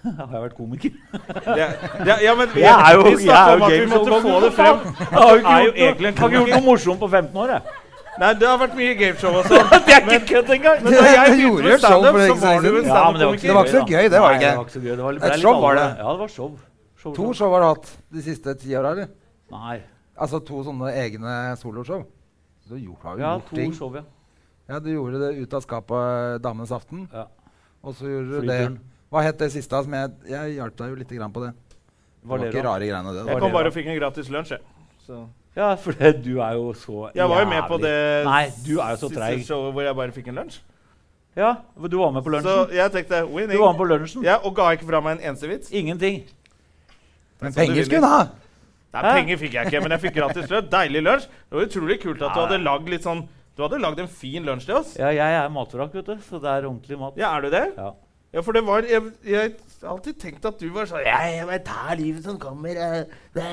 Speaker 4: Har jeg vært komiker?
Speaker 2: Det, er- det, er- ja, men vi,
Speaker 4: Jeg er jo,
Speaker 2: vi snakket
Speaker 4: jeg er jo
Speaker 2: om at vi
Speaker 4: game
Speaker 2: måtte
Speaker 4: show-komiker,
Speaker 2: få det
Speaker 4: for
Speaker 2: frem.
Speaker 4: faen. Jeg har jo ikke
Speaker 2: Er jo
Speaker 4: gjort, noe-
Speaker 2: egentlig en
Speaker 4: jeg har ikke gjort
Speaker 2: komiker.
Speaker 4: noe morsomt på 15 år, jeg.
Speaker 2: Nei, det har vært mye gameshow og sånn.
Speaker 4: Det er ikke kødd engang!
Speaker 2: Men da jeg
Speaker 3: Du gjorde
Speaker 2: begynte
Speaker 3: jo
Speaker 2: med
Speaker 3: et show
Speaker 2: standup,
Speaker 3: for
Speaker 2: så
Speaker 3: ikke så
Speaker 2: var du
Speaker 3: lenge
Speaker 2: en
Speaker 3: siden.
Speaker 4: Ja, men
Speaker 2: standup-komiker.
Speaker 3: Det var ikke så gøy, det var det ikke.
Speaker 4: Nei, Det var ikke så gøy. Det var litt,
Speaker 3: Et
Speaker 4: det er litt
Speaker 3: show var det.
Speaker 4: alvor. Ja, det var show. show,
Speaker 3: To
Speaker 4: show.
Speaker 3: show har du hatt de siste ti åra, eller?
Speaker 4: Nei.
Speaker 3: Altså to sånne egne soloshow. Du gjorde, har jo
Speaker 4: Ja,
Speaker 3: gjort
Speaker 4: to
Speaker 3: ting.
Speaker 4: show, ja.
Speaker 3: Ja, du gjorde det ut av skapet Damenes aften.
Speaker 4: Ja.
Speaker 3: Og så gjorde du det
Speaker 4: Flyturen.
Speaker 3: Hva het det siste? Som jeg jeg hjalp deg jo litt grann på det. Det var ikke
Speaker 4: Valera.
Speaker 3: rare greiene, det.
Speaker 2: Jeg
Speaker 3: da.
Speaker 2: kom bare og fikk en gratis lunsj, jeg. Så.
Speaker 4: Ja, for det- du er jo så
Speaker 2: Jeg var jo med på
Speaker 4: jævlig-
Speaker 2: det
Speaker 4: Nei, du er jo så
Speaker 2: siste
Speaker 4: treig.
Speaker 2: showet hvor jeg bare fikk en lunsj.
Speaker 4: Ja, for du var med
Speaker 2: Så
Speaker 4: på lunsjen.
Speaker 2: jeg tenkte
Speaker 4: Du
Speaker 2: winning.
Speaker 4: var med på lunsjen.
Speaker 2: Ja, Og ga ikke fra meg en eneste vits.
Speaker 4: Ingenting.
Speaker 3: Men
Speaker 2: Så du
Speaker 3: penger
Speaker 2: vinner.
Speaker 3: skulle hun ha!
Speaker 2: Nei,
Speaker 4: Hæ?
Speaker 2: penger fikk jeg ikke, men jeg fikk gratis lunsj. Deilig lunsj. Det var utrolig kult at du
Speaker 4: Ja,
Speaker 2: hadde lagd litt sånn Du hadde lagd en fin lunsj til oss.
Speaker 4: Ja, jeg er matvrak, vet du, så det er ordentlig mat.
Speaker 2: Ja, er du det?
Speaker 4: Ja.
Speaker 2: Ja, for det var Jeg, jeg har alltid tenkt at du var sånn Jeg, jeg bare tar livet som kommer. eh, Det,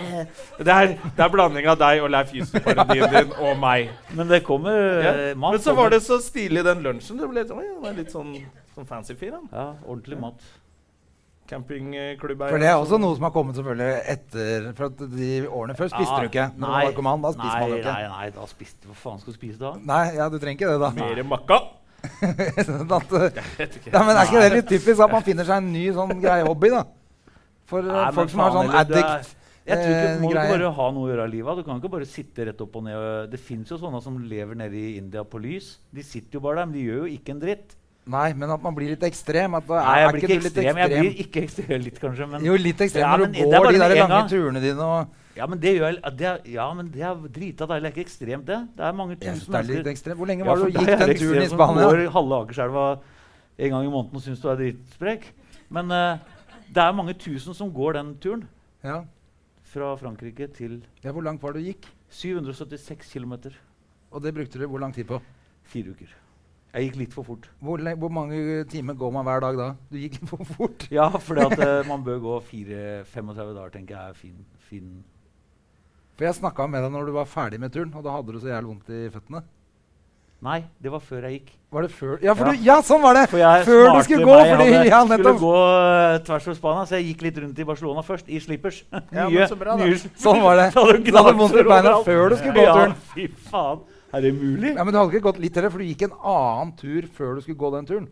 Speaker 2: det, er, det er blanding av deg og Leif Jusen-parodien din og meg.
Speaker 4: Men det kommer
Speaker 2: Ja.
Speaker 4: eh, mat.
Speaker 2: Men så var
Speaker 4: kommer.
Speaker 2: det så stilig, den lunsjen. Det ble litt, å, ja, det er litt sånn, sånn fancy fyr, han.
Speaker 4: Ja, ordentlig mat.
Speaker 2: Campingklubb
Speaker 3: For det er også noe som har kommet selvfølgelig etter For at de årene før spiste
Speaker 4: Ja,
Speaker 3: du ikke. Når du var
Speaker 4: nei,
Speaker 3: narkoman, da spiste man jo ikke. Eh,
Speaker 4: Nei, nei, nei, da spiste Hva faen skal du spise da?
Speaker 3: Nei, ja, du trenger ikke det, da.
Speaker 2: Mer makka.
Speaker 3: Sånn at, ja, men er ikke det litt typisk at man finner seg en ny sånn greie hobby, da? For eh,
Speaker 4: Nei, men
Speaker 3: folk som har
Speaker 4: faen
Speaker 3: sånn
Speaker 4: heller, du er-
Speaker 3: addict
Speaker 4: Jeg tror ikke,
Speaker 3: eh,
Speaker 4: Du må ikke
Speaker 3: greier.
Speaker 4: bare ha noe å gjøre av livet. Du kan ikke bare sitte rett opp og ned. og- Det fins jo sånne som lever nede i India på lys. De sitter jo bare der, men de gjør jo ikke en dritt.
Speaker 3: Nei, men at man blir litt ekstrem. At da
Speaker 4: Nei, jeg
Speaker 3: er
Speaker 4: blir
Speaker 3: ikke
Speaker 4: ikke
Speaker 3: du litt
Speaker 4: ekstrem. Jeg
Speaker 3: ekstrem?
Speaker 4: blir ikke ekstrem litt, kanskje. Men,
Speaker 3: Jo, litt ekstrem
Speaker 4: Ja,
Speaker 3: når
Speaker 4: men
Speaker 3: du
Speaker 4: det er
Speaker 3: går
Speaker 4: bare
Speaker 3: de der
Speaker 4: med en
Speaker 3: lange
Speaker 4: gang.
Speaker 3: turene dine og
Speaker 4: ja, men det gjør jeg, ja, det er, ja, men det er drita deilig. Det er ikke ekstremt, det. Det er mange
Speaker 3: Jeg synes
Speaker 4: tusen
Speaker 3: det er litt
Speaker 4: mennesker.
Speaker 3: ekstrem. Hvor lenge
Speaker 4: Ja,
Speaker 3: var
Speaker 4: for
Speaker 3: det du
Speaker 4: deg
Speaker 3: gikk
Speaker 4: er
Speaker 3: den
Speaker 4: det
Speaker 3: turen i
Speaker 4: ekstremt,
Speaker 3: Spania?
Speaker 4: Som går halve Akerselva en gang i måneden og syns du er dritsprek. Men eh, det er mange tusen som går den turen.
Speaker 3: Ja.
Speaker 4: Fra Frankrike til
Speaker 3: ja, Hvor langt var det du gikk?
Speaker 4: 776 km.
Speaker 3: Og det brukte du hvor lang tid på?
Speaker 4: Fire uker. Jeg gikk litt for fort.
Speaker 3: Hvor, le- hvor mange timer går man hver dag da? Du gikk litt for fort.
Speaker 4: Ja, for
Speaker 3: eh,
Speaker 4: man bør gå fire- 35 dager, tenker jeg er fin. fin.
Speaker 3: For jeg snakka med deg når du var ferdig med turen, og da hadde du så jævlig vondt i føttene.
Speaker 4: Nei, det var før jeg gikk.
Speaker 3: Var det før Ja, for
Speaker 4: Ja.
Speaker 3: Du, ja sånn var det!
Speaker 4: For jeg
Speaker 3: før du
Speaker 4: smarte
Speaker 3: skulle gå!
Speaker 4: meg,
Speaker 3: Fordi,
Speaker 4: hadde,
Speaker 3: ja,
Speaker 4: skulle
Speaker 3: nettopp.
Speaker 4: gå eh, tvers over Spania, så jeg gikk litt rundt i Barcelona først, i slippers.
Speaker 2: Ja, men
Speaker 4: Nye-
Speaker 2: så bra, da.
Speaker 4: nye slippers.
Speaker 3: Sånn var det.
Speaker 4: Så hadde du
Speaker 3: Du hadde vondt i
Speaker 4: gnagsår
Speaker 3: beina
Speaker 4: overalt.
Speaker 3: før du skulle gå turen.
Speaker 4: Ja, fy faen. Er det mulig?
Speaker 3: Ja, men du hadde ikke gått litt heller, for du gikk en annen tur før du skulle gå den turen.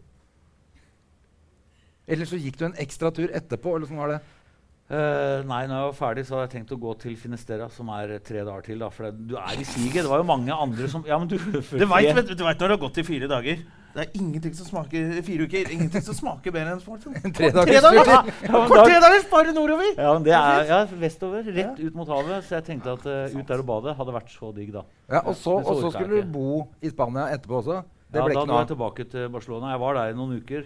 Speaker 3: Eller så gikk du en ekstra tur etterpå. eller sånn var det.
Speaker 4: Eh, nei, når jeg var ferdig, så hadde jeg tenkt å gå til Finistera, som er eh, tre dager til. da, For det, du er i siget. Det var jo mange andre som Ja, men du
Speaker 2: Du veit når det har gått i fire dager. Det er ingenting som smaker fire uker. Ingenting som smaker bedre enn sporten.
Speaker 3: Tre
Speaker 2: Tre
Speaker 3: dagers tur
Speaker 2: dager!
Speaker 3: til.
Speaker 2: Kort tre dager, bare nordover!
Speaker 4: Ja, men det er ja, vestover. Rett ut mot havet. Så jeg tenkte at eh, ut der og bade hadde vært så digg, da.
Speaker 3: Ja, og, så, og
Speaker 4: Men så
Speaker 3: så
Speaker 4: orker jeg
Speaker 3: skulle du
Speaker 4: ikke.
Speaker 3: bo i Spania etterpå også. Det
Speaker 4: Ja,
Speaker 3: ble ikke
Speaker 4: da dro
Speaker 3: noe
Speaker 4: jeg
Speaker 3: av.
Speaker 4: tilbake til Barcelona. Jeg var der i noen uker.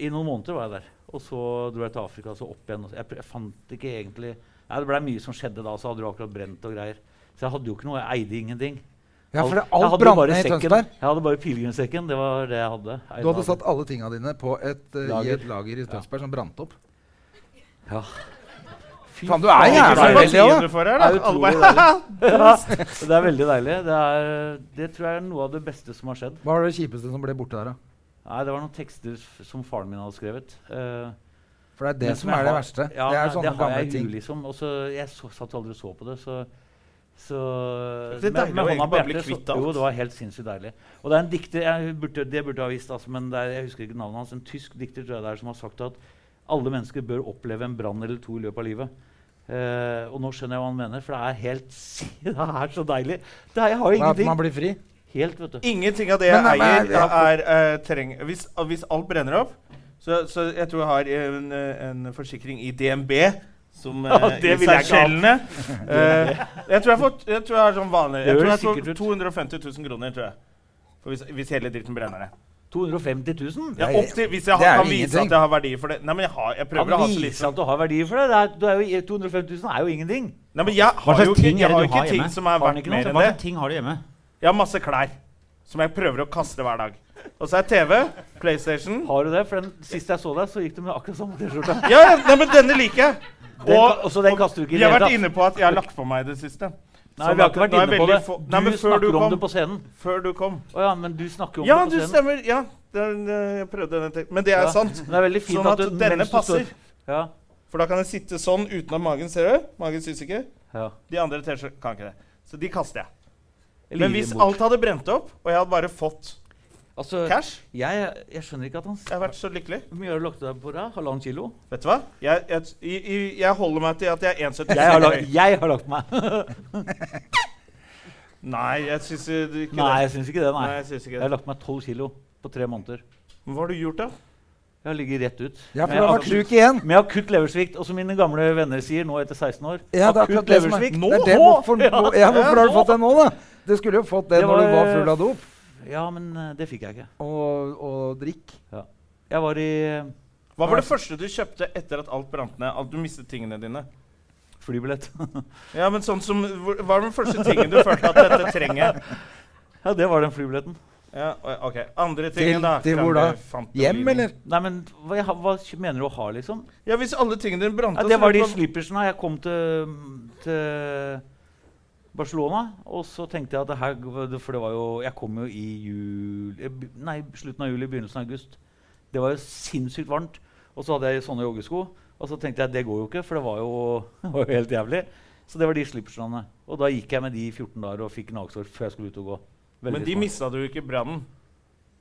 Speaker 4: I noen måneder var jeg der. Og så dro jeg til Afrika, så opp igjen. og så- Jeg, pr- jeg fant ikke egentlig Nei, Det blei mye som skjedde da, så hadde du akkurat brent og greier. Så jeg hadde jo ikke noe. Jeg eide ingenting.
Speaker 3: Ja, for det,
Speaker 4: jeg
Speaker 3: alt
Speaker 4: hadde jo
Speaker 3: brant
Speaker 4: bare
Speaker 3: ned i
Speaker 4: sekken.
Speaker 3: Tønsberg.
Speaker 4: Jeg hadde bare pilegrimssekken. Det var det jeg hadde.
Speaker 3: Du hadde satt alle tinga dine på et, eh, i
Speaker 4: Lager.
Speaker 3: et lager i Tønsberg som brant opp.
Speaker 4: Ja.
Speaker 3: Faen, du er jævla heldig òg, da!
Speaker 4: Det er veldig deilig. Det, er, det tror jeg er noe av det beste som har skjedd.
Speaker 3: Hva var det kjipeste som ble borte der, da?
Speaker 4: Nei, det var noen tekster f- som faren min hadde skrevet. eh,
Speaker 3: For det er det
Speaker 4: Men
Speaker 3: som er det
Speaker 4: jeg har-
Speaker 3: verste.
Speaker 4: Ja,
Speaker 3: det er
Speaker 4: nei,
Speaker 3: sånne
Speaker 4: det har
Speaker 3: gamle
Speaker 4: jeg i
Speaker 3: ting.
Speaker 4: huet, liksom. Og så, jeg så, satt aldri og så på det, så, så
Speaker 2: Det er deilig å egentlig bare bli kvitt
Speaker 4: så,
Speaker 2: alt.
Speaker 4: Jo, det var helt sinnssykt deilig. Og det er en dikter jeg burde, Det burde jeg ha visst, altså, men det er, jeg husker ikke navnet hans. En tysk dikter tror jeg det er, som har sagt at alle mennesker bør oppleve en brann eller to i løpet av livet. Eh, og nå skjønner jeg hva han mener, for det er helt si- Det er så deilig. Det er, jeg har
Speaker 3: Ja,
Speaker 4: jo
Speaker 3: At man
Speaker 4: ingenting.
Speaker 3: blir fri.
Speaker 4: Helt, vet du.
Speaker 2: Ingenting av det jeg
Speaker 3: Men, men,
Speaker 2: eier,
Speaker 3: ja.
Speaker 2: er eh, treng... Hvis, hvis alt brenner opp, så, så jeg tror jeg har en, eh, en forsikring i DNB. Som eh,
Speaker 4: Ja, det
Speaker 2: i
Speaker 4: vil jeg ikke ha.
Speaker 2: Seychellene. Eh, jeg tror jeg, får, jeg tror jeg har sånn vanlig
Speaker 4: Det
Speaker 2: Jeg tror
Speaker 4: høres
Speaker 2: jeg får
Speaker 4: sikkert ut.
Speaker 2: 250 000 kroner, tror jeg. For hvis, hvis hele dritten brenner ned.
Speaker 4: 250 000?
Speaker 2: Ja, opp til, hvis jeg
Speaker 3: det er
Speaker 2: har,
Speaker 3: jo
Speaker 2: kan vise
Speaker 3: ingenting.
Speaker 2: at jeg har verdi for det. Nei, men jeg, har, jeg prøver å
Speaker 4: Kan
Speaker 2: ha så litt
Speaker 4: vise
Speaker 2: som
Speaker 4: at du har verdier for det. det er, du er jo, 250 000 er jo ingenting.
Speaker 2: Nei, men jeg har
Speaker 1: slags
Speaker 2: jo ikke,
Speaker 1: ting er
Speaker 2: jeg
Speaker 1: det
Speaker 2: har
Speaker 1: du
Speaker 2: ikke
Speaker 1: har
Speaker 2: ting
Speaker 1: hjemme?
Speaker 2: som er
Speaker 4: Har han
Speaker 2: verdt
Speaker 4: ikke noe?
Speaker 2: mer
Speaker 1: Hva
Speaker 2: enn det.
Speaker 1: slags ting har du hjemme?
Speaker 2: Jeg har masse klær som jeg prøver å kaste hver dag. Og så er TV, PlayStation
Speaker 4: Har du det? For den siste jeg så deg, så gikk du med akkurat samme T-skjorte.
Speaker 2: Ja, ja, nei, men denne liker jeg!
Speaker 4: Den ka- og så den kaster du ikke i
Speaker 2: vi har
Speaker 4: det hele
Speaker 2: vært
Speaker 4: tatt.
Speaker 2: inne på at jeg har lagt på meg i det siste.
Speaker 4: Nei,
Speaker 2: Sånn
Speaker 4: vi har
Speaker 2: at
Speaker 4: ikke vært
Speaker 2: nå er
Speaker 4: inne på det.
Speaker 2: veldig få- Nei, men
Speaker 4: du
Speaker 2: før
Speaker 4: snakker
Speaker 2: du
Speaker 4: om
Speaker 2: kom.
Speaker 4: det på scenen.
Speaker 2: Før du kom.
Speaker 4: Å ja, men du snakker om
Speaker 2: Ja, du
Speaker 4: det på scenen.
Speaker 2: stemmer. Ja, den, eh, jeg prøvde den. tek- Men det er
Speaker 4: Ja,
Speaker 2: sant.
Speaker 4: Men det er veldig fint
Speaker 2: Sånn at
Speaker 4: at, du,
Speaker 2: denne
Speaker 4: mens du
Speaker 2: passer.
Speaker 4: Står, ja,
Speaker 2: For da kan jeg sitte sånn uten at magen ser det. Magen syns ikke.
Speaker 4: ja.
Speaker 2: De andre T-skjortene kan ikke det. Så de kaster jeg.
Speaker 4: Jeg
Speaker 2: Men
Speaker 4: liker
Speaker 2: hvis
Speaker 4: den bort.
Speaker 2: alt hadde brent opp, og jeg hadde bare fått
Speaker 4: altså,
Speaker 2: cash
Speaker 4: jeg, jeg skjønner ikke at han
Speaker 2: Jeg har vært så lykkelig.
Speaker 4: Hvor mye har du lagt deg på deg? Halvannen kilo?
Speaker 2: Vet du hva? Jeg, jeg, i- i- jeg holder meg til at jeg er 1,70
Speaker 4: Jeg har lagt, jeg har lagt meg.
Speaker 2: Nei, jeg syns ikke
Speaker 4: Nei,
Speaker 2: det.
Speaker 4: jeg syns ikke det.
Speaker 2: Nei,
Speaker 4: Nei.
Speaker 2: jeg synes
Speaker 4: Jeg
Speaker 2: ikke
Speaker 4: har
Speaker 2: det.
Speaker 4: lagt meg tolv kilo på tre måneder.
Speaker 2: Men Hva har du gjort, da?
Speaker 4: Jeg har ligget rett ut.
Speaker 3: Ja, for
Speaker 4: Med
Speaker 3: du har
Speaker 4: akutt-
Speaker 3: vært sjuk igjen.
Speaker 4: Med akutt leversvikt. Og som mine gamle venner sier nå etter 16 år
Speaker 3: Ja, det er akkurat det som er.
Speaker 4: leversvikt.
Speaker 3: Det er det, hvorfor, hvor- ja, hvorfor har du fått det nå, da? Du skulle jo fått det
Speaker 4: Det
Speaker 3: når du
Speaker 4: var-
Speaker 3: var full av dop
Speaker 4: Ja, men eh, det fikk jeg ikke.
Speaker 3: og, og drikk.
Speaker 4: Jeg var i eh,
Speaker 2: Hva var det første du kjøpte etter at alt brant ned? At du mistet tingene dine?
Speaker 4: flybillett.
Speaker 2: Ja, men sånn som, hvor- Hva var den første tingen du følte at dette trenger?
Speaker 4: ja, det var den flybilletten.
Speaker 2: Ja, o- ok. Andre
Speaker 3: Til-
Speaker 2: tingen, da.
Speaker 3: til
Speaker 2: kan
Speaker 3: hvor da?
Speaker 2: du- fant du
Speaker 3: Hjem,
Speaker 2: bilen.
Speaker 3: eller?
Speaker 4: Nei, men hva, jeg, ha- hva kj- mener du å ha, liksom?
Speaker 2: Ja, Hvis alle tingene dine brant
Speaker 4: Ja, det
Speaker 2: så
Speaker 4: var de
Speaker 2: kan-
Speaker 4: slippersene. Jeg kom til, til Barcelona, og så tenkte jeg at det her g- For det var jo Jeg kom jo i jul eh, b- Nei, slutten av juli, begynnelsen av august. Det var jo sinnssykt varmt. Og så hadde jeg sånne joggesko. Og så tenkte jeg det går jo ikke, for det var jo, det var jo helt jævlig. Så det var de slippersene. Og da gikk jeg med de i 14 dager og fikk nagsår før jeg skulle ut og gå. Veldig
Speaker 2: Men de
Speaker 4: smart.
Speaker 2: mista du jo ikke i brannen.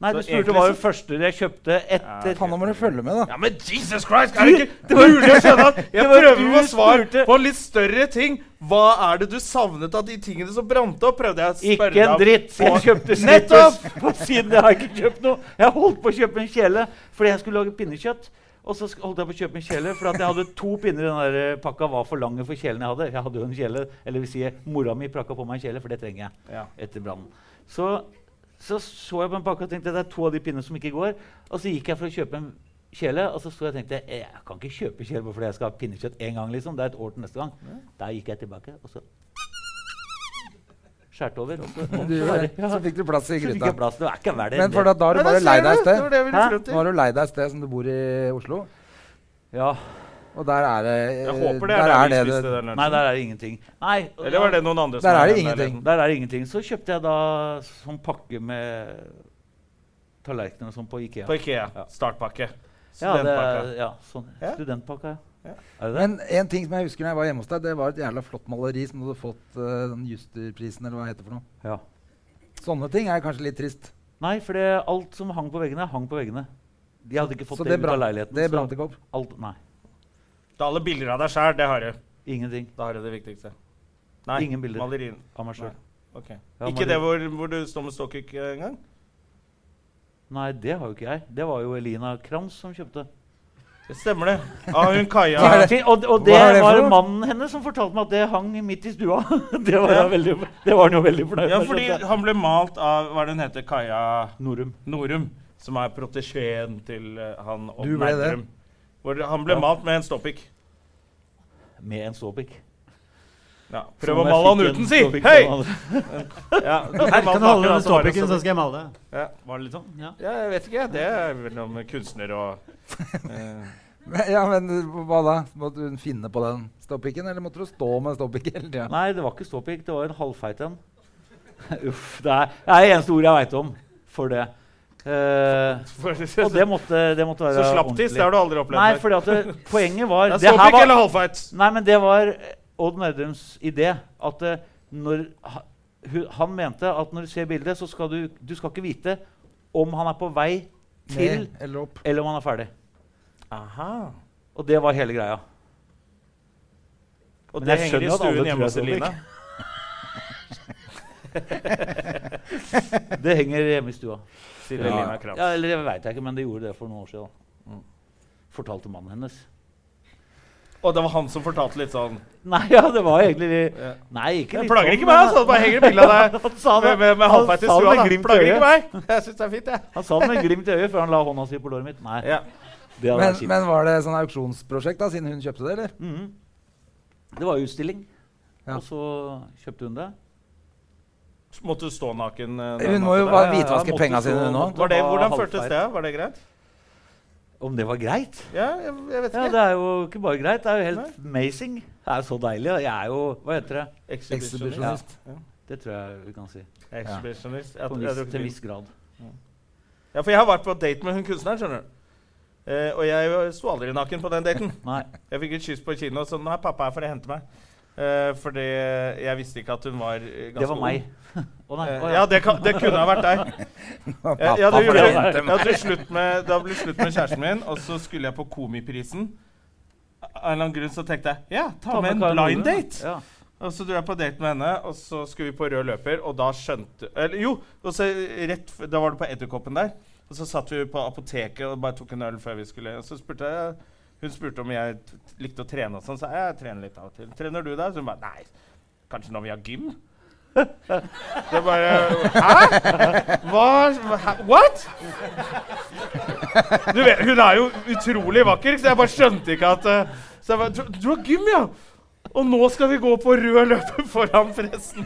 Speaker 4: Nei, du
Speaker 2: Så
Speaker 4: spurte
Speaker 2: egentlig
Speaker 4: hva
Speaker 2: så-
Speaker 4: det første jeg kjøpte etter
Speaker 3: Faen, nå må du følge med, da.
Speaker 2: Ja, men Jesus Christ! Er det ikke mulig å skjønne at jeg prøver å få svar på en litt større ting? Hva er det du savnet av de tingene som brant opp? Prøvde jeg å spørre
Speaker 4: Ikke en
Speaker 2: deg om.
Speaker 4: dritt! Jeg kjøpte slippers!
Speaker 2: Nettopp!
Speaker 4: Og siden jeg har ikke kjøpt noe. Jeg holdt på å kjøpe en kjele fordi jeg skulle lage pinnekjøtt. Og så sk- holdt jeg på å kjøpe en kjele fordi at jeg hadde to pinner i den der eh, pakka var for lange for kjelen jeg hadde. Jeg hadde jo en kjele, eller vil si, mora mi prakka på meg en kjele, for det trenger jeg
Speaker 2: Ja.
Speaker 4: etter brannen. Så, så så jeg på en pakke og tenkte det er to av de pinnene som ikke går. Og så gikk jeg for å kjøpe en kjele, og så sto jeg og tenkte "Eh, jeg kan ikke kjøpe kjele bare fordi jeg skal ha pinnekjøtt én gang. liksom, Det er et år til neste gang. Der gikk jeg tilbake, og så skjærte over. Og så, og
Speaker 3: Du,
Speaker 4: så,
Speaker 3: gjorde
Speaker 4: var
Speaker 3: det.
Speaker 4: det- ja,
Speaker 3: så fikk du plass i
Speaker 4: så fikk jeg
Speaker 3: gryta.
Speaker 4: plass. Det er ikke verre
Speaker 3: Men
Speaker 4: enn
Speaker 3: for
Speaker 4: det.
Speaker 3: da, da er du
Speaker 2: Nei,
Speaker 3: bare
Speaker 2: der
Speaker 3: lei
Speaker 2: ser
Speaker 3: deg et
Speaker 2: du. Det var
Speaker 3: sted.
Speaker 2: det jeg ville
Speaker 4: Hæ?
Speaker 2: frem til.
Speaker 3: Nå er du lei deg et sted som du bor i Oslo,
Speaker 4: Ja.
Speaker 3: og der er det
Speaker 2: Jeg håper det
Speaker 3: der
Speaker 2: er der vi
Speaker 3: det
Speaker 2: spiste
Speaker 3: du-
Speaker 2: den
Speaker 4: Nei,
Speaker 2: lunsjen.
Speaker 4: der er det ingenting. Nei, og
Speaker 2: Eller var det noen andre som
Speaker 3: Der er
Speaker 2: var
Speaker 3: det
Speaker 2: i den
Speaker 3: ingenting.
Speaker 4: Der er det ingenting. Så kjøpte jeg da sånn pakke med tallerkener og sånn på Ikea.
Speaker 2: leiligheten? På Ikea.
Speaker 4: Ja.
Speaker 2: Startpakke.
Speaker 4: ja, det,
Speaker 2: Studentpakka.
Speaker 4: er- ja, sånn.
Speaker 2: Ja.
Speaker 4: Studentpakka,
Speaker 2: Ja.
Speaker 4: ja. Er det det?
Speaker 3: Men en ting som jeg husker når jeg var hjemme hos deg, det var et jævla flott maleri som du hadde fått eh, den Justerprisen, eller hva det heter for noe.
Speaker 4: Ja.
Speaker 3: Sånne ting er kanskje litt trist.
Speaker 4: Nei, for det, alt som hang på veggene, hang på veggene. De hadde ikke fått
Speaker 3: Så det
Speaker 4: det, ut av
Speaker 3: brant,
Speaker 4: leiligheten.
Speaker 3: det
Speaker 4: så
Speaker 3: brant ikke opp.
Speaker 4: alt, nei.
Speaker 2: Ta alle bilder av deg sjæl, det har du.
Speaker 4: Ingenting.
Speaker 2: Da har du det viktigste. Nei,
Speaker 4: Ingen bilder.
Speaker 2: malerien.
Speaker 4: Av meg sjøl.
Speaker 2: Nei. Ok.
Speaker 4: Ja,
Speaker 2: Ikke
Speaker 4: maleri.
Speaker 2: det hvor, hvor du står med ståkuk eh, engang?
Speaker 4: Nei, det har jo ikke jeg. Det var jo Elina Kranz som kjøpte.
Speaker 2: Det stemmer, det. Av hun Kaja
Speaker 3: Hva er det?
Speaker 4: Fint, Og, og
Speaker 3: Hva
Speaker 4: det
Speaker 3: er det for
Speaker 4: var
Speaker 3: noe?
Speaker 4: mannen hennes som fortalte meg at det hang midt i stua. Det var, jeg veldig, det var han jo veldig fornøyd med.
Speaker 2: Ja, fordi
Speaker 4: skjønte jeg.
Speaker 2: han ble malt av hva er det hun heter, Kaja
Speaker 4: Norum.
Speaker 2: Norum, som er protesjeen til eh, han og
Speaker 3: Du ble det?
Speaker 2: Nerdrum. Hvor han ble
Speaker 4: Ja.
Speaker 2: malt med en ståpikk.
Speaker 4: Med en ståpikk.
Speaker 2: Ja,
Speaker 4: Som
Speaker 2: prøv å
Speaker 4: jeg
Speaker 2: male han
Speaker 4: fikk en
Speaker 2: uten, si!
Speaker 4: ståpikk
Speaker 2: Hei!
Speaker 4: av han andre.
Speaker 2: Ja,
Speaker 1: Her kan du holde den ståpikken, så skal jeg male det.
Speaker 2: Ja.
Speaker 1: Var det litt sånn? Ja.
Speaker 2: ja, jeg vet ikke. Det er vel noe med kunstner og
Speaker 3: Ja, men hva da? Måtte hun finne på den stoppikken, eller måtte du stå med stoppikken hele tida?
Speaker 4: Nei, det var ikke ståpikk. Det var en halvfeit en. Uff. Det er det er det eneste ordet jeg veit om for det. Eh, og det måtte, det måtte
Speaker 2: Så
Speaker 4: være
Speaker 2: slapptiss, det har du aldri opplevd
Speaker 4: Nei,
Speaker 2: før.
Speaker 4: fordi at det, poenget var
Speaker 2: Det er
Speaker 4: det her
Speaker 2: ståpikk
Speaker 4: var-
Speaker 2: eller halvfeit.
Speaker 4: Nei, men det var eh, Odd Nerdums idé. At eh, når ha- hu- Han mente at når du ser bildet, så skal du, du skal ikke vite om han er på vei til,
Speaker 3: Ned eller opp?
Speaker 4: eller om han er ferdig.
Speaker 2: Aha.
Speaker 4: Og det var hele greia.
Speaker 2: Og
Speaker 4: Men
Speaker 2: det
Speaker 4: jeg
Speaker 2: henger i
Speaker 4: skjønner at alle
Speaker 2: stuen
Speaker 4: tror
Speaker 2: hjemme hos
Speaker 4: jeg er
Speaker 2: Elina.
Speaker 4: Det henger hjemme i stua.
Speaker 2: Sier Elina Kranz.
Speaker 4: Ja, eller det veit jeg ikke, men det gjorde det for noen år siden.
Speaker 2: Mm.
Speaker 4: Fortalte mannen hennes.
Speaker 2: Og det var han som fortalte litt sånn
Speaker 4: Nei, ja, det var egentlig
Speaker 2: Ja.
Speaker 4: Nei, ikke
Speaker 2: Jeg
Speaker 4: litt
Speaker 2: plager
Speaker 4: sånn,
Speaker 2: ikke meg,
Speaker 4: men-
Speaker 2: altså. Det bare henger et bilde av deg
Speaker 4: Han sa det.
Speaker 2: med, med, med
Speaker 4: Han
Speaker 2: halvfeit i
Speaker 4: sa det
Speaker 2: stua.
Speaker 4: med
Speaker 2: da.
Speaker 4: glimt i
Speaker 2: Plager
Speaker 4: øyet.
Speaker 2: ikke meg. Jeg syns det er fint, jeg.
Speaker 4: Han sa det med glimt i øyet før han la hånda si på låret mitt. Nei,
Speaker 2: Ja.
Speaker 4: det hadde
Speaker 3: Men,
Speaker 4: vært kjipt.
Speaker 3: men var det sånn auksjonsprosjekt, da, siden hun kjøpte det, eller?
Speaker 4: Mhm. Det var utstilling,
Speaker 3: Ja.
Speaker 4: og så kjøpte hun det.
Speaker 2: Måtte du stå naken? eh, den
Speaker 3: Hun må jo
Speaker 2: natta der?
Speaker 4: var-
Speaker 3: bare
Speaker 4: ja,
Speaker 3: hvitvaske
Speaker 4: måtte
Speaker 3: penga
Speaker 4: stå-
Speaker 3: sine, hun òg.
Speaker 4: måtte-
Speaker 2: var det,
Speaker 4: var
Speaker 2: hvordan
Speaker 4: halvfeit.
Speaker 2: føltes det? Var det greit?
Speaker 4: Om det var greit?
Speaker 2: Ja, jeg, jeg vet
Speaker 4: Ja,
Speaker 2: ikke.
Speaker 4: det er jo ikke bare greit, det er jo helt amazing. Det er jo så deilig. og Jeg er jo Hva heter det?
Speaker 2: Exhibitionist.
Speaker 4: Det tror jeg vi kan si.
Speaker 2: Exhibitionist. Jeg
Speaker 4: På en
Speaker 2: tror- jeg tror
Speaker 4: viss,
Speaker 2: ikke
Speaker 4: til
Speaker 2: det-
Speaker 4: en viss grad.
Speaker 2: Ja, for jeg har vært på date med hun kunstneren, skjønner du. Eh, og jeg sto aldri naken på den daten.
Speaker 4: Nei.
Speaker 2: Jeg fikk et kyss på kino, så nå er pappa her for å hente meg. Eh, fordi jeg visste ikke at hun var eh, ganske
Speaker 4: Det var meg. Å nei.
Speaker 2: Eh,
Speaker 4: å
Speaker 2: ja, det, kan, det kunne ha vært deg. Ja, ja, det
Speaker 3: Pappa,
Speaker 2: gjorde
Speaker 4: for
Speaker 2: jeg.
Speaker 4: det
Speaker 2: Jeg hadde slutt med, da ble det slutt med kjæresten min, og så skulle jeg på Komiprisen. Av en eller annen grunn så tenkte jeg ja, ta, med en
Speaker 4: Karin
Speaker 2: blind
Speaker 4: Nordlund.
Speaker 2: date.
Speaker 4: Ja.
Speaker 2: Og så dro jeg på date med henne, og så skulle vi på rød løper, og da skjønte Eller jo, og så rett, f- da var det på Edderkoppen der. Og så satt vi på apoteket og bare tok en øl før vi skulle Og så spurte jeg Hun spurte om jeg t- likte å trene og sånn, så jeg, jeg trener litt av og til. Trener du deg? Så hun bare Nei, kanskje når vi har gym? Det bare Hæ? Hva? Hæ? What? Du vet, hun er jo utrolig vakker, så jeg bare skjønte ikke at eh, Så jeg bare Du, du har gym, ja? Og nå skal vi gå på rød løper foran pressen.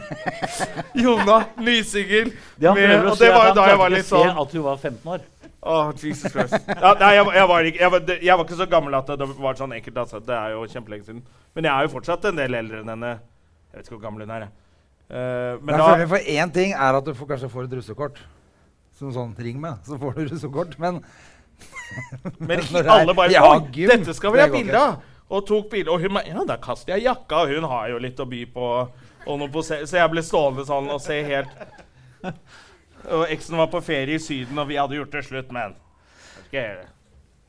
Speaker 2: Jonna Nysinger.
Speaker 4: Det han
Speaker 2: med-
Speaker 4: prøver å
Speaker 2: og
Speaker 4: si,
Speaker 2: det
Speaker 4: er
Speaker 2: var jo
Speaker 4: at
Speaker 2: da jeg var
Speaker 4: han klarte
Speaker 2: litt
Speaker 4: ikke å se
Speaker 2: sånn
Speaker 4: at hun var 15 år.
Speaker 2: Åh, Jesus Christ. Ja, nei, jeg, var- jeg, var ikke, jeg, var, det- jeg var ikke så gammel at det var sånn enkelt. Altså. Det er jo kjempelenge siden. Men jeg er jo fortsatt en del eldre enn henne. Jeg vet ikke hvor gammel hun er. jeg. Eh, men
Speaker 3: Men
Speaker 2: da,
Speaker 3: for én ting er at du får, kanskje får et russekort. Som sånn ring med, så får du russekort. Men
Speaker 2: Men
Speaker 3: Når det er
Speaker 2: alle bare
Speaker 3: ja,
Speaker 2: Oi,
Speaker 3: gym,
Speaker 2: dette skal vi
Speaker 3: det
Speaker 2: ha
Speaker 3: går
Speaker 2: bilde av! Og tok bilde. Og hun bare Ja, da kaster jeg jakka. Og hun har jo litt å by på. Og noe pose så jeg ble stående sånn og se helt Og eksen var på ferie i Syden, og vi hadde gjort det slutt, men vet ikke,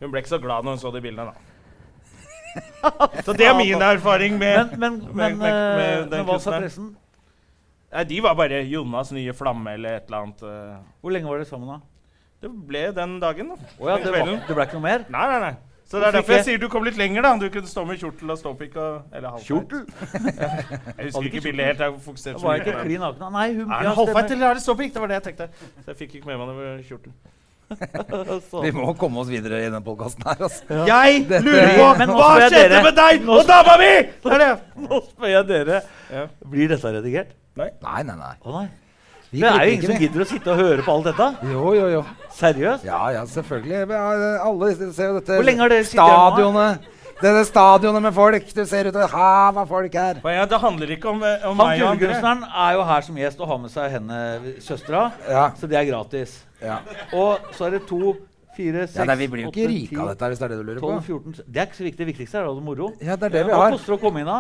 Speaker 2: Hun ble ikke så glad når hun så de bildene, da. Så det er min erfaring med
Speaker 4: Men, men, men,
Speaker 2: med- med
Speaker 4: eh,
Speaker 2: den
Speaker 4: men hva sa
Speaker 2: kunstneren.
Speaker 4: pressen?
Speaker 2: Nei, De var bare Jonas nye flamme eller et eller annet. eh.
Speaker 4: Hvor lenge var dere sammen, da?
Speaker 2: Det ble den dagen, da.
Speaker 4: Å ja, det, var,
Speaker 2: Kvelden.
Speaker 4: det ble ikke noe mer?
Speaker 2: Nei, nei, nei. Så det er
Speaker 4: Hvorfor
Speaker 2: derfor jeg
Speaker 4: ikke?
Speaker 2: sier du kom litt lenger, da. Du kunne stå med kjortel og ståpikk og Eller halvfeit.
Speaker 4: Kjortel?
Speaker 2: Jeg
Speaker 4: Hadde
Speaker 2: husker
Speaker 4: ikke
Speaker 2: ikke bildet helt. Jeg fokuserte så mye på
Speaker 4: Var jeg ikke
Speaker 2: det.
Speaker 4: klin naken? da? Nei,
Speaker 2: Er
Speaker 4: hun ja,
Speaker 2: det halvfeit
Speaker 4: stemmer.
Speaker 2: eller er det ståpikk? Det var det jeg tenkte. Så jeg fikk ikke med meg det med kjortel.
Speaker 4: Altså.
Speaker 3: vi må komme oss videre i den podkasten her. Altså.
Speaker 2: Jeg
Speaker 3: Dette-
Speaker 2: lurer på
Speaker 4: Men nå
Speaker 2: hva
Speaker 4: spør jeg
Speaker 2: skjedde
Speaker 4: dere.
Speaker 2: med deg
Speaker 4: Nå
Speaker 2: og dama mi?! Det er det.
Speaker 4: Nå spør jeg dere.
Speaker 2: Ja.
Speaker 4: Blir dette redigert?
Speaker 3: Nei, nei, nei.
Speaker 4: Å nei.
Speaker 3: Vi
Speaker 4: Det er jo
Speaker 3: klipper
Speaker 4: ingen som
Speaker 3: ikke, vi.
Speaker 4: gidder å sitte og høre på alt dette.
Speaker 3: Jo, jo, jo.
Speaker 4: Seriøst?
Speaker 3: Ja, ja, selvfølgelig. Vi har- Alle ser jo dette
Speaker 4: Hvor lenge har dere sittet her nå,
Speaker 3: stadionet. Dette stadionet med folk. Du ser ut av et hav av folk her.
Speaker 2: Men ja, det handler ikke om, eh, om
Speaker 4: Han
Speaker 2: meg og andre.
Speaker 4: julekunstneren er jo her som gjest og har med seg henne, søstera,
Speaker 3: Ja,
Speaker 4: så det er gratis.
Speaker 3: ja.
Speaker 4: Og så er det to, fire, seks,
Speaker 3: ja nei, vi blir jo
Speaker 4: åtte,
Speaker 3: ikke rike av
Speaker 4: ti,
Speaker 3: dette her, hvis det er det du lurer
Speaker 4: 12,
Speaker 3: på.
Speaker 4: 14 Det er ikke så viktig. Det viktigste er å ha det moro. Eh,
Speaker 3: Ja, det er det vi
Speaker 4: Hva
Speaker 3: har.
Speaker 4: koster det å komme inn, da?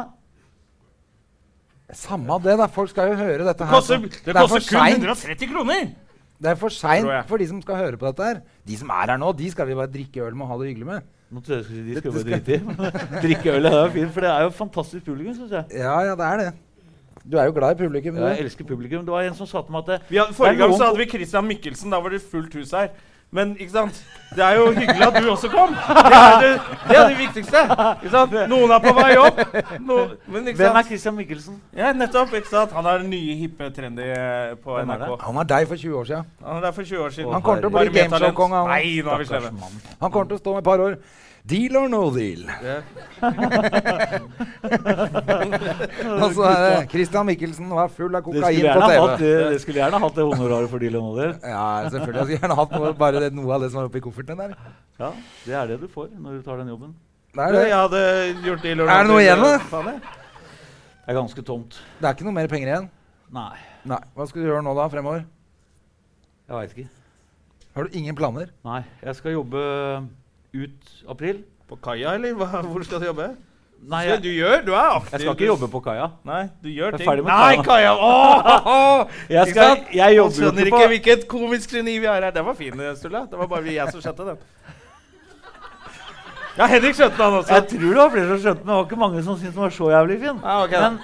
Speaker 3: Samme av det, da. Folk skal jo høre dette her.
Speaker 2: Koster,
Speaker 3: så
Speaker 2: det
Speaker 3: er for
Speaker 2: koster kun
Speaker 3: sent.
Speaker 2: 130 kroner!
Speaker 3: Det er for
Speaker 2: Tror jeg.
Speaker 3: seint for de som skal høre på dette her. De som er her nå, de skal vi bare drikke øl med og ha det hyggelig med.
Speaker 4: Nå trodde jeg skulle si de skulle bare drite i. men Drikke øl er fint, for det er jo fantastisk publikum, syns jeg.
Speaker 3: Ja, ja, det er det. Du er jo glad i publikum.
Speaker 4: Jeg
Speaker 3: Du.
Speaker 4: elsker publikum. Det var en som sa til meg at det-
Speaker 2: Vi hadde, forrige
Speaker 4: Det er
Speaker 2: gang
Speaker 4: noen
Speaker 2: så hadde vi Christian Mikkelsen. Da var det fullt hus her. Men ikke sant? det er jo hyggelig at du også kom. Det er det, det, er det viktigste. Ikke sant? Noen er på vei opp. No, men ikke
Speaker 4: Hvem er
Speaker 2: sant?
Speaker 4: Christian Michelsen?
Speaker 2: Ja, nettopp. ikke sant? Han er den nye hippe trendy eh, på
Speaker 4: Hvem er
Speaker 2: NRK.
Speaker 3: Han er deg for 20 år siden.
Speaker 2: Han er der for 20 år siden.
Speaker 3: Han kommer til å bli
Speaker 2: Bare med talent.
Speaker 3: gameshow-konge, han.
Speaker 2: Nei, nå er vi slemme.
Speaker 3: Han kommer til å stå om et par år. Deal or no deal. Og så er det Christian Michelsen var full av
Speaker 4: Det skulle,
Speaker 3: kokain på
Speaker 4: gjerne hatt,
Speaker 3: TV.
Speaker 4: det, det skulle gjerne hatt det honoraret for de lønna der.
Speaker 3: Ja, selvfølgelig. Jeg skulle gjerne hatt noe, bare det, noe av det som var oppi kofferten der.
Speaker 4: Ja, det er det du får når du tar den jobben.
Speaker 3: Det er,
Speaker 2: Jeg
Speaker 3: det.
Speaker 2: hadde gjort det i lørdag.
Speaker 3: Er det noe igjen, da?
Speaker 2: Faen, jeg.
Speaker 4: Det er ganske tomt.
Speaker 3: det er ikke noe mer penger igjen.
Speaker 4: Nei,
Speaker 3: Nei. Hva skal du gjøre nå, da? Fremover?
Speaker 4: jeg veit ikke.
Speaker 3: Har du ingen planer?
Speaker 4: Nei, jeg skal jobbe eh, ut april.
Speaker 2: På kaia, eller? Hva, hvor skal du jobbe?
Speaker 4: Nei,
Speaker 2: Se,
Speaker 4: jeg,
Speaker 2: du gjør, du er aktiv.
Speaker 4: jeg skal ikke jobbe på kaia.
Speaker 2: Nei, du gjør
Speaker 4: Jeg er
Speaker 2: ting.
Speaker 4: ferdig med
Speaker 2: Nei,
Speaker 4: kaia.
Speaker 2: kaia! Åh!
Speaker 4: Jeg,
Speaker 2: Ikke
Speaker 4: skal,
Speaker 2: sant?
Speaker 4: jeg
Speaker 2: Jeg
Speaker 4: jobber jo
Speaker 2: skjønner ikke
Speaker 4: ikke på
Speaker 2: hvilket komisk geni vi er her. Den var fin, Sturla. Det var bare jeg som skjønte den. Ja, Henrik skjønte den også.
Speaker 4: Jeg tror det var flere som skjønte den, men det var ikke mange som syntes den var så jævlig fin.
Speaker 2: Ja, Ah, ok da.
Speaker 4: Men,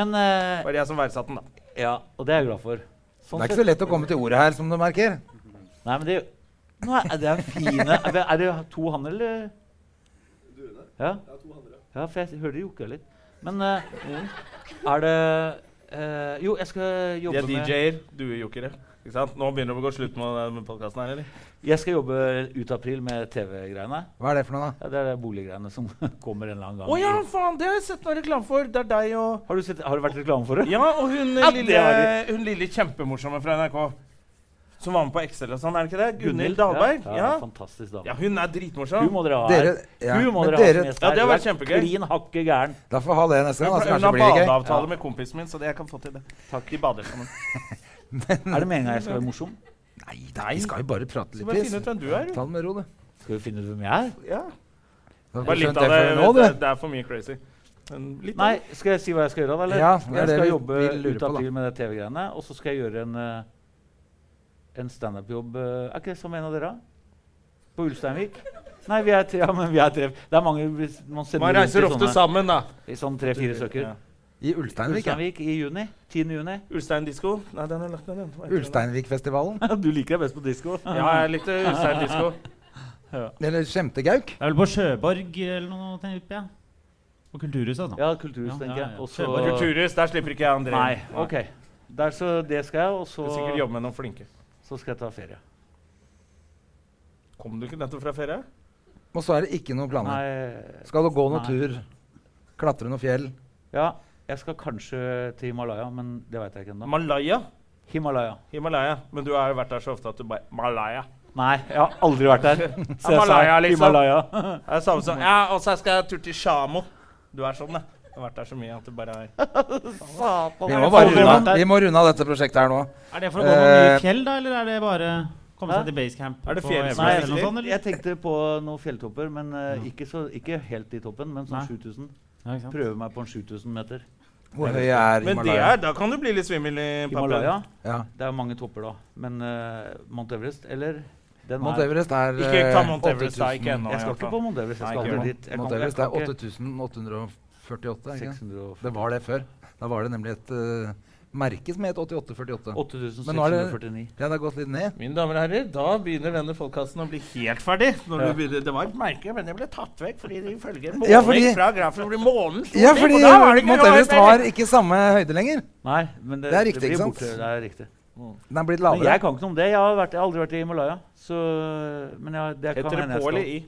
Speaker 4: men eh,
Speaker 2: Bare jeg som verdsatte den, da.
Speaker 4: Ja, og det er jeg glad for. Sånn
Speaker 3: Det er ikke
Speaker 4: sett-
Speaker 3: så lett å komme til ordet her, som du merker.
Speaker 4: Nei, men det Nå er det er fine Er det, er det to han, eller? Ja. ja, for jeg hørte det jokka litt. Men eh, er det eh, Jo, jeg skal
Speaker 2: De
Speaker 4: jobbe
Speaker 2: er
Speaker 4: med
Speaker 2: DJ-er, du er jokere. Ikke sant? Nå begynner det å gå slutt med, med podkasten her, eller?
Speaker 4: Jeg skal jobbe ut april med TV-greiene.
Speaker 3: Hva er det for noe, da?
Speaker 4: Ja, det er de boliggreiene som kommer en eller annen gang.
Speaker 2: Å ja, faen! Det har jeg sett noe reklame for. Det er deg og
Speaker 4: Har, du sett, har det vært reklame for det?
Speaker 2: Ja, og hun
Speaker 4: Ja, det
Speaker 2: lille,
Speaker 4: har
Speaker 2: hun lille kjempemorsomme fra NRK. Som var med på Excel og sånn, er det ikke det? Gunhild
Speaker 4: ja.
Speaker 2: Dahlberg?
Speaker 4: Ja,
Speaker 2: Ja.
Speaker 4: Fantastisk dame.
Speaker 2: ja, hun er dritmorsom.
Speaker 4: Hun må dere ha her.
Speaker 3: Dere- ja,
Speaker 4: Hun må
Speaker 3: men
Speaker 4: dere ha
Speaker 3: dere-
Speaker 4: som gjest
Speaker 2: Ja,
Speaker 4: her.
Speaker 2: det har
Speaker 4: Du er
Speaker 2: vært kjempegøy.
Speaker 4: Klin hakke gæren.
Speaker 3: Da får vi ha det neste gang. da, så
Speaker 2: Hun
Speaker 3: kanskje
Speaker 2: har
Speaker 3: det blir litt gøy.
Speaker 2: badeavtale med kompisen min, så det jeg kan få til det. De bader sammen.
Speaker 4: Er det meninga jeg skal være morsom?
Speaker 3: Nei, nei, vi skal jo bare prate
Speaker 2: Så
Speaker 3: litt.
Speaker 2: bare
Speaker 3: piss.
Speaker 2: finne ut hvem du er,
Speaker 3: Ta det med ro, du.
Speaker 4: Skal vi finne ut hvem jeg er?
Speaker 2: du. Ja.
Speaker 3: Da har
Speaker 2: Bare
Speaker 3: du
Speaker 2: litt
Speaker 3: skjønt
Speaker 2: av
Speaker 3: det
Speaker 2: det.
Speaker 3: for nå,
Speaker 2: det,
Speaker 3: du.
Speaker 2: det er for mye crazy. Men litt
Speaker 4: Nei,
Speaker 2: av det.
Speaker 4: skal jeg si hva jeg skal gjøre? da, Eller?
Speaker 3: Ja, det er
Speaker 4: jeg
Speaker 3: det
Speaker 4: skal
Speaker 3: vi-
Speaker 4: jobbe
Speaker 3: vi lurer på,
Speaker 4: ut av
Speaker 3: da.
Speaker 4: april med det TV-greiene. Og så skal jeg gjøre en, eh, en standup-jobb eh, Er ikke det som en av dere? På Ulsteinvik? Nei, vi er tre. Ja, men vi er tre. Det er mange hvis Man, sender
Speaker 2: Man
Speaker 4: rundt
Speaker 2: reiser
Speaker 4: i
Speaker 2: ofte
Speaker 4: sånne,
Speaker 2: sammen, da.
Speaker 4: i sånn tre-fire stykker.
Speaker 2: Ja.
Speaker 3: I Ulsteinvik, ja.
Speaker 4: Ulsteinvik i juni. 10. juni.
Speaker 2: Ulstein disko. Nei, den er lagt ned, den. Hva heter den?
Speaker 3: Ulsteinvikfestivalen.
Speaker 4: du liker deg best på disko.
Speaker 2: Ja, jeg likte Ulstein disko.
Speaker 3: Eller Skjemtegauk.
Speaker 1: Det er vel på Sjøborg eller noe, tenker jeg. På Kulturhuset, altså.
Speaker 4: Ja, kulturhus,
Speaker 1: Ja,
Speaker 4: tenker
Speaker 1: ja,
Speaker 4: jeg.
Speaker 1: ja.
Speaker 4: Og
Speaker 1: Kjør
Speaker 4: så
Speaker 1: på
Speaker 2: Kulturhus, der slipper ikke jeg André.
Speaker 4: Nei, OK. Der, så det skal jeg, og
Speaker 2: Du skal sikkert
Speaker 4: så,
Speaker 2: jobbe med noen flinke.
Speaker 4: så skal jeg ta ferie.
Speaker 2: Kom du ikke nettopp fra ferie?
Speaker 3: Og så er det ikke noen planer.
Speaker 4: Nei
Speaker 3: Skal du gå noen
Speaker 4: Nei.
Speaker 3: tur? Klatre noen fjell?
Speaker 4: Ja, jeg skal kanskje til Himalaya, men det veit jeg ikke ennå.
Speaker 2: Malaya?
Speaker 4: Himalaya.
Speaker 2: Himalaya. Men du har jo vært der så ofte at du bare Malaya.
Speaker 4: Nei, jeg har aldri vært der. Så jeg sa
Speaker 2: Himalaya, liksom.
Speaker 4: Himalaya.
Speaker 2: Det er samme som Ja, og så skal jeg tur til Shamo. Du er sånn, det. Du har vært der så mye at du bare er
Speaker 3: Vi må, bare
Speaker 1: så
Speaker 3: runde,
Speaker 1: bra.
Speaker 3: av- vi må runde av dette prosjektet her nå.
Speaker 1: Er det for å gå noen
Speaker 3: Eh,
Speaker 1: nye fjell, da, eller er det bare komme
Speaker 4: Hæ?
Speaker 1: seg til basecamp?
Speaker 2: Er det
Speaker 1: på
Speaker 2: fjell som
Speaker 1: Everest
Speaker 2: er
Speaker 4: Nei,
Speaker 1: eller noe sånt, eller?
Speaker 4: jeg tenkte på noen fjelltopper, men eh, ikke, så, ikke helt i toppen. Men sånn
Speaker 1: Nei.
Speaker 4: 7000.
Speaker 1: Ja, ikke sant?
Speaker 4: Prøve meg på en 7000 meter.
Speaker 3: Hvor høy er
Speaker 2: Men det er,
Speaker 3: Himalaya?
Speaker 2: da kan du bli litt svimmel i
Speaker 4: Himalaya.
Speaker 2: pappen.
Speaker 3: Ja.
Speaker 4: Det er mange topper, da. Men eh, Mount Everest, eller den
Speaker 3: Mount
Speaker 4: er-
Speaker 3: Everest er
Speaker 2: Ikke ta
Speaker 3: eh,
Speaker 2: Mount Everest, da.
Speaker 3: 8000.
Speaker 2: Ikke ennå. i
Speaker 4: Jeg skal
Speaker 2: hvert
Speaker 4: ikke
Speaker 2: fall.
Speaker 4: på Mount Everest.
Speaker 2: Nei,
Speaker 4: Jeg skal
Speaker 2: ikke
Speaker 4: aldri
Speaker 2: nå.
Speaker 4: dit. Jeg
Speaker 3: Mount
Speaker 4: kan- jeg
Speaker 3: Everest
Speaker 4: kan
Speaker 3: er
Speaker 4: ikke-
Speaker 3: 8848, er det ikke?
Speaker 4: 648.
Speaker 3: Det var det før. Da var det nemlig et eh, merke som het 8848. Men nå er det-
Speaker 4: 8649.
Speaker 3: Ja, det har gått litt ned.
Speaker 2: Mine damer og herrer, da begynner denne podkasten å bli helt ferdig. Når
Speaker 4: Ja.
Speaker 2: du begynner, det var et merke, men det ble tatt vekk fordi det ifølge en
Speaker 3: Ja, fordi-
Speaker 2: måling fra grafen blir månen stor
Speaker 3: Ja,
Speaker 2: ting,
Speaker 3: fordi
Speaker 2: og da var det ikke
Speaker 3: Mount
Speaker 2: noe
Speaker 3: Everest
Speaker 2: mer.
Speaker 3: har ikke samme høyde lenger.
Speaker 4: Nei, men det,
Speaker 3: Det er riktig,
Speaker 4: blir
Speaker 3: ikke sant?
Speaker 4: borte. Det er riktig.
Speaker 3: Den er blitt
Speaker 4: Men jeg
Speaker 3: lavere.
Speaker 4: kan ikke noe om det. Jeg har, vært, jeg har aldri vært i Himalaya. Så, eh, men jeg, det kan
Speaker 2: Heter det
Speaker 4: hende jeg
Speaker 2: på
Speaker 4: skal.
Speaker 2: eller i?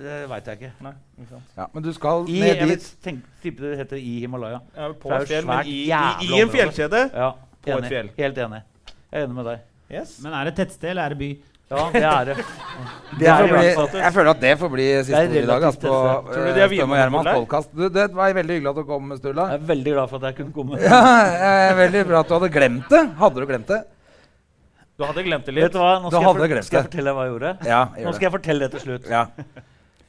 Speaker 4: Det veit jeg ikke.
Speaker 2: Nei. ikke sant.
Speaker 3: Ja, men du skal
Speaker 4: I,
Speaker 3: ned
Speaker 4: jeg
Speaker 3: dit.
Speaker 4: vil tenke, tippe det heter i Himalaya.
Speaker 2: Ja, på
Speaker 4: Det er jo
Speaker 2: et fjell, men
Speaker 4: svært
Speaker 2: i, i,
Speaker 4: jævla
Speaker 2: i en
Speaker 4: område.
Speaker 2: fjellkjede.
Speaker 4: Ja,
Speaker 2: På et
Speaker 4: enig.
Speaker 2: fjell.
Speaker 4: Helt enig. Jeg er enig med deg.
Speaker 2: Yes.
Speaker 1: Men er det tettsted, eller er det by?
Speaker 4: Ja, det er det.
Speaker 3: Det
Speaker 4: er
Speaker 3: får
Speaker 4: i
Speaker 3: bli,
Speaker 4: hvert fall-
Speaker 3: jeg føler at det får bli siste
Speaker 4: Det er
Speaker 3: ord i dag.
Speaker 4: relativt
Speaker 3: Altså, på
Speaker 4: tøft.
Speaker 2: Tror du de er
Speaker 3: eh, Støm og
Speaker 2: vinmonopol
Speaker 3: Gjermans
Speaker 2: der?
Speaker 3: podkast. Du, Det var veldig hyggelig at du kom, Sturla.
Speaker 4: Jeg er veldig glad for at jeg kunne komme.
Speaker 3: Ja, eh, veldig bra at du hadde glemt det. Hadde du glemt det?
Speaker 2: Du hadde glemt det
Speaker 4: Vet
Speaker 2: litt.
Speaker 4: du hva? Nå
Speaker 3: Du
Speaker 4: skal, jeg,
Speaker 3: hadde
Speaker 4: for,
Speaker 3: glemt
Speaker 4: skal jeg
Speaker 3: det.
Speaker 4: fortelle deg hva jeg gjorde.
Speaker 3: Ja,
Speaker 4: Nå
Speaker 3: gjør
Speaker 4: skal
Speaker 3: det.
Speaker 4: jeg fortelle det til slutt.
Speaker 3: Ja.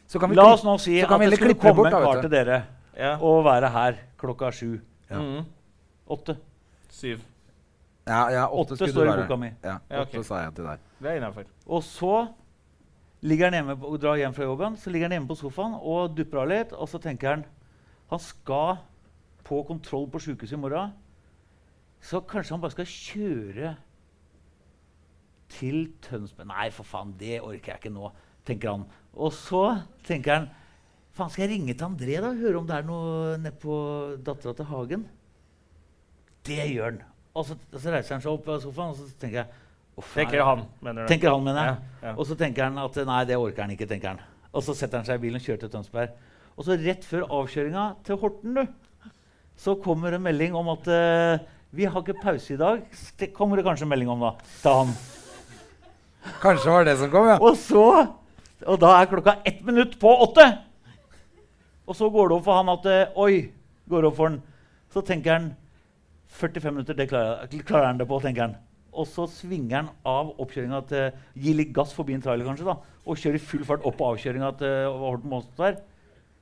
Speaker 3: Så kan vi
Speaker 4: La oss nå si
Speaker 3: så
Speaker 4: at
Speaker 3: kan vi heller
Speaker 4: det skulle
Speaker 3: klippe
Speaker 4: komme
Speaker 3: bort,
Speaker 4: en
Speaker 3: da,
Speaker 4: kar
Speaker 3: vet
Speaker 4: til dere
Speaker 2: Ja.
Speaker 4: og være her klokka sju.
Speaker 2: Mhm.
Speaker 4: Åtte.
Speaker 2: Syv.
Speaker 3: Ja, ja, åtte
Speaker 4: Åtte
Speaker 3: skulle
Speaker 4: står
Speaker 3: du
Speaker 4: i
Speaker 3: være.
Speaker 4: boka mi.
Speaker 3: Ja,
Speaker 2: Ja, ok.
Speaker 3: åtte sa jeg til deg.
Speaker 2: Det er innafor.
Speaker 4: Og så ligger han hjemme på, og drar hjem fra jobben, så ligger han hjemme på sofaen og dupper av litt. Og så tenker han han skal på kontroll på sjukehuset i morgen. Så kanskje han bare skal kjøre til Tønsberg Nei, for faen, det orker jeg ikke nå, tenker han. Og så tenker han Faen, skal jeg ringe til André da, og høre om det er noe nedpå dattera til Hagen? Det gjør han. Og så, og så reiser han seg opp av sofaen og så tenker jeg, «Å, faen,
Speaker 2: Tenker han, mener du?
Speaker 4: Tenker han, mener jeg.
Speaker 2: Ja, ja.
Speaker 4: Og så tenker han at nei, det orker han ikke. tenker han. Og så setter han seg i bilen og kjører til Tønsberg. Og så rett før avkjøringa til Horten, du, så kommer en melding om at eh, vi har ikke pause i dag. Det kommer det kanskje en melding om, da. Til han.
Speaker 3: Kanskje var det som kom, ja.
Speaker 4: Og så Og da er klokka ett minutt på åtte! Og så går det opp for han at eh, Oi! går det opp for han. Så tenker han 45 minutter, det klarer, klarer han det på, tenker han. Og så svinger han av oppkjøringa til Gir litt gass forbi en trailer, kanskje, da. Og kjører i full fart opp på avkjøringa til Horten Monster.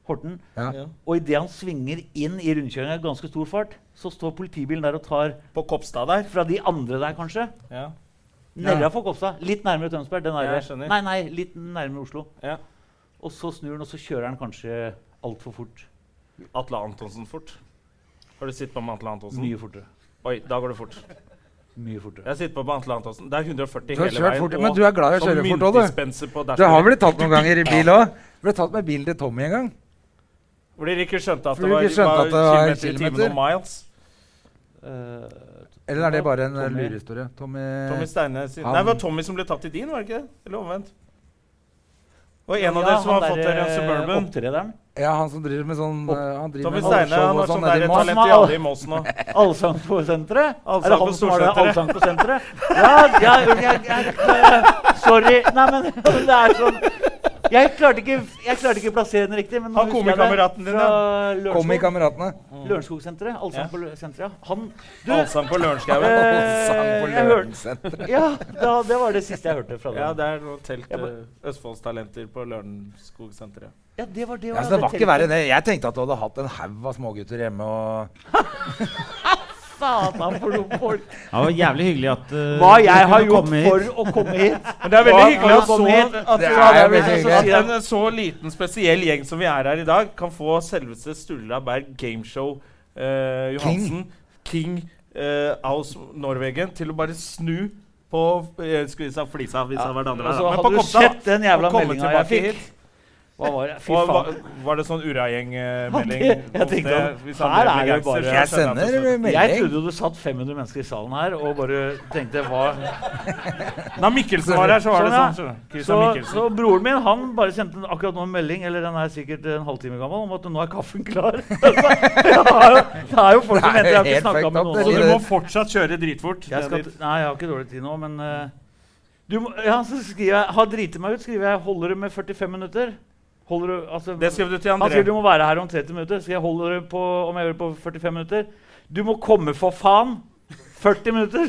Speaker 4: Horten.
Speaker 3: Ja.
Speaker 4: Og idet han svinger inn i rundkjøringa i ganske stor fart, så står politibilen der og tar
Speaker 2: På Kopstad der?
Speaker 4: fra de andre der, kanskje.
Speaker 2: Ja.
Speaker 4: Nærmere for Kopstad. Litt nærmere Tønsberg. Den
Speaker 2: Ja,
Speaker 4: er
Speaker 2: jeg skjønner.
Speaker 4: nei, nei, litt nærmere Oslo.
Speaker 2: Ja.
Speaker 4: Og så snur han, og så kjører han kanskje altfor fort.
Speaker 2: Atle Antonsen fort. Har du sittet på med Atle Antonsen?
Speaker 4: Mye fortere.
Speaker 2: Oi, da går det fort.
Speaker 4: Mye fortere.
Speaker 2: Jeg sitter på med Atle Antonsen. Det er 140
Speaker 3: Du har
Speaker 2: hele
Speaker 3: kjørt
Speaker 2: veien.
Speaker 3: fort, men du er glad i å
Speaker 2: og
Speaker 3: kjøre fort også, du.
Speaker 2: myntdispenser på
Speaker 3: Du har
Speaker 2: dashbordet.
Speaker 3: blitt tatt noen ganger i bil òg. Ble tatt med bilen til Tommy en gang.
Speaker 2: Fordi de ikke skjønte at
Speaker 3: Fordi
Speaker 2: det var,
Speaker 3: de ikke skjønte at det var
Speaker 2: kilometer i timen
Speaker 3: kilometer.
Speaker 2: og miles.
Speaker 4: Eh,
Speaker 3: Eller er det bare en eh,
Speaker 4: Tommy.
Speaker 3: lurehistorie? Tommy
Speaker 2: Tommy Steine sin.
Speaker 3: han-
Speaker 2: Nei, det var Tommy som ble tatt i din, var det ikke? Eller omvendt. Og en av
Speaker 4: ja,
Speaker 2: dere som
Speaker 4: han
Speaker 2: har fått
Speaker 4: der,
Speaker 2: dere en
Speaker 4: eh,
Speaker 2: Suburban.
Speaker 4: Opptrederen.
Speaker 3: Ja, han som driver med sånn eh, Han driver
Speaker 2: Tommy
Speaker 3: med
Speaker 2: Steine
Speaker 3: halvshow og
Speaker 2: han har
Speaker 3: sånn
Speaker 2: sånn
Speaker 3: nede
Speaker 2: der
Speaker 3: i Moss.
Speaker 2: talent i alle i Moss nå.
Speaker 4: Allsang på senteret? Er det
Speaker 2: Allsang på
Speaker 4: han som har det
Speaker 2: Storsenteret.
Speaker 4: allsang på senteret? Ja, ja jeg, jeg, jeg, eh, Sorry. Nei, men det er sånn Jeg klarte ikke, jeg klarte ikke plassere den riktig. men nå
Speaker 2: Han
Speaker 4: husker jeg det
Speaker 2: komikameraten din,
Speaker 4: fra
Speaker 3: Kom i
Speaker 4: Lørenskog-
Speaker 3: kameratene.
Speaker 4: Lørenskog-senteret. Allsang
Speaker 2: Ja.
Speaker 4: på Lø- senteret, ja. Han Du,
Speaker 2: Allsang på Lørenskauen.
Speaker 4: Eh,
Speaker 3: Sang på
Speaker 4: jeg hørte-
Speaker 3: Lørensen.
Speaker 4: ja, da, det var det siste jeg hørte fra
Speaker 2: Ja,
Speaker 4: deg.
Speaker 2: det er noe telt
Speaker 4: Jeg
Speaker 2: eh,
Speaker 4: ba-
Speaker 2: Østfoldstalenter på Lørenskogsenteret.
Speaker 4: Ja, det var det.
Speaker 3: Ja,
Speaker 4: også,
Speaker 3: så det var ikke verre
Speaker 4: teltet.
Speaker 3: enn det. Jeg tenkte at du hadde hatt en haug av smågutter hjemme og
Speaker 4: Satan for noen folk.
Speaker 1: Det var jævlig hyggelig at eh,
Speaker 4: Hva jeg
Speaker 1: dere
Speaker 4: har
Speaker 1: kunne
Speaker 4: gjort
Speaker 1: komme hit.
Speaker 4: for å komme hit.
Speaker 2: Men det er veldig
Speaker 4: Og-
Speaker 2: hyggelig
Speaker 4: og
Speaker 2: at så,
Speaker 4: komme hit.
Speaker 2: at,
Speaker 3: Det
Speaker 2: så-
Speaker 3: er
Speaker 2: at,
Speaker 3: veldig hyggelig.
Speaker 2: en så liten spesiell gjeng som vi er her i dag, kan få selveste Sturla Berg Gameshow eh, Johansen, King, eh, aus Norwegen, til å bare snu på eh, Skulle vi sagt flisa hvis det hadde vært andre
Speaker 4: Altså,
Speaker 2: veien, da. Men på
Speaker 4: hadde du
Speaker 2: Kopstad, da,
Speaker 4: sett den jævla
Speaker 2: og komme
Speaker 4: meldinga jeg
Speaker 2: tilbake
Speaker 4: fikk?
Speaker 2: hit.
Speaker 4: Hva var det? Fy
Speaker 2: Og,
Speaker 4: faen.
Speaker 2: var, var det sånn Ura-gjeng-melding?
Speaker 4: Ja, det- jeg tenkte at her er det bare-
Speaker 3: Jeg sender
Speaker 4: Jeg
Speaker 3: melding.
Speaker 4: trodde jo det satt 500 mennesker i salen her og bare tenkte hva
Speaker 2: Da Mikkelsen var her, så var det sånn.
Speaker 4: Sånn,
Speaker 2: skjønner du.
Speaker 4: så,
Speaker 2: Christian Mikkelsen.
Speaker 4: så broren min han bare sendte en- akkurat nå en melding eller den er sikkert en halvtime gammel, om at nå er kaffen klar. Altså, jeg har jo- det er jo folk
Speaker 3: Det
Speaker 4: som
Speaker 3: er
Speaker 4: venter. Jeg har
Speaker 3: helt
Speaker 4: ikke snakka
Speaker 3: fucked
Speaker 4: med
Speaker 3: up,
Speaker 4: noen.
Speaker 3: det
Speaker 2: Så
Speaker 4: av dem.
Speaker 2: du må fortsatt kjøre dritfort.
Speaker 4: Jeg skal,
Speaker 2: Det er litt-
Speaker 4: nei, jeg har ikke dårlig tid nå, men eh, du må, ja, så skriver jeg, Har driti meg ut, skriver jeg. Holder det med 45 minutter? Holder du, altså,
Speaker 2: Det skrev du til
Speaker 4: Han
Speaker 2: André.
Speaker 4: sier du må være her om 30 minutter. Skal jeg holde det på, om jeg gjør det på 45 minutter? Du må komme, for faen! 40 minutter.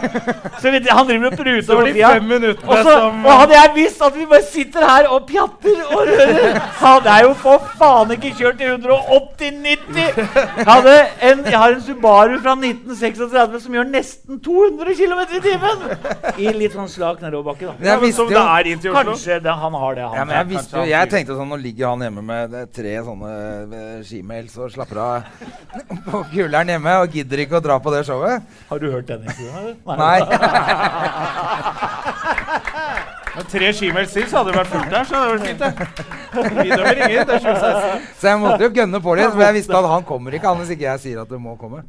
Speaker 4: så vi, han driver og pruter over
Speaker 2: de
Speaker 4: tida.
Speaker 2: fem minuttene
Speaker 4: Og så-
Speaker 2: som-
Speaker 4: og hadde jeg visst at vi bare sitter her og pjatter og rører, så hadde jeg jo for faen ikke kjørt i 180-90! Jeg, hadde en- jeg har en Subaru fra 1936 som gjør nesten 200 km i timen! I litt sånn slak nedoverbakke, da.
Speaker 3: Men jeg visste
Speaker 2: Som
Speaker 3: jo
Speaker 2: det er inn til Oslo.
Speaker 4: Kanskje det, han har det, han.
Speaker 3: ja, men jeg, visste jo,
Speaker 2: kanskje han
Speaker 3: jeg tenkte sånn Nå ligger han hjemme med eh, tre sånne eh, skimails og slapper av på kuleren hjemme og gidder ikke å dra på det showet.
Speaker 4: Har du hørt den historien? eller?
Speaker 3: Nei.
Speaker 2: Men Tre skimelk til, så hadde det vært fullt her. Så hadde det vært fint, det. Vi dømmer ingen. Det er 2016.
Speaker 3: Så jeg måtte jo gønne på litt, for jeg visste at han kommer ikke. Han hvis ikke jeg sier at du må komme.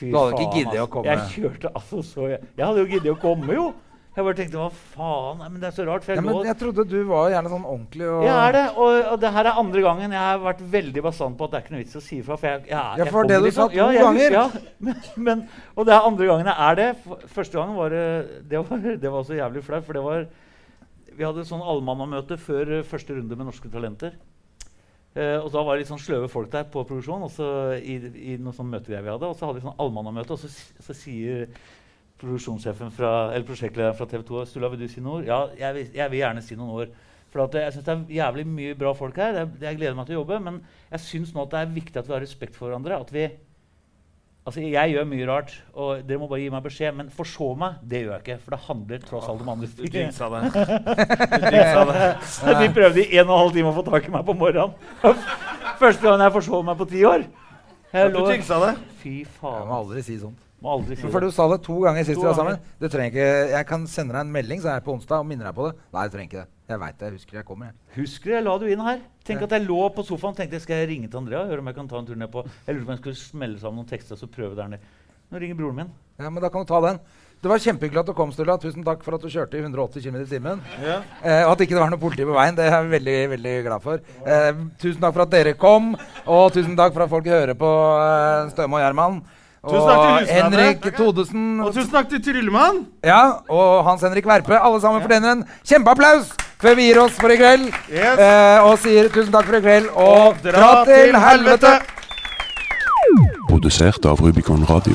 Speaker 4: Fy
Speaker 3: Du hadde ikke
Speaker 4: faen,
Speaker 3: giddet å
Speaker 4: altså.
Speaker 3: komme.
Speaker 4: Jeg kjørte altså så Jeg, jeg hadde jo giddet å komme, jo. Jeg bare tenkte hva faen Nei, Men det er så rart, for
Speaker 3: Ja,
Speaker 4: jeg
Speaker 3: men
Speaker 4: lå
Speaker 3: jeg trodde du var gjerne sånn ordentlig og
Speaker 4: jeg er det, og, og det her er andre gangen jeg har vært veldig bastant på at det er ikke noe vits å si ifra. For jeg, jeg,
Speaker 3: Ja,
Speaker 4: er- jeg
Speaker 3: for det du
Speaker 4: kommer ikke
Speaker 3: sa
Speaker 4: sånn. Ja,
Speaker 3: to
Speaker 4: jeg-
Speaker 3: ganger.
Speaker 4: Ja, men, men, og det er andre gangen jeg er det. F- Første gangen var det Det var, det var så jævlig flaut, for det var Vi hadde sånn allmannamøte før eh, første runde med Norske Talenter. Eh, og da var det litt sånn sløve folk der på produksjon, og så i, i noen sånn møtegreier vi hadde. Og så hadde vi sånn allmannamøte, og så, s- så sier produksjonssjefen fra, eller prosjektlederen fra TV 2 Sturla, vil du si noen ord? Ja, jeg vil, jeg vil gjerne si noen ord. For at eh, jeg syns det er jævlig mye bra folk her. Jeg, jeg gleder meg til å jobbe. Men jeg syns nå at det er viktig at vi har respekt for hverandre. At vi Altså, Jeg gjør mye rart, og dere må bare gi meg beskjed. Men forså meg, det gjør jeg ikke. For det handler tross alt om andre
Speaker 3: Ah,
Speaker 2: Du
Speaker 4: ting.
Speaker 2: jinxa det. Du jinxa det.
Speaker 4: De prøvde i en og en halv time å få tak i meg på morgenen. Første gang jeg forsov meg på ti år. Jeg
Speaker 2: Du
Speaker 4: lå
Speaker 2: jinxa det.
Speaker 4: Fy
Speaker 3: Jeg
Speaker 4: faen.
Speaker 3: må aldri si sånn. sånt.
Speaker 4: Må aldri si
Speaker 3: For
Speaker 4: det.
Speaker 3: du sa det to ganger sist
Speaker 4: To
Speaker 3: vi var
Speaker 4: ganger.
Speaker 3: sammen. Du trenger ikke, Jeg kan sende deg en melding så er jeg på onsdag og minner deg på det. Nei, du trenger ikke det. Jeg veit det. Jeg husker jeg kommer. Jeg.
Speaker 4: Husker du jeg la du inn her? Tenk at jeg lå på sofaen tenkte jeg, skal jeg ringe til Andrea. Høre om Jeg kan ta en tur ned på. Jeg lurte på om jeg skulle smelle sammen noen tekster og så prøve der nede. Nå ringer broren min.
Speaker 3: Ja, Men da kan du ta den. Det var kjempehyggelig at du kom, Sturla. Tusen takk for at du kjørte i 180 km i timen.
Speaker 2: Ja.
Speaker 3: Eh, og at ikke det var noe politi på veien. Det er jeg veldig veldig glad for. Eh, tusen takk for at dere kom, og tusen takk for at folk hører på eh, Støme og Gjerman. Og
Speaker 2: Tusen takk til husene
Speaker 3: Henrik
Speaker 2: dere.
Speaker 3: Todesen.
Speaker 2: Og tusen takk til Tryllemann.
Speaker 3: Ja, og Hans Henrik Verpe. Alle sammen fortjener en kjempeapplaus før vi gir oss for i kveld.
Speaker 2: Yes.
Speaker 3: Eh, og sier tusen takk for i kveld, og, dra til helvete!
Speaker 5: Produsert av Rubicon Radio.